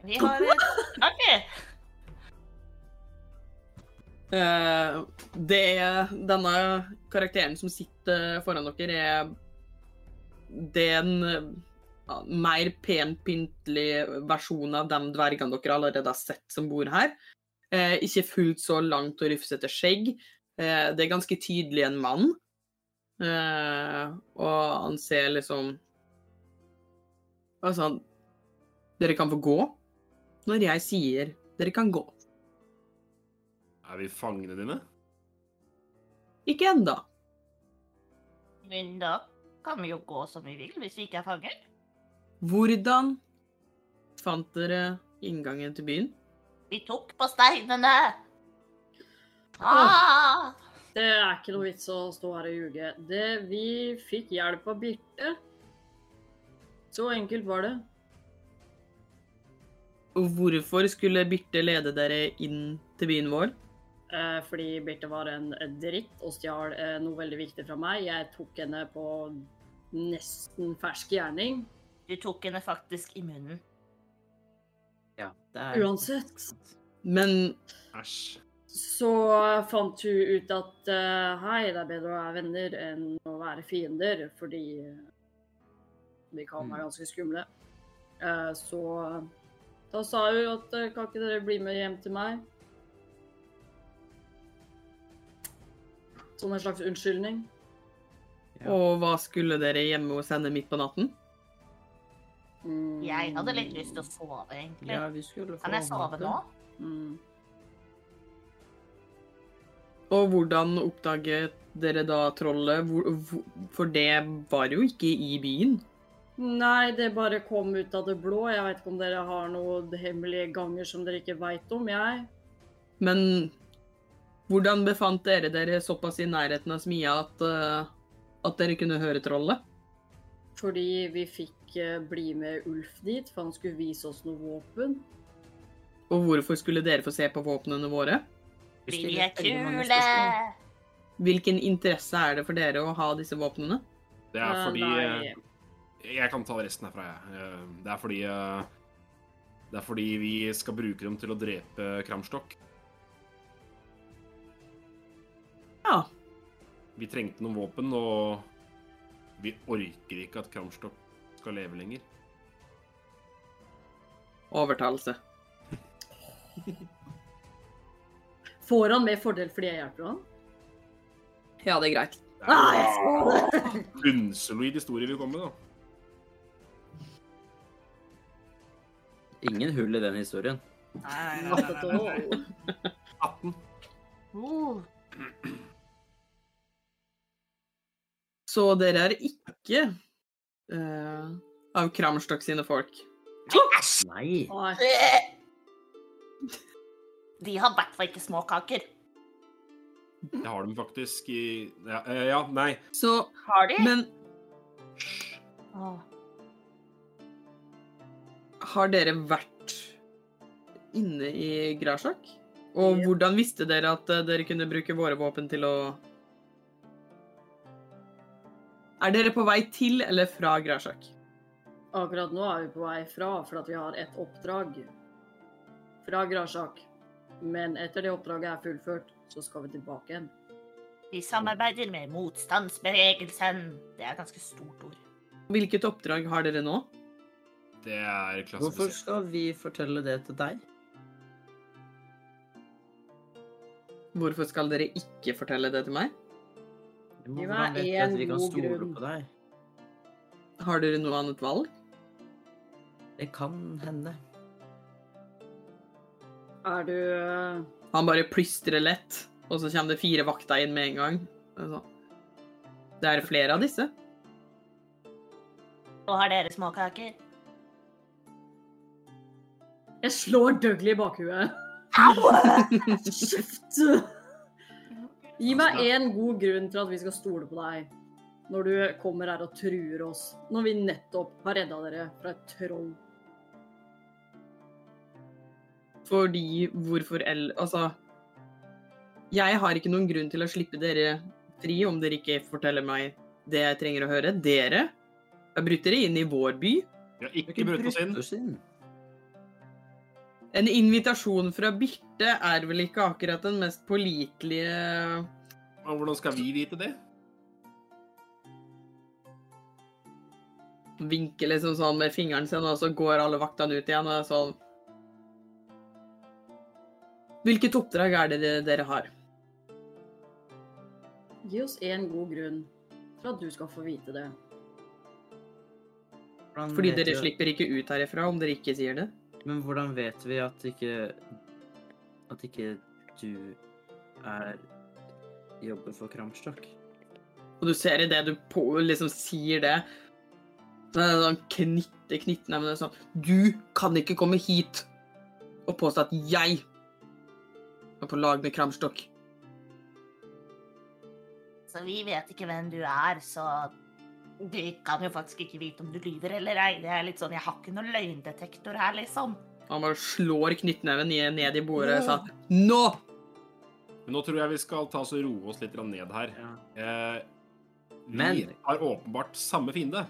Speaker 7: Vi har et okay.
Speaker 1: Eh, det er denne karakteren som sitter foran dere, er det er en eh, ja, mer pent pyntelig versjon av de dvergene dere allerede har sett som bor her. Eh, ikke fullt så langt og rufsete skjegg. Eh, det er ganske tydelig en mann. Eh, og han ser liksom Altså, han- dere kan få gå når jeg sier dere kan gå.
Speaker 3: Er vi fangene dine?
Speaker 1: Ikke ennå.
Speaker 7: Men da kan vi jo gå som vi vil, hvis vi ikke er fanger.
Speaker 1: Hvordan fant dere inngangen til byen?
Speaker 7: Vi tok på steinene! Ah!
Speaker 5: Det er ikke noe vits å stå her og ljuge. Det, vi fikk hjelp av Birte. Så enkelt var det.
Speaker 1: Og hvorfor skulle Birte lede dere inn til byen vår?
Speaker 5: Eh, fordi Birte var en dritt og stjal eh, noe veldig viktig fra meg. Jeg tok henne på nesten fersk gjerning.
Speaker 7: Du tok henne faktisk i munnen.
Speaker 4: Ja, det er...
Speaker 5: Uansett.
Speaker 1: Men
Speaker 3: Æsj.
Speaker 5: Så fant hun ut at eh, hei, det er bedre å være venner enn å være fiender, fordi eh, de kan være ganske skumle. Eh, så da sa hun at eh, kan ikke dere bli med hjem til meg? Som en slags unnskyldning.
Speaker 4: Ja.
Speaker 1: Og hva skulle dere hjemme hos henne midt på natten?
Speaker 5: Mm.
Speaker 7: Jeg hadde litt lyst til å sove, egentlig.
Speaker 4: Ja, vi skulle få
Speaker 7: Kan jeg sove
Speaker 4: vite.
Speaker 7: nå?
Speaker 5: Mm.
Speaker 1: Og hvordan oppdaget dere da trollet? Hvor- hvor- For det var jo ikke i byen.
Speaker 5: Nei, det bare kom ut av det blå. Jeg vet ikke om dere har noen hemmelige ganger som dere ikke veit om, jeg.
Speaker 1: Men hvordan befant dere dere såpass i nærheten av smia at, eh, at dere kunne høre trollet?
Speaker 5: Fordi vi fikk eh, bli med Ulf dit, for han skulle vise oss noe våpen.
Speaker 1: Og hvorfor skulle dere få se på våpnene våre?
Speaker 4: Vi
Speaker 7: Fordi vi
Speaker 4: stiller
Speaker 7: er
Speaker 4: veldig mange
Speaker 7: kule!
Speaker 4: spørsmål.
Speaker 1: Hvilken interesse er det for dere å ha disse våpnene?
Speaker 3: Det er
Speaker 5: Eh,
Speaker 3: fordi
Speaker 5: nei.
Speaker 3: eh, Jeg kan ta resten herfra, jeg. Eh, Det er fordi eh, Det er fordi vi skal bruke dem til å drepe Kramstokk.
Speaker 1: Ja.
Speaker 3: Vi trengte noen våpen, og vi orker ikke at Kramstokk skal leve lenger.
Speaker 1: Overtalelse.
Speaker 5: Får han med fordel fordi jeg hjelper han?
Speaker 1: Ja, det er greit.
Speaker 3: Det
Speaker 5: Ah,
Speaker 3: er en bunnsolid historie vi kommer med, da.
Speaker 4: Ingen hull i den historien.
Speaker 6: Nei, nei,
Speaker 5: Not
Speaker 6: nei,
Speaker 5: at
Speaker 6: nei, nei.
Speaker 5: all.
Speaker 3: 18.
Speaker 7: Oh,
Speaker 1: Så dere er ikke eh, av Kramstokk sine folk.
Speaker 4: Nei.
Speaker 5: Nei.
Speaker 7: de har i hvert fall ikke små kaker.
Speaker 3: Det har de faktisk i Ja, eh, ja nei.
Speaker 1: Så
Speaker 7: Har de?
Speaker 1: Men
Speaker 7: Åh,
Speaker 1: har dere vært inne i Grasjok? Og hvordan visste dere at eh, dere kunne bruke våre våpen til å Er dere på vei til eller fra Grasjok?
Speaker 5: Akkurat nå er vi på vei fra, for at vi har et oppdrag fra Grasjak. Men etter det oppdraget er fullført, så skal vi tilbake igjen.
Speaker 7: de samarbeider med motstandsbevegelsen. Det er et ganske stort ord.
Speaker 1: Hvilket oppdrag har dere nå?
Speaker 3: Det er
Speaker 4: Hvorfor
Speaker 3: klassifisert.
Speaker 4: skal vi fortelle det til deg?
Speaker 1: Hvorfor skal dere ikke fortelle det til meg?
Speaker 4: Vi må
Speaker 5: Det var
Speaker 4: hvordan vet vi at
Speaker 5: en
Speaker 4: vi kan
Speaker 5: god
Speaker 4: stole
Speaker 5: grunn.
Speaker 4: på deg?
Speaker 1: Har dere noe annet valg?
Speaker 4: Det kan hende.
Speaker 5: Er du eh,
Speaker 1: Han bare plystrer lett, og så kommer det fire vakter inn med en gang. Altså, Det er flere av disse.
Speaker 7: Og har dere små kaker?
Speaker 5: Jeg slår Dougley i bakhuet. Kjeft! Gi meg én god grunn til at vi skal stole på deg når du kommer her og truer oss. Når vi nettopp har redda dere fra et troll.
Speaker 1: Fordi hvorfor el... Altså Jeg har ikke noen grunn til å slippe dere fri om dere ikke forteller meg det jeg trenger å høre. Dere har brutt dere inn i vår by.
Speaker 3: Vi har ikke brutt oss inn.
Speaker 4: oss inn.
Speaker 1: En invitasjon fra Birte er vel ikke akkurat den mest pålitelige
Speaker 3: Og Hvordan skal vi vite det?
Speaker 1: vinker liksom sånn med fingeren sin, og så går alle vaktene ut igjen og er sånn Hvilket oppdrag er det dere har?
Speaker 5: Gi oss én god grunn for at du skal få vite det.
Speaker 4: Hvordan
Speaker 1: Fordi
Speaker 4: vet
Speaker 1: dere
Speaker 4: vi-
Speaker 1: slipper ikke ut herifra om dere ikke sier det.
Speaker 4: Men hvordan vet vi at ikke At ikke du er jobber for Kramstokk?
Speaker 1: Og du ser i det du på, liksom sier det så er det sånn knytte knyttnevene sånn Du kan ikke komme hit og påstå at jeg er på lag med Kramstokk.
Speaker 7: <laughs> Så vi vet ikke hvem du er, så du kan jo faktisk ikke vite om du lyver eller ei. Det er litt sånn, jeg har ikke noen løgndetektor her, liksom.
Speaker 1: Han bare slår knyttneven ned- ned i bordet og sånn Nå!
Speaker 3: Men nå tror jeg vi skal ta oss og roe oss litt grann ned her.
Speaker 4: Ja.
Speaker 3: Eh, vi
Speaker 4: Men-
Speaker 3: har åpenbart samme fiende.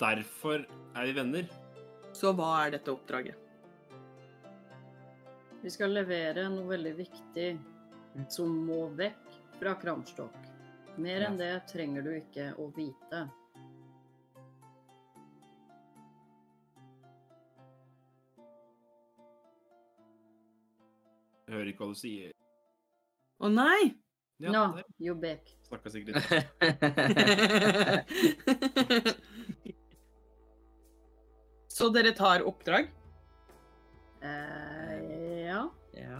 Speaker 3: Derfor er vi venner.
Speaker 1: Så hva er dette oppdraget?
Speaker 5: Vi skal levere noe veldig viktig som må vekk fra Kramstokk. Mer enn det trenger du ikke å vite.
Speaker 3: Jeg hører ikke hva du sier.
Speaker 1: Å nei!
Speaker 3: Ja,
Speaker 5: Nå,
Speaker 3: der
Speaker 5: jo back.
Speaker 3: snakka sikkert litt.
Speaker 1: Så dere tar oppdrag?
Speaker 5: Eh, ja.
Speaker 4: ja.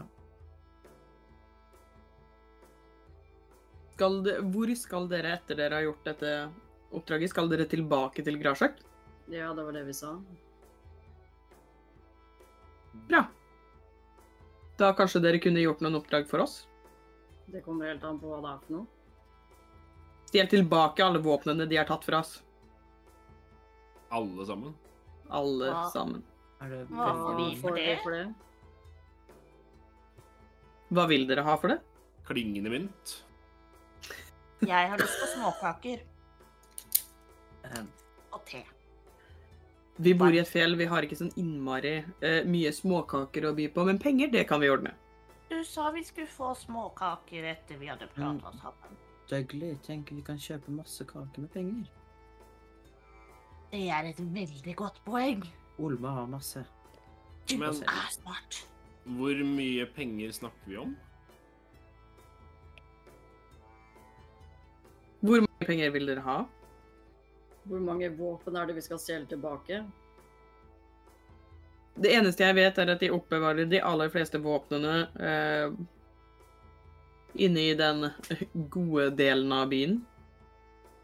Speaker 1: Skal de, hvor skal dere etter dere har gjort dette oppdraget? Skal dere tilbake til Grasjok?
Speaker 5: ja, det var det vi sa.
Speaker 1: Bra. Da kanskje dere kunne gjort noen oppdrag for oss?
Speaker 5: Det kommer helt an på hva det er for noe.
Speaker 1: Stjel tilbake alle våpnene de har tatt fra oss.
Speaker 3: Alle sammen.
Speaker 1: Alle
Speaker 7: Ja.
Speaker 1: sammen.
Speaker 4: <laughs> Er det
Speaker 7: Hva får vi
Speaker 4: veldig
Speaker 7: for det?
Speaker 5: for det?
Speaker 1: Hva vil dere ha for det?
Speaker 3: Klingende mynt.
Speaker 7: Jeg har lyst på småkaker
Speaker 4: Eh,
Speaker 7: og te.
Speaker 1: Vi bor i et fjell, vi har ikke sånn innmari eh, mye småkaker å by på, men penger, det kan vi ordne.
Speaker 7: Du sa vi skulle få småkaker etter vi hadde prata sammen.
Speaker 4: Dougley, tenk vi kan kjøpe masse kaker med penger.
Speaker 7: Det er et veldig godt poeng.
Speaker 4: Olma har masse.
Speaker 7: Du
Speaker 3: Men-
Speaker 7: er smart.
Speaker 3: Hvor mye penger snakker vi om?
Speaker 1: Hvor mange penger vil dere ha?
Speaker 5: Hvor mange våpen er det vi skal stjele tilbake?
Speaker 1: Det eneste jeg vet, er at de oppbevarer de aller fleste våpnene eh, inne i den <laughs> gode delen av byen.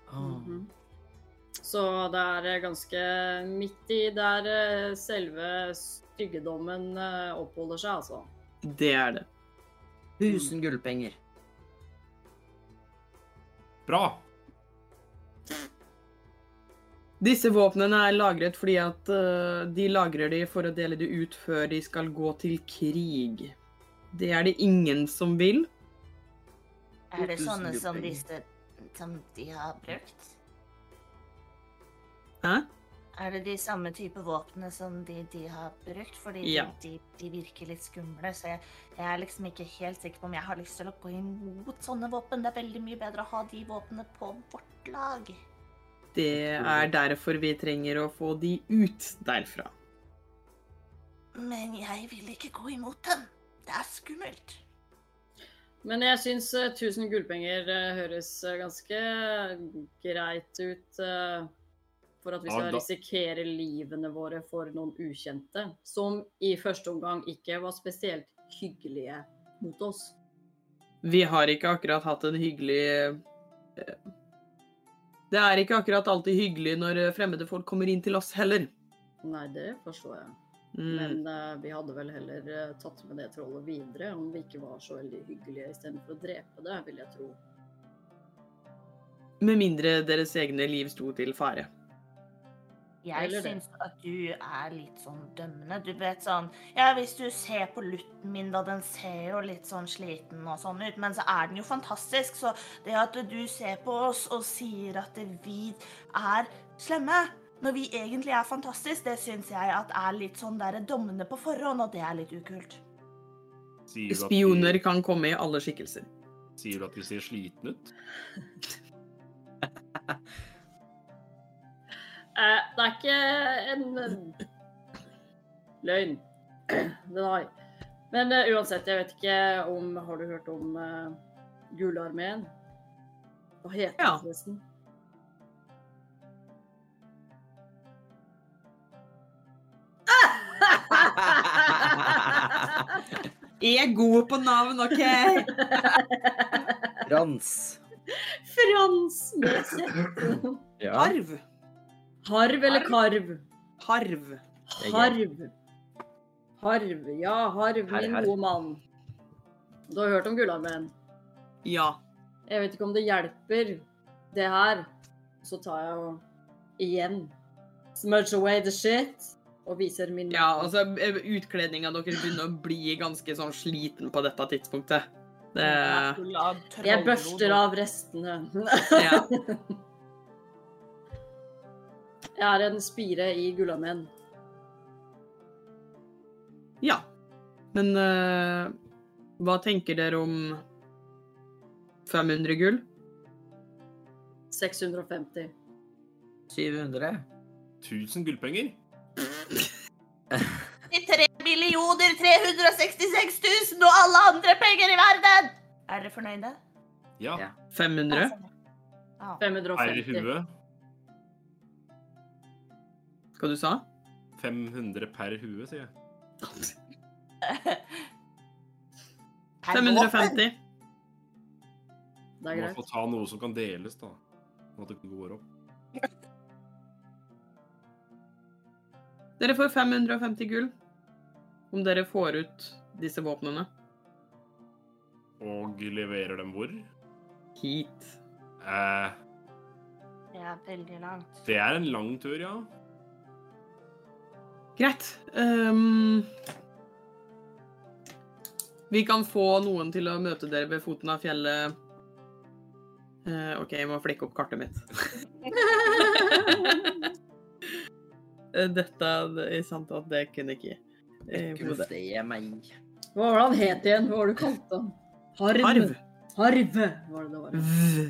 Speaker 3: Ah.
Speaker 5: Mhm. Så det er eh, ganske midt i der eh, selve styggedommen eh, oppholder seg, altså.
Speaker 1: Det er det.
Speaker 4: 1000 gullpenger.
Speaker 3: Bra!
Speaker 1: Disse våpnene er lagret fordi at eh, de lagrer de for å dele de ut før de skal gå til krig. Det er det ingen som vil.
Speaker 7: Er det
Speaker 4: 2000
Speaker 7: sånne som
Speaker 4: gullpenger.
Speaker 7: disse som de har brukt?
Speaker 1: Hæ?
Speaker 7: Er det de samme type våpnene som de, de har brukt? Fordi de-
Speaker 1: Ja.
Speaker 7: de, de virker litt skumle, så jeg, jeg er liksom ikke helt sikker på om jeg har lyst til å gå imot sånne våpen. Det er veldig mye bedre å ha de våpnene på vårt lag.
Speaker 1: Det er derfor vi trenger å få de ut derfra.
Speaker 7: Men jeg vil ikke gå imot dem. Det er skummelt.
Speaker 5: Men jeg syns eh, 1000 gullpenger eh, høres eh, ganske greit ut eh, for at vi
Speaker 3: Ja,
Speaker 5: skal
Speaker 3: da-
Speaker 5: risikere livene våre for noen ukjente, som i første omgang ikke var spesielt hyggelige mot oss.
Speaker 1: Vi har ikke akkurat hatt en hyggelig eh, Det er ikke akkurat alltid hyggelig når eh, fremmede folk kommer inn til oss heller.
Speaker 5: Nei, det forstår jeg.
Speaker 1: Mm.
Speaker 5: Men eh, vi hadde vel heller eh, tatt med det trollet videre om vi ikke var så veldig hyggelige istedenfor å drepe det, vil jeg tro.
Speaker 1: Med mindre deres egne liv sto til fare.
Speaker 7: Jeg
Speaker 5: Eller det.
Speaker 7: syns at du er litt sånn dømmende. Du vet sånn Ja, hvis du ser på lutten min, da, den ser jo litt sånn sliten og sånn ut, men så er den jo fantastisk, så det at du ser på oss og sier at vi er slemme når vi egentlig er fantastisk, det syns jeg at er litt sånn der dommende på forhånd, og det er litt ukult.
Speaker 3: Sier du at de-
Speaker 1: Spioner kan komme i alle skikkelser.
Speaker 3: Sier du at de ser slitne ut?
Speaker 5: Eh, det er ikke en eh, løgn. <clears throat> Den har Men eh, uansett, jeg vet ikke om Har du hørt om uh, Gularmeen? Hva heter
Speaker 1: Ja.
Speaker 5: den
Speaker 1: <laughs>
Speaker 5: forresten? <laughs>
Speaker 1: Jeg er god på navn, OK?
Speaker 4: Rans.
Speaker 5: Frans med Z.
Speaker 4: Ja.
Speaker 1: Harv.
Speaker 5: Harv eller karv?
Speaker 1: Harv.
Speaker 4: Det er
Speaker 5: Harv. Harv. Ja, harv,
Speaker 4: Herr,
Speaker 5: min
Speaker 4: herr.
Speaker 5: gode mann. Du har hørt om Gularmeen?
Speaker 1: Ja.
Speaker 5: Jeg vet ikke om det hjelper, det her. Så tar jeg og igjen smudge away the shit og viser min
Speaker 1: ja altså, utkledninga deres begynner å bli ganske sånn sliten på dette tidspunktet. Det
Speaker 6: Eh,
Speaker 5: Jeg børster av restene. <laughs>
Speaker 1: Ja.
Speaker 5: Jeg er en spire i gullamenn.
Speaker 1: Ja. Men eh, hva tenker dere om 500 gull?
Speaker 5: 650.
Speaker 4: 700.
Speaker 3: 1000 gullpenger?
Speaker 7: I 3 millioner 366 000 og alle andre penger i verden! Er dere fornøyde? Altså,
Speaker 3: Ja.
Speaker 4: Ja.
Speaker 1: 500?
Speaker 7: Ja.
Speaker 3: Eier i
Speaker 5: 550.
Speaker 3: huet.
Speaker 1: Hva du sa?
Speaker 3: 500 per hue, sier jeg.
Speaker 1: 550.
Speaker 5: Det er
Speaker 3: Man
Speaker 5: greit.
Speaker 3: får ta noe som kan deles, da. Sånn at det ikke går opp.
Speaker 1: Dere får 550 gull om dere får ut disse våpnene
Speaker 3: Og leverer dem hvor?
Speaker 1: hit.
Speaker 3: Eh,
Speaker 7: Det er veldig langt.
Speaker 3: det er en lang tur, ja.
Speaker 1: Greit. Ehm, vi kan få noen til å møte dere ved foten av fjellet. Eh, OK, jeg må flikke opp kartet mitt. Eh, Dette det er sant at det kunne ikke eh, hodet.
Speaker 4: Det er meg.
Speaker 5: Hva var det han het igjen? Hva var det du kalte han? Harv.
Speaker 1: Arv.
Speaker 5: Harv var det det var.
Speaker 1: V.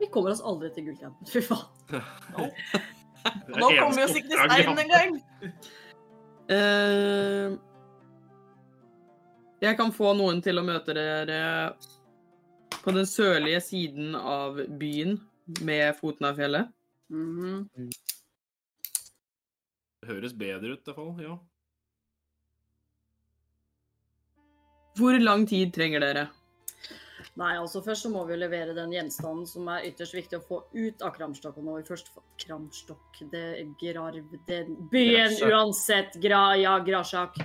Speaker 5: Vi kommer oss aldri til gullkampen. Fy faen.
Speaker 3: Det er
Speaker 2: Nå kommer
Speaker 3: eneste
Speaker 2: vi oss ikke til
Speaker 3: oppdraget jeg har
Speaker 2: steinen engang!
Speaker 1: Eh, jeg kan få noen til å møte dere på den sørlige siden av byen med foten av fjellet.
Speaker 5: Mhm.
Speaker 3: Det høres bedre ut, i hvert fall. Ja.
Speaker 1: Hvor lang tid trenger dere?
Speaker 5: Nei, altså først så må vi jo levere den gjenstanden som er ytterst viktig å få ut av kramstokken. Når vi først får kramstokk, det grarv, det byen
Speaker 4: Grasjak.
Speaker 5: uansett, gra, ja, grasjak.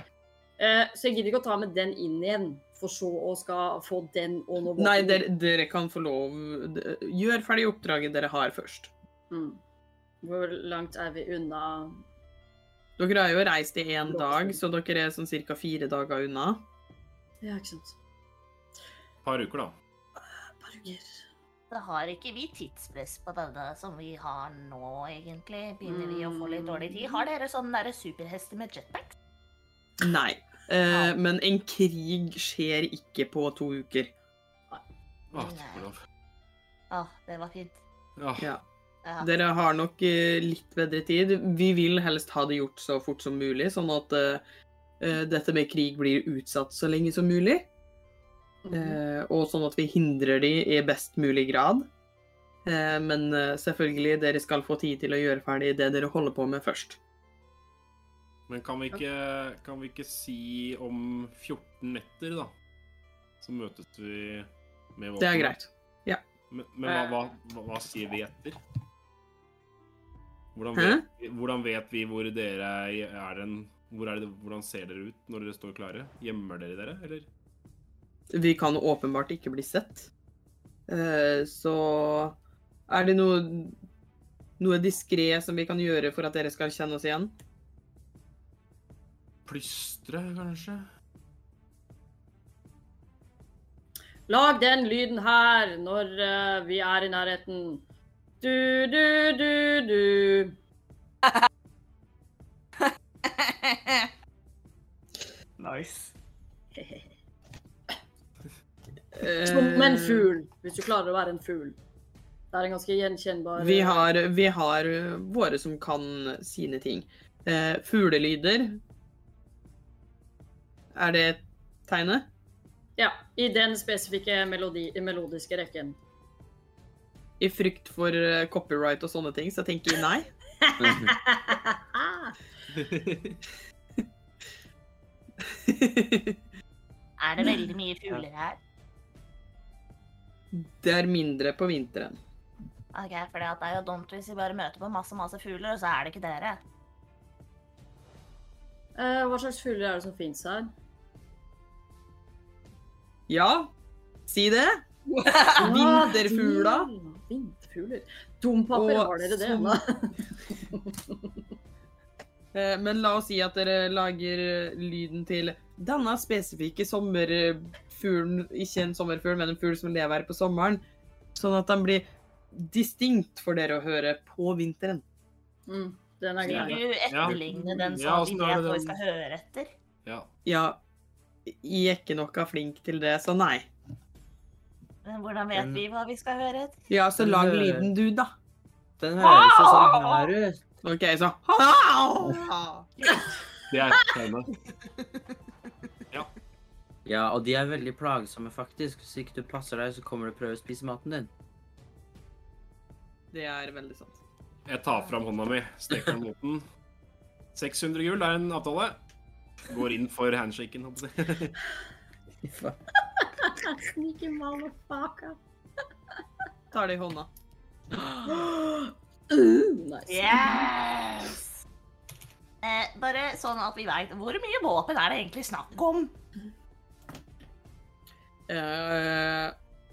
Speaker 5: Eh, så jeg gidder ikke å ta med den inn igjen, for så å skal få den og noe
Speaker 1: Nei,
Speaker 5: våpen.
Speaker 1: dere, dere kan få lov d- Gjør ferdig oppdraget dere har først.
Speaker 5: Mm. Hvor langt er vi unna?
Speaker 1: Dere har jo reist i én dag, så dere er sånn ca. fire dager unna.
Speaker 5: Ja, ikke sant.
Speaker 3: Et par uker, da.
Speaker 5: Barger.
Speaker 7: Da har ikke vi tidspress på denne som vi har nå, egentlig. Begynner vi å få litt dårlig tid? Har dere sånne derre superhester med jetpacks?
Speaker 1: Nei. Eh, men en krig skjer ikke på to uker.
Speaker 3: Ah, takk for lov.
Speaker 7: Ja, det var fint.
Speaker 3: Ah,
Speaker 1: Ja.
Speaker 7: Ja.
Speaker 1: Dere har nok eh, litt bedre tid. Vi vil helst ha det gjort så fort som mulig, sånn at eh, eh, dette med krig blir utsatt så lenge som mulig.
Speaker 5: Mm.
Speaker 1: Eh, og sånn at vi hindrer de i best mulig grad. Eh, men eh, selvfølgelig, dere skal få tid til å gjøre ferdig det dere holder på med først.
Speaker 3: Men kan vi, ikke, kan vi ikke si om 14 netter, da? Så møtes vi med våpen.
Speaker 1: Det er greit.
Speaker 3: Men, men hva, hva, hva, hva sier vi etter? Hvordan
Speaker 1: Hæ?
Speaker 3: vet, vi- hvordan vet vi hvor dere er en hvor er det, Hvordan ser dere ut når dere står klare? Gjemmer dere dere, eller?
Speaker 1: Vi kan åpenbart ikke bli sett. Eh, Så er det noe, noe diskré som vi kan gjøre for at dere skal kjenne oss igjen?
Speaker 3: Plystre, kanskje?
Speaker 5: Lag den lyden her når eh, vi er i nærheten. Du, du, du, du.
Speaker 2: Nice.
Speaker 5: Som en
Speaker 1: Eh,
Speaker 5: fugl, hvis du klarer å være en fugl. Det er en ganske gjenkjennbar
Speaker 1: Vi har, vi har eh, våre som kan sine ting. Eh, fuglelyder Er det tegnet?
Speaker 5: Ja, i den spesifikke melodi, melodiske rekken.
Speaker 1: I frykt for eh, copyright og sånne ting, så tenker jeg nei. <laughs>
Speaker 7: <laughs> Er det veldig mye fugler her?
Speaker 1: Det er mindre på vinteren.
Speaker 7: Ok, for det er jo dumt hvis vi bare møter på masse, masse fugler, og så er det ikke dere.
Speaker 5: Eh, hva slags fugler er det som fins her?
Speaker 1: Ja, si
Speaker 5: <laughs>
Speaker 1: det. Ah, Vinterfugla.
Speaker 5: Ah, Vinterfugler. Dompaper,
Speaker 1: Og
Speaker 5: har dere det?
Speaker 1: som-
Speaker 5: Hva?
Speaker 1: <laughs> Eh, Men la oss si at dere lager eh, lyden til denne spesifikke sommerfuglen, ikke en sommerfugl, men en fugl som lever her på sommeren, sånn at den blir distinkt for dere å høre på vinteren.
Speaker 5: <laughs> Mm, den er
Speaker 7: Vil
Speaker 5: grei.
Speaker 7: du etterligne den
Speaker 3: Ja, åssen
Speaker 7: sånn at vi
Speaker 3: er det
Speaker 7: vet hva vi
Speaker 3: den-
Speaker 7: skal høre etter?
Speaker 3: Ja.
Speaker 1: Ja, jeg er ikke noe flink til det, så nei.
Speaker 7: Men hvordan vet
Speaker 4: Den-
Speaker 7: vi hva vi skal høre etter?
Speaker 1: Ja, så
Speaker 4: Men
Speaker 1: lag
Speaker 4: det-
Speaker 1: lyden du, da.
Speaker 4: Den høres jo sånn her ut.
Speaker 1: OK, så
Speaker 3: Det er tegnet.
Speaker 4: Ja, og de er veldig plagsomme, faktisk. Hvis ikke du passer deg, så kommer du og prøver å spise maten din.
Speaker 1: Det er veldig sant.
Speaker 3: Jeg tar fram hånda mi, strekker den mot den. 600 gull er en avtale. Går inn for handshaken, holdt jeg på å si.
Speaker 5: <laughs> Sneaky motherfucker.
Speaker 1: Tar det i hånda.
Speaker 5: Uh, nice.
Speaker 7: Yes! Eh, bare sånn at vi vet, hvor mye våpen er det egentlig snakk om?
Speaker 1: Eh,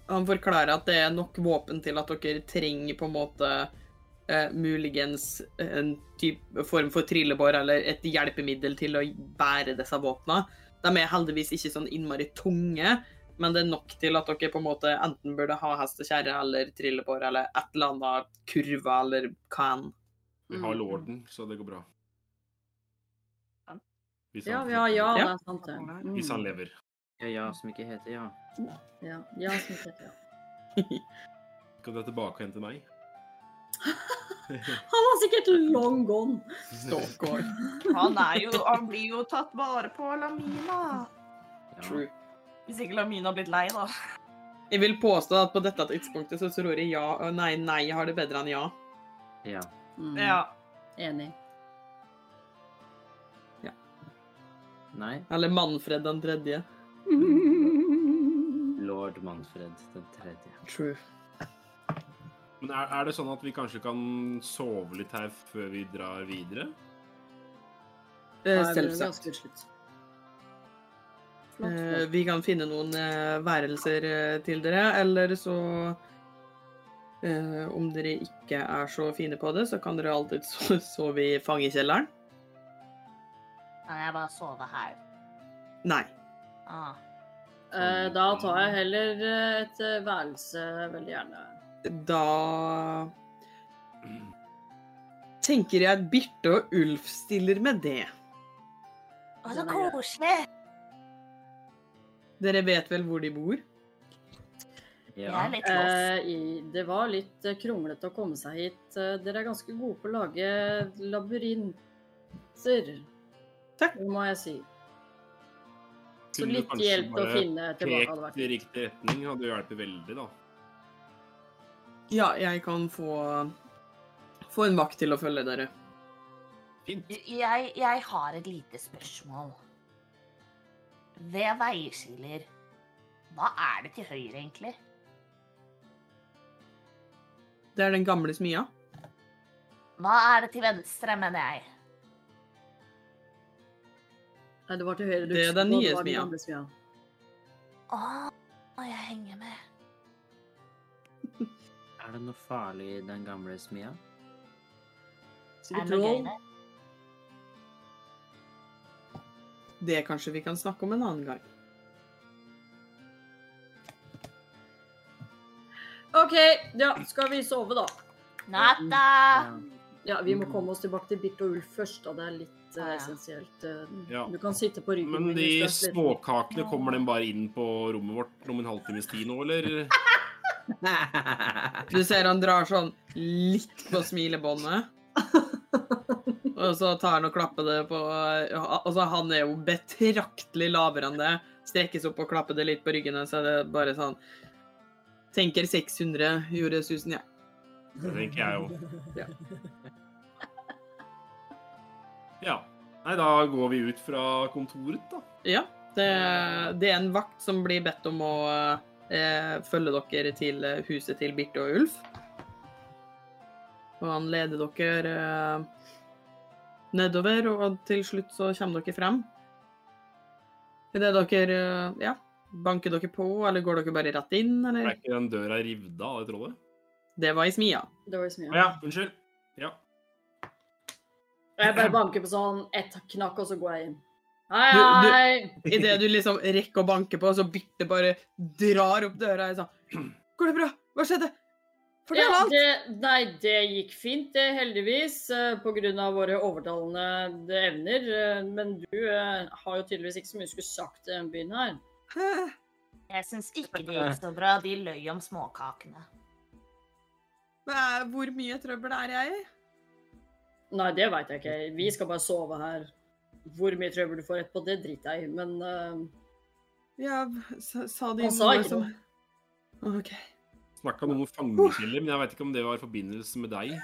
Speaker 1: han forklarer at det er nok våpen til at dere trenger på en måte eh, muligens en typ, form for trillebår eller et hjelpemiddel til å bære disse våpna. De er heldigvis ikke sånn innmari tunge, men det er nok til at dere på en måte enten burde ha hest og kjerre eller trillebår eller et eller annet kurve eller hva enn.
Speaker 3: Vi har
Speaker 5: Mm.
Speaker 3: lorden, så det går bra. Hvis
Speaker 5: Ja,
Speaker 3: han-
Speaker 5: vi har ja, det
Speaker 1: Ja.
Speaker 5: er sant det. Mm.
Speaker 3: Hvis han lever.
Speaker 4: <gasps> Ja, ja, som ikke heter ja.
Speaker 5: Ja, ja, som heter det.
Speaker 3: Skal du ha tilbake og hente
Speaker 5: <laughs>
Speaker 3: meg?
Speaker 5: Han var sikkert long gone.
Speaker 1: Stalker.
Speaker 2: Han, er jo, han blir jo tatt vare på av Lamina.
Speaker 4: ja.
Speaker 1: True.
Speaker 2: Hvis ikke Lamina har blitt lei, da.
Speaker 1: Jeg vil påstå at på dette tidspunktet så tror jeg ja eh, og nei, nei har det bedre enn ja.
Speaker 4: Ja.
Speaker 5: Mm,
Speaker 2: Ja.
Speaker 5: Enig.
Speaker 4: Nei.
Speaker 1: Eller Manfred den tredje. <laughs>
Speaker 4: Lord Manfred den tredje.
Speaker 1: True.
Speaker 3: Men er, er det sånn at vi kanskje kan sove litt her før vi drar videre?
Speaker 5: Nei,
Speaker 1: Eh,
Speaker 5: men
Speaker 1: Selvsagt.
Speaker 5: ganske til slutt. Flott,
Speaker 1: Eh,
Speaker 5: flott.
Speaker 1: vi kan finne noen eh, værelser eh, til dere, eller så eh, Om dere ikke er så fine på det, så kan dere alltid <laughs> so- sove i fangekjelleren.
Speaker 7: Kan jeg bare sove her?
Speaker 1: Nei.
Speaker 7: Ah.
Speaker 5: Eh, Da tar jeg heller eh, et eh, værelse veldig gjerne.
Speaker 1: Da tenker jeg at Birte og Ulf stiller med det.
Speaker 7: Å, så
Speaker 5: Den er grei.
Speaker 7: koselig!
Speaker 1: Dere vet vel hvor de bor?
Speaker 7: Jeg er litt lost.
Speaker 5: Eh, i, det var litt eh, kronglete å komme seg hit. Eh, dere er ganske gode på å lage labyrinter.
Speaker 1: Takk.
Speaker 5: Det må jeg si. Så
Speaker 3: Kunne du
Speaker 5: litt
Speaker 3: kanskje
Speaker 5: hjelp å
Speaker 3: bare
Speaker 5: finne tilbake hadde
Speaker 3: Pekt
Speaker 5: vært
Speaker 3: i riktig retning hadde hjulpet veldig, da.
Speaker 1: Ja, jeg kan få, få en vakt til å følge dere.
Speaker 3: Fint.
Speaker 7: Jeg, jeg har et lite spørsmål. Ved veiskiller, hva er det til høyre, egentlig?
Speaker 1: Det er den gamle smia.
Speaker 7: Hva er det til venstre, mener jeg?
Speaker 5: Nei, det var til høyre. du
Speaker 1: Det er
Speaker 5: husker
Speaker 1: den
Speaker 5: på,
Speaker 1: nye
Speaker 5: var
Speaker 1: smia.
Speaker 5: gamle smia.
Speaker 7: Å, Ah, jeg henger med.
Speaker 4: Er det noe farlig i den gamle smia?
Speaker 7: Er
Speaker 5: Sikkert
Speaker 7: det noe
Speaker 5: troll.
Speaker 7: gøy der?
Speaker 1: Det kanskje vi kan snakke om en annen gang.
Speaker 5: OK, ja, skal vi sove, da?
Speaker 7: Natta!
Speaker 5: <laughs>
Speaker 7: Mm,
Speaker 5: Ja, Vi
Speaker 1: Mm.
Speaker 5: må komme oss tilbake til Birte og Ulf først. da. Det er litt eh,
Speaker 7: Ja, ja.
Speaker 5: essensielt. Eh,
Speaker 3: Ja.
Speaker 5: Du kan sitte på ryggen
Speaker 3: Men
Speaker 5: min
Speaker 3: de
Speaker 5: hvis du er sliten.
Speaker 3: småkakene, kommer den bare inn på rommet vårt om en halvtimes tid nå, eller?
Speaker 1: Du ser han drar sånn litt på smilebåndet. Og så tar han og klapper det på Altså, han er jo betraktelig lavere enn det. Strekkes opp og klapper det litt på ryggen, så er det bare sånn Tenker 600 gjorde 1000, ja.
Speaker 3: Det tenker jeg jo.
Speaker 1: Ja.
Speaker 3: <laughs> Ja. Nei, da går vi ut fra kontoret, da.
Speaker 1: Ja. Det, det er en vakt som blir bedt om å eh, følge dere til eh, huset til Birte og Ulf. Og han leder dere eh, nedover, og til slutt så kommer dere frem. Idet dere eh, ja, banker dere på, eller går dere bare rett inn,
Speaker 3: Er
Speaker 1: eller?
Speaker 3: ikke den døra revet av det trollet?
Speaker 1: Det var i smia.
Speaker 5: <laughs> Det var jo smia.
Speaker 3: Å ja, unnskyld.
Speaker 5: Jeg bare banker på sånn ett knakk, og så går jeg inn. Hei,
Speaker 1: Du- du-
Speaker 5: hei!
Speaker 1: Idet du liksom rekker å banke på, så Birte bare drar opp døra og sånn Går det bra? Hva skjedde? Fortell
Speaker 5: Ja,
Speaker 1: alt!
Speaker 5: det, nei, det gikk fint, det, heldigvis, eh, på grunn av våre overtalende evner. eh, Men du eh, har jo tydeligvis ikke så mye du skulle sagt i den byen her.
Speaker 1: <laughs>
Speaker 7: Jeg syns ikke det gikk så bra. De løy om småkakene.
Speaker 1: Hva- Hvor mye trøbbel er jeg i?
Speaker 5: Nei, det veit jeg ikke. Vi skal bare sove her. Hvor mye trøbbel du får etterpå, det driter jeg i, men eh,
Speaker 1: Ja, v- sa, sa de
Speaker 5: Han sa
Speaker 1: noe
Speaker 5: ikke
Speaker 1: som OK.
Speaker 3: Snakka noe om fangekjeller, men jeg vet ikke om det var i forbindelse med deg.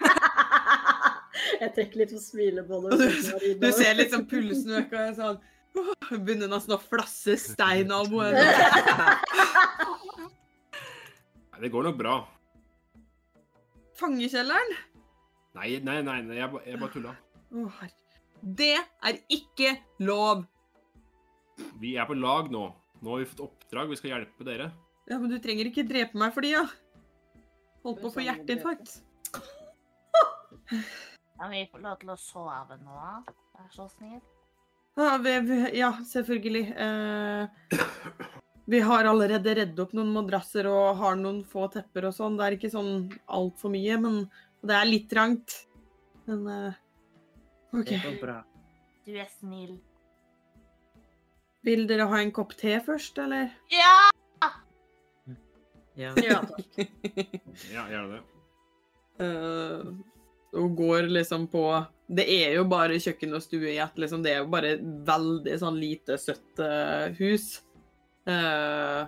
Speaker 5: <laughs> Jeg trekker litt på smilebåndet.
Speaker 1: Og Du, du ser liksom pulsen øke, og jeg er sånn åh, Begynner nesten å flasse stein av henne.
Speaker 5: <laughs>
Speaker 3: Nei, det går nok bra.
Speaker 1: Fangekjelleren?
Speaker 3: Nei, nei, nei, nei jeg, ba- jeg bare tulla.
Speaker 1: Å, herre. Det er ikke lov!
Speaker 3: Vi er på lag nå. Nå har vi fått oppdrag, vi skal hjelpe dere.
Speaker 1: Ja, men du trenger ikke drepe meg for de, ja. Holdt på å få hjerteinfarkt.
Speaker 7: Kan vi få lov til å sove nå? Vær så snill.
Speaker 1: Ja, vi, vi- ja selvfølgelig. Eh, vi har allerede redd opp noen madrasser og har noen få tepper og sånn. Det er ikke sånn altfor mye, men og det er litt trangt. Men eh, OK.
Speaker 4: Det går bra.
Speaker 7: Du er snill.
Speaker 1: Vil dere ha en kopp te først, eller?
Speaker 7: Ja!
Speaker 4: Ja.
Speaker 5: <laughs> Ja, takk.
Speaker 3: Ja, gjerne det.
Speaker 1: Eh, og går liksom på Det er jo bare kjøkken og stue i ett, liksom. Det er jo bare veldig sånn lite, søtt eh, hus. Eh,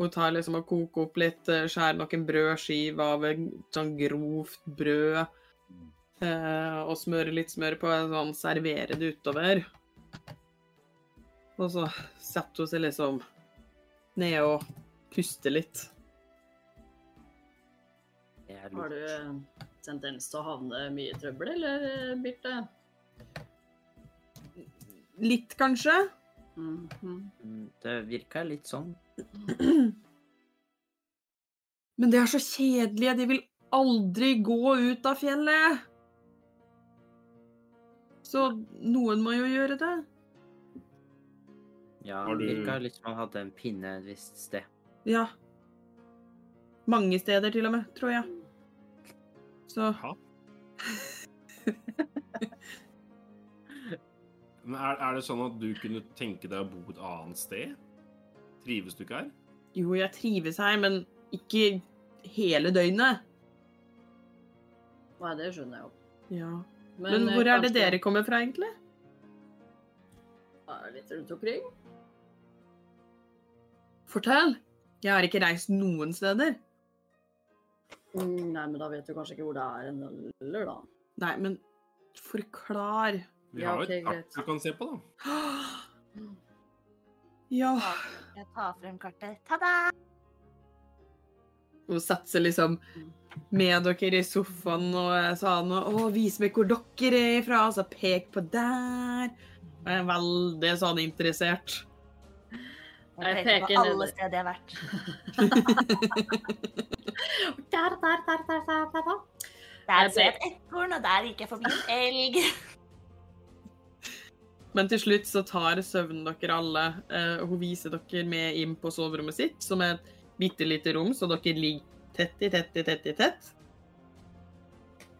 Speaker 1: hun tar liksom og koker opp litt, eh, skjærer noen brødskiver av en sånn grovt brød. eh, og smører litt smør på, og sånn serverer det utover. Og så setter hun seg liksom ned og puster litt.
Speaker 4: Det er
Speaker 5: Har
Speaker 4: lurt.
Speaker 5: du eh, tendens til å havne mye i trøbbel, eller, eh, Birte?
Speaker 1: Litt, kanskje.
Speaker 5: Mhm.
Speaker 4: Mm, Det virka litt sånn.
Speaker 1: Men de er så kjedelige. De vil aldri gå ut av fjellet. Så noen må jo gjøre det.
Speaker 4: Ja,
Speaker 3: Har
Speaker 4: det
Speaker 3: du-
Speaker 4: virka litt som han hadde en pinne et visst sted.
Speaker 1: Ja. Mange steder til og med, tror jeg. Så
Speaker 3: <laughs> Men er, er det sånn at du kunne tenke deg å bo et annet sted? Trives du ikke her?
Speaker 1: jo, jeg trives her, men ikke hele døgnet.
Speaker 5: Nei, det skjønner jeg jo. eh,
Speaker 1: Ja. Men, eh, hvor er det dere kommer fra, egentlig?
Speaker 5: kommer? Litt rundt omkring.
Speaker 1: Fortell! Jeg har ikke reist noen steder.
Speaker 5: Mm, Nei, men da vet du kanskje ikke hvor det er en heller, da.
Speaker 1: Nei, men forklar. <gasps>
Speaker 3: Vi
Speaker 5: Ja,
Speaker 3: har jo
Speaker 5: ok,
Speaker 3: et kart
Speaker 5: greit.
Speaker 3: du kan se på, da.
Speaker 1: Ja.
Speaker 7: Jeg tar frem kartet. Ta-da!
Speaker 1: Hun setter seg liksom med dere i sofaen og jeg sa noe, å, vis meg hvor dere er ifra, og så pek på der. Og jeg er veldig sånn interessert.
Speaker 5: Jeg
Speaker 7: Jeg peker
Speaker 5: peker
Speaker 7: på alle
Speaker 5: nedover.
Speaker 7: steder jeg har vært.
Speaker 5: Der, der, der, der, der, der, der.
Speaker 7: Der
Speaker 5: Jeg
Speaker 7: så jeg altså et ekorn, og der gikk jeg forbi en elg.
Speaker 1: Men til slutt så tar søvnen dere alle. eh, og hun viser dere med inn på soverommet sitt, som er et bitte lite rom, så dere ligger tett i tett i tett i tett.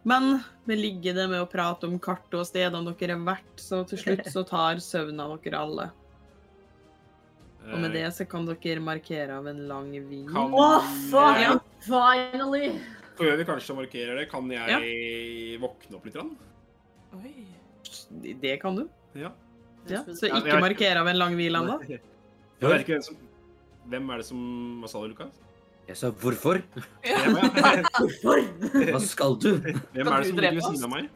Speaker 1: Men vi ligger det med å prate om kartet og stedene dere har vært, så til slutt så tar søvnen av dere alle. Og med
Speaker 3: Eh,
Speaker 1: det så kan dere markere av en lang hvil.
Speaker 3: Kan
Speaker 5: Åh, faen!
Speaker 3: jeg,
Speaker 5: Mm, Finally!
Speaker 3: før vi kanskje markerer det, kan jeg våkne opp litt? Grann?
Speaker 6: Oi.
Speaker 1: Det kan du.
Speaker 3: Ja.
Speaker 1: Ja. Så
Speaker 3: Ja, vi
Speaker 1: ikke
Speaker 3: har-
Speaker 1: markere av en lang hvil ennå.
Speaker 3: Jeg vet ikke hvem som Hvem er det som Hva sa du, Lukas?
Speaker 4: Jeg sa hvorfor?
Speaker 3: Hvem
Speaker 1: <laughs>
Speaker 3: er,
Speaker 4: Hva skal du?
Speaker 3: <laughs> hvem er det som ligger ved siden av meg?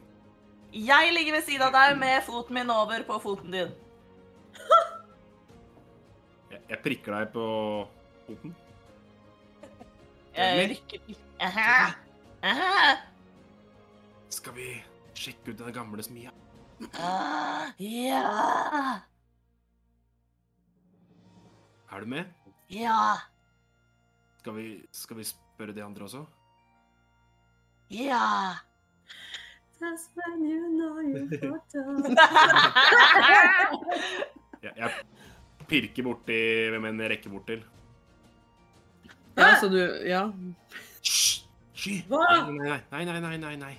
Speaker 6: Jeg ligger ved siden av deg med foten min over på foten din.
Speaker 3: Jeg, jeg prikker deg på foten.
Speaker 6: Jeg
Speaker 3: Eller?
Speaker 6: rykker litt.
Speaker 7: Aha. Aha.
Speaker 3: Skal vi sjekke ut den gamle smia?
Speaker 7: Ah, Ja.
Speaker 3: Er du med?
Speaker 7: Ja.
Speaker 3: Skal vi, skal vi spørre de andre også?
Speaker 7: Ja.
Speaker 5: That's when you know you fucked up.
Speaker 3: Jeg, jeg pirker borti hvem enn jeg rekker bort til.
Speaker 1: <laughs> Ja, så du Ja.
Speaker 3: Hysj! Sky!
Speaker 5: Hva?
Speaker 3: Nei, nei, nei, nei, nei, nei.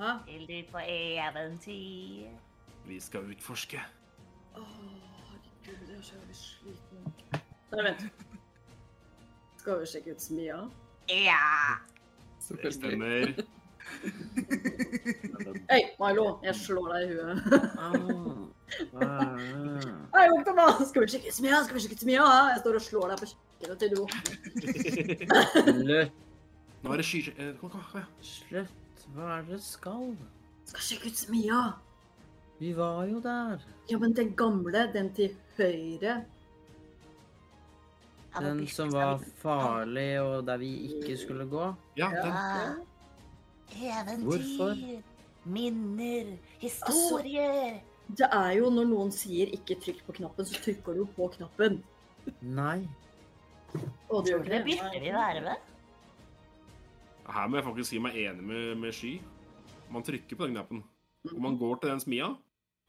Speaker 5: Hæ?
Speaker 7: Vil du på eventyr?
Speaker 3: Vi skal utforske.
Speaker 5: Åh, herregud, jeg er så jævlig sliten. Nei, vent. Skal vi sjekke ut smia?
Speaker 7: Ja.
Speaker 3: <laughs> Det stemmer.
Speaker 5: Hei, Milo, jeg slår deg i huet.
Speaker 4: Ah, ah.
Speaker 5: Hei, Oktober, skal vi sjekke ut smia? Skal vi sjekke ut smia? Jeg står og slår deg på kjøkkenet til du våkner.
Speaker 4: Slutt.
Speaker 3: Nå er det sky... eh, Kom, kom, kom. ja.
Speaker 4: Slutt. Hva er det dere skal?
Speaker 5: Skal sjekke ut smia?
Speaker 4: Vi var jo der.
Speaker 5: Ja, men den gamle, den til høyre.
Speaker 7: Ja, men
Speaker 4: Den
Speaker 7: Birte
Speaker 4: som
Speaker 7: skal
Speaker 4: var
Speaker 7: vi-
Speaker 4: farlig, og der vi ikke skulle gå.
Speaker 3: Ja, den.
Speaker 7: Ah, Eventyr.
Speaker 4: Hvorfor?
Speaker 7: Minner. Historier.
Speaker 5: Det er jo når noen sier ikke trykk på knappen, så trykker du jo på knappen.
Speaker 4: Nei.
Speaker 5: Å, det
Speaker 7: Tror
Speaker 5: gjør
Speaker 7: du det
Speaker 5: ikke
Speaker 7: bytter vi
Speaker 5: Nei.
Speaker 7: verve?
Speaker 3: Her må jeg faktisk si meg enig med, med Sky. Man trykker på den knappen. Og man går til den smia.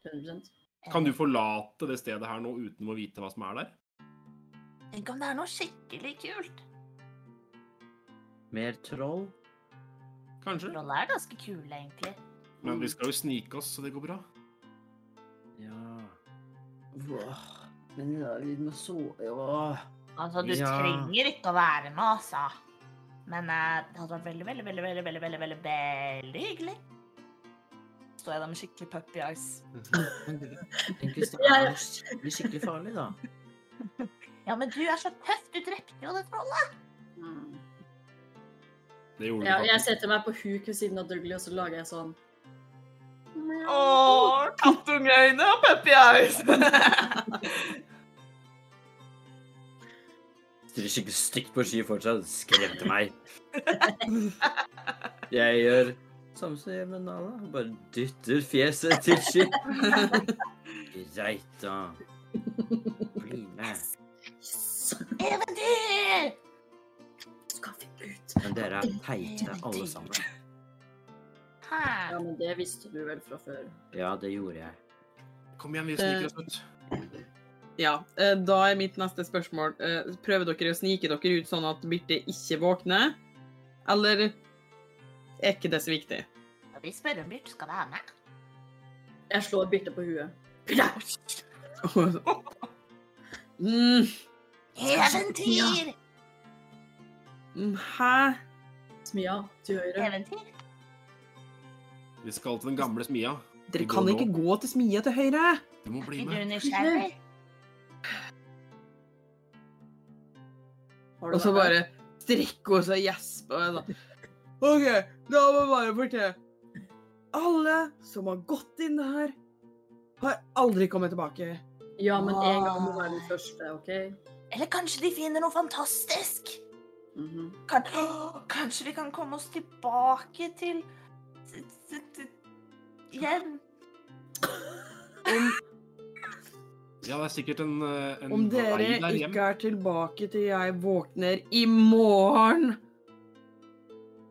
Speaker 5: 100%.
Speaker 3: Kan du forlate det stedet her nå uten å vite hva som er der?
Speaker 7: Tenk om det er noe skikkelig kult.
Speaker 4: Mer troll.
Speaker 3: Kanskje?
Speaker 7: Roller er ganske kule, egentlig.
Speaker 3: Men vi skal jo snike oss, så det går bra.
Speaker 4: Ja. Åh, Men ja, vi må sove Åh.
Speaker 7: Altså, du
Speaker 4: Ja.
Speaker 7: trenger ikke å være med, altså. Men eh, det hadde vært veldig, veldig, veldig, veldig, veldig, veldig, veldig, veldig hyggelig.
Speaker 6: Står jeg der med skikkelig puppy eyes.
Speaker 4: Tenk hvis det er noe
Speaker 7: <laughs>
Speaker 4: skikkelig, skikkelig farlig, da.
Speaker 7: Ja, men du er så tøff. Du drepte jo det trollet.
Speaker 5: Mm.
Speaker 3: Det gjorde
Speaker 5: Ja,
Speaker 3: vi
Speaker 5: jeg
Speaker 3: faktisk.
Speaker 5: setter meg på huk ved siden av Dougley, og så lager jeg sånn
Speaker 7: <laughs>
Speaker 6: Åh, kattungeøyne og puppy eyes.
Speaker 4: sitter skikkelig stygt på ski fortsatt. Skremte meg. Jeg gjør samme som jeg gjør med Nala. Bare dytter fjeset til ski. Greit, da. Bli med.
Speaker 5: Yes!
Speaker 7: Eventyr!
Speaker 5: Skal vi ut?
Speaker 4: Men dere er teite, alle sammen.
Speaker 7: Hæ?
Speaker 5: Ja, men det visste du vel fra før.
Speaker 4: Ja, det gjorde jeg.
Speaker 3: Kom igjen, vi sniker oss ut.
Speaker 1: Ja, eh, da er mitt neste spørsmål. eh, Prøver dere å snike dere ut sånn at Birte ikke våkner? Eller er ikke det så viktig? <laughs>
Speaker 7: Vi spør om Bjørt skal være med.
Speaker 5: Jeg slår Birte på huet.
Speaker 1: Mm,
Speaker 7: Eventyr!
Speaker 1: mm, hæ?
Speaker 5: Smia til høyre.
Speaker 7: Eventyr?
Speaker 3: Vi skal til den gamle smia.
Speaker 1: Dere
Speaker 3: Vi går
Speaker 1: kan
Speaker 3: nå.
Speaker 1: ikke gå til smia til høyre.
Speaker 3: Du må bli
Speaker 7: Er
Speaker 3: med.
Speaker 7: du nysgjerrig?
Speaker 5: Har du
Speaker 1: Og så
Speaker 5: vært
Speaker 1: bare strekker hun seg og gjesper. og jeg da, OK, da må jeg bare fortelle. Alle som har gått inn her, har aldri kommet tilbake.
Speaker 5: der? Ja, men en gang må være den første, OK?
Speaker 7: Eller kanskje de finner noe fantastisk?
Speaker 5: Mhm.
Speaker 7: Kan, Åh, kanskje vi kan komme oss tilbake til til- til- til- hjem?
Speaker 3: Ja, det er sikkert en, eh, en
Speaker 1: Om dere
Speaker 3: vei der hjem.
Speaker 1: ikke er tilbake til jeg våkner i morgen,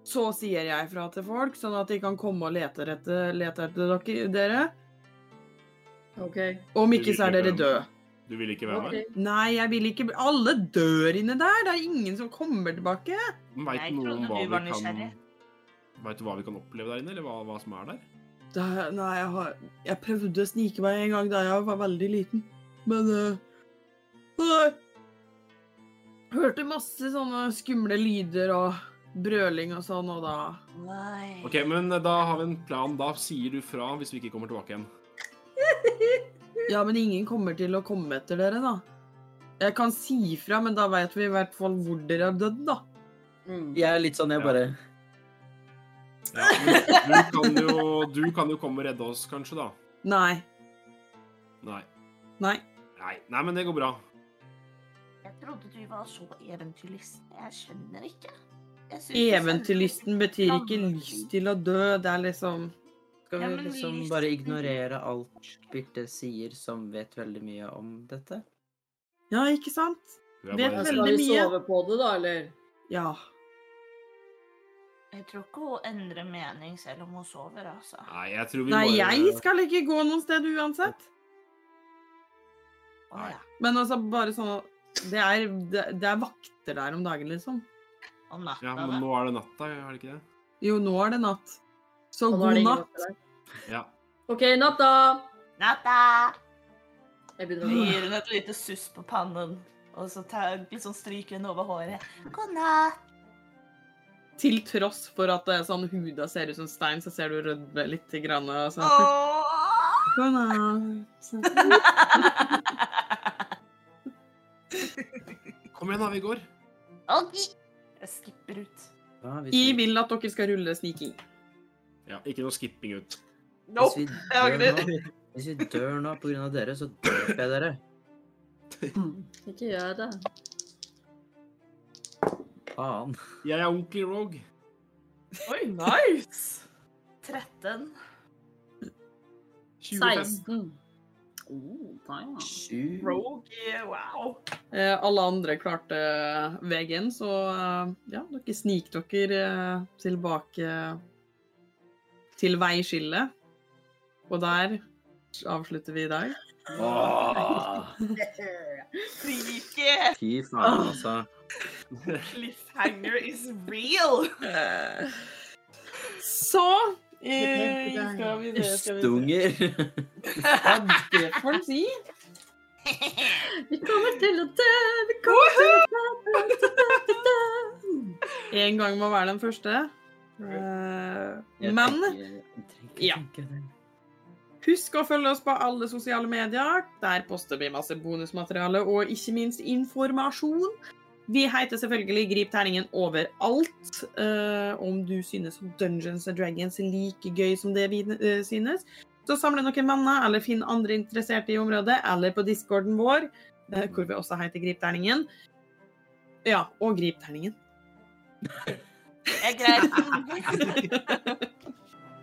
Speaker 1: så sier jeg fra til folk, sånn at de kan komme og lete etter, lete etter dere- dere.
Speaker 5: OK.
Speaker 1: Om ikke, så er dere døde.
Speaker 3: Du vil ikke være
Speaker 5: ok.
Speaker 3: med?
Speaker 1: Nei, jeg vil ikke bli- Alle dør inne der! Det er ingen som kommer tilbake.
Speaker 3: Veit
Speaker 7: Jeg
Speaker 3: du noe om
Speaker 7: trodde
Speaker 3: hva
Speaker 7: du var
Speaker 3: vi kan
Speaker 7: nysgjerrig.
Speaker 3: Vet du hva vi kan oppleve der inne, eller hva, hva som er der?
Speaker 1: Det, er- nei, jeg, har, jeg prøvde å snike meg en gang da jeg var veldig liten, men eh, Nei. Hørte masse sånne skumle lyder og brøling og sånn, og da
Speaker 7: Nei.
Speaker 3: OK, men eh, da har vi en plan. Da sier du fra hvis vi ikke kommer tilbake igjen.
Speaker 1: Ja, men ingen kommer til å komme etter dere, da. Jeg kan si fra, men da veit vi i hvert fall hvor dere har dødd, da.
Speaker 5: Mm.
Speaker 4: Jeg er litt sånn, jeg bare
Speaker 3: Ja, men du, kan jo, du kan jo komme og redde oss, kanskje, da.
Speaker 1: Nei.
Speaker 3: Nei.
Speaker 1: Nei.
Speaker 3: Nei, Nei men det går bra.
Speaker 7: Jeg trodde du var så eventyrlysten. Jeg skjønner ikke. Jeg synes det
Speaker 1: Eventyrlysten betyr ikke lyst til å dø. Det er liksom
Speaker 4: Skal
Speaker 7: Ja,
Speaker 4: vi
Speaker 7: men
Speaker 4: liksom
Speaker 7: lysten-
Speaker 4: bare ignorere alt Birte sier, som vet veldig mye om dette?
Speaker 1: Ja, ikke sant?
Speaker 3: Du er
Speaker 1: Det er
Speaker 3: bare
Speaker 5: Skal
Speaker 1: veldig-
Speaker 5: vi
Speaker 1: mye.
Speaker 5: sove på det, da, eller?
Speaker 1: Ja.
Speaker 7: stemmer. Jeg tror ikke hun endrer mening selv om hun sover, altså.
Speaker 3: Nei, jeg tror vi
Speaker 1: Nei,
Speaker 3: bare
Speaker 1: jeg skal ikke gå noe sted uansett.
Speaker 7: Å,
Speaker 3: Nei.
Speaker 7: ja.
Speaker 1: Men altså, bare sånn Det er, det, det er vakter der om dagen, liksom.
Speaker 7: Om natta,
Speaker 3: Ja, men
Speaker 7: da.
Speaker 3: nå er det natta, er det ikke det?
Speaker 1: Jo, nå er det natt. Så
Speaker 5: Og nå er
Speaker 1: god
Speaker 5: det ingen
Speaker 1: natt.
Speaker 5: oppe der.
Speaker 3: Ja.
Speaker 5: OK, natta!
Speaker 7: Natta!
Speaker 5: Jeg begynner
Speaker 2: Jeg
Speaker 5: å
Speaker 2: gir henne et lite suss på pannen, og så tar, liksom stryker hun over håret.
Speaker 7: God natt!
Speaker 1: Til tross for at det er sånn huda ser ut som stein, så ser du rødme litt. Grann, og sånn.
Speaker 2: Åh!
Speaker 1: God natt.
Speaker 3: Kom igjen, da. Vi går.
Speaker 7: Ok.
Speaker 2: Jeg skipper ut.
Speaker 4: Ja, hvis
Speaker 1: Jeg
Speaker 4: vi-
Speaker 1: vil at dere skal rulle sniking.
Speaker 3: Ja, ikke noe skipping ut.
Speaker 4: Hvis vi
Speaker 2: jeg
Speaker 4: dør nå, hvis vi dør nå på grunn av dere, så dreper jeg dere.
Speaker 5: Ikke gjør det.
Speaker 4: Faen.
Speaker 3: Jeg er onkel Rogue.
Speaker 2: Oi, nice! 13.
Speaker 3: 25.
Speaker 5: 16. Oh, da ja.
Speaker 4: Sju.
Speaker 2: Rogue, wow.
Speaker 1: Eh, alle andre klarte veien, så eh, ja, dere snik dere eh, tilbake til veiskillet. Og der avslutter vi i dag.
Speaker 4: Åh,
Speaker 2: Rike!
Speaker 4: fy faen, altså.
Speaker 2: Cliffhanger is real!
Speaker 1: Eh, Så eh, skal vi se, skal vi se.
Speaker 4: Stunger. <laughs>
Speaker 1: Ja, det får en si.
Speaker 5: Vi kommer til å dø, vi kommer til å dø, dø, dø, dø, dø.
Speaker 1: En gang må være den første. Eh,
Speaker 4: Jeg
Speaker 1: Men
Speaker 4: tenker- jeg tenker-
Speaker 1: Ja.
Speaker 4: tenker det.
Speaker 1: Husk å følge oss på alle sosiale medier. Der poster vi masse bonusmateriale og ikke minst informasjon. Vi heter selvfølgelig Grip terningen overalt. Eh, om du synes Dungeons and Dragons er like gøy som det vi eh, synes, så samle noen venner eller finn andre interesserte i området, eller på discorden vår, eh, hvor vi også heter Grip terningen. Ja, og grip terningen.
Speaker 7: Det er greit.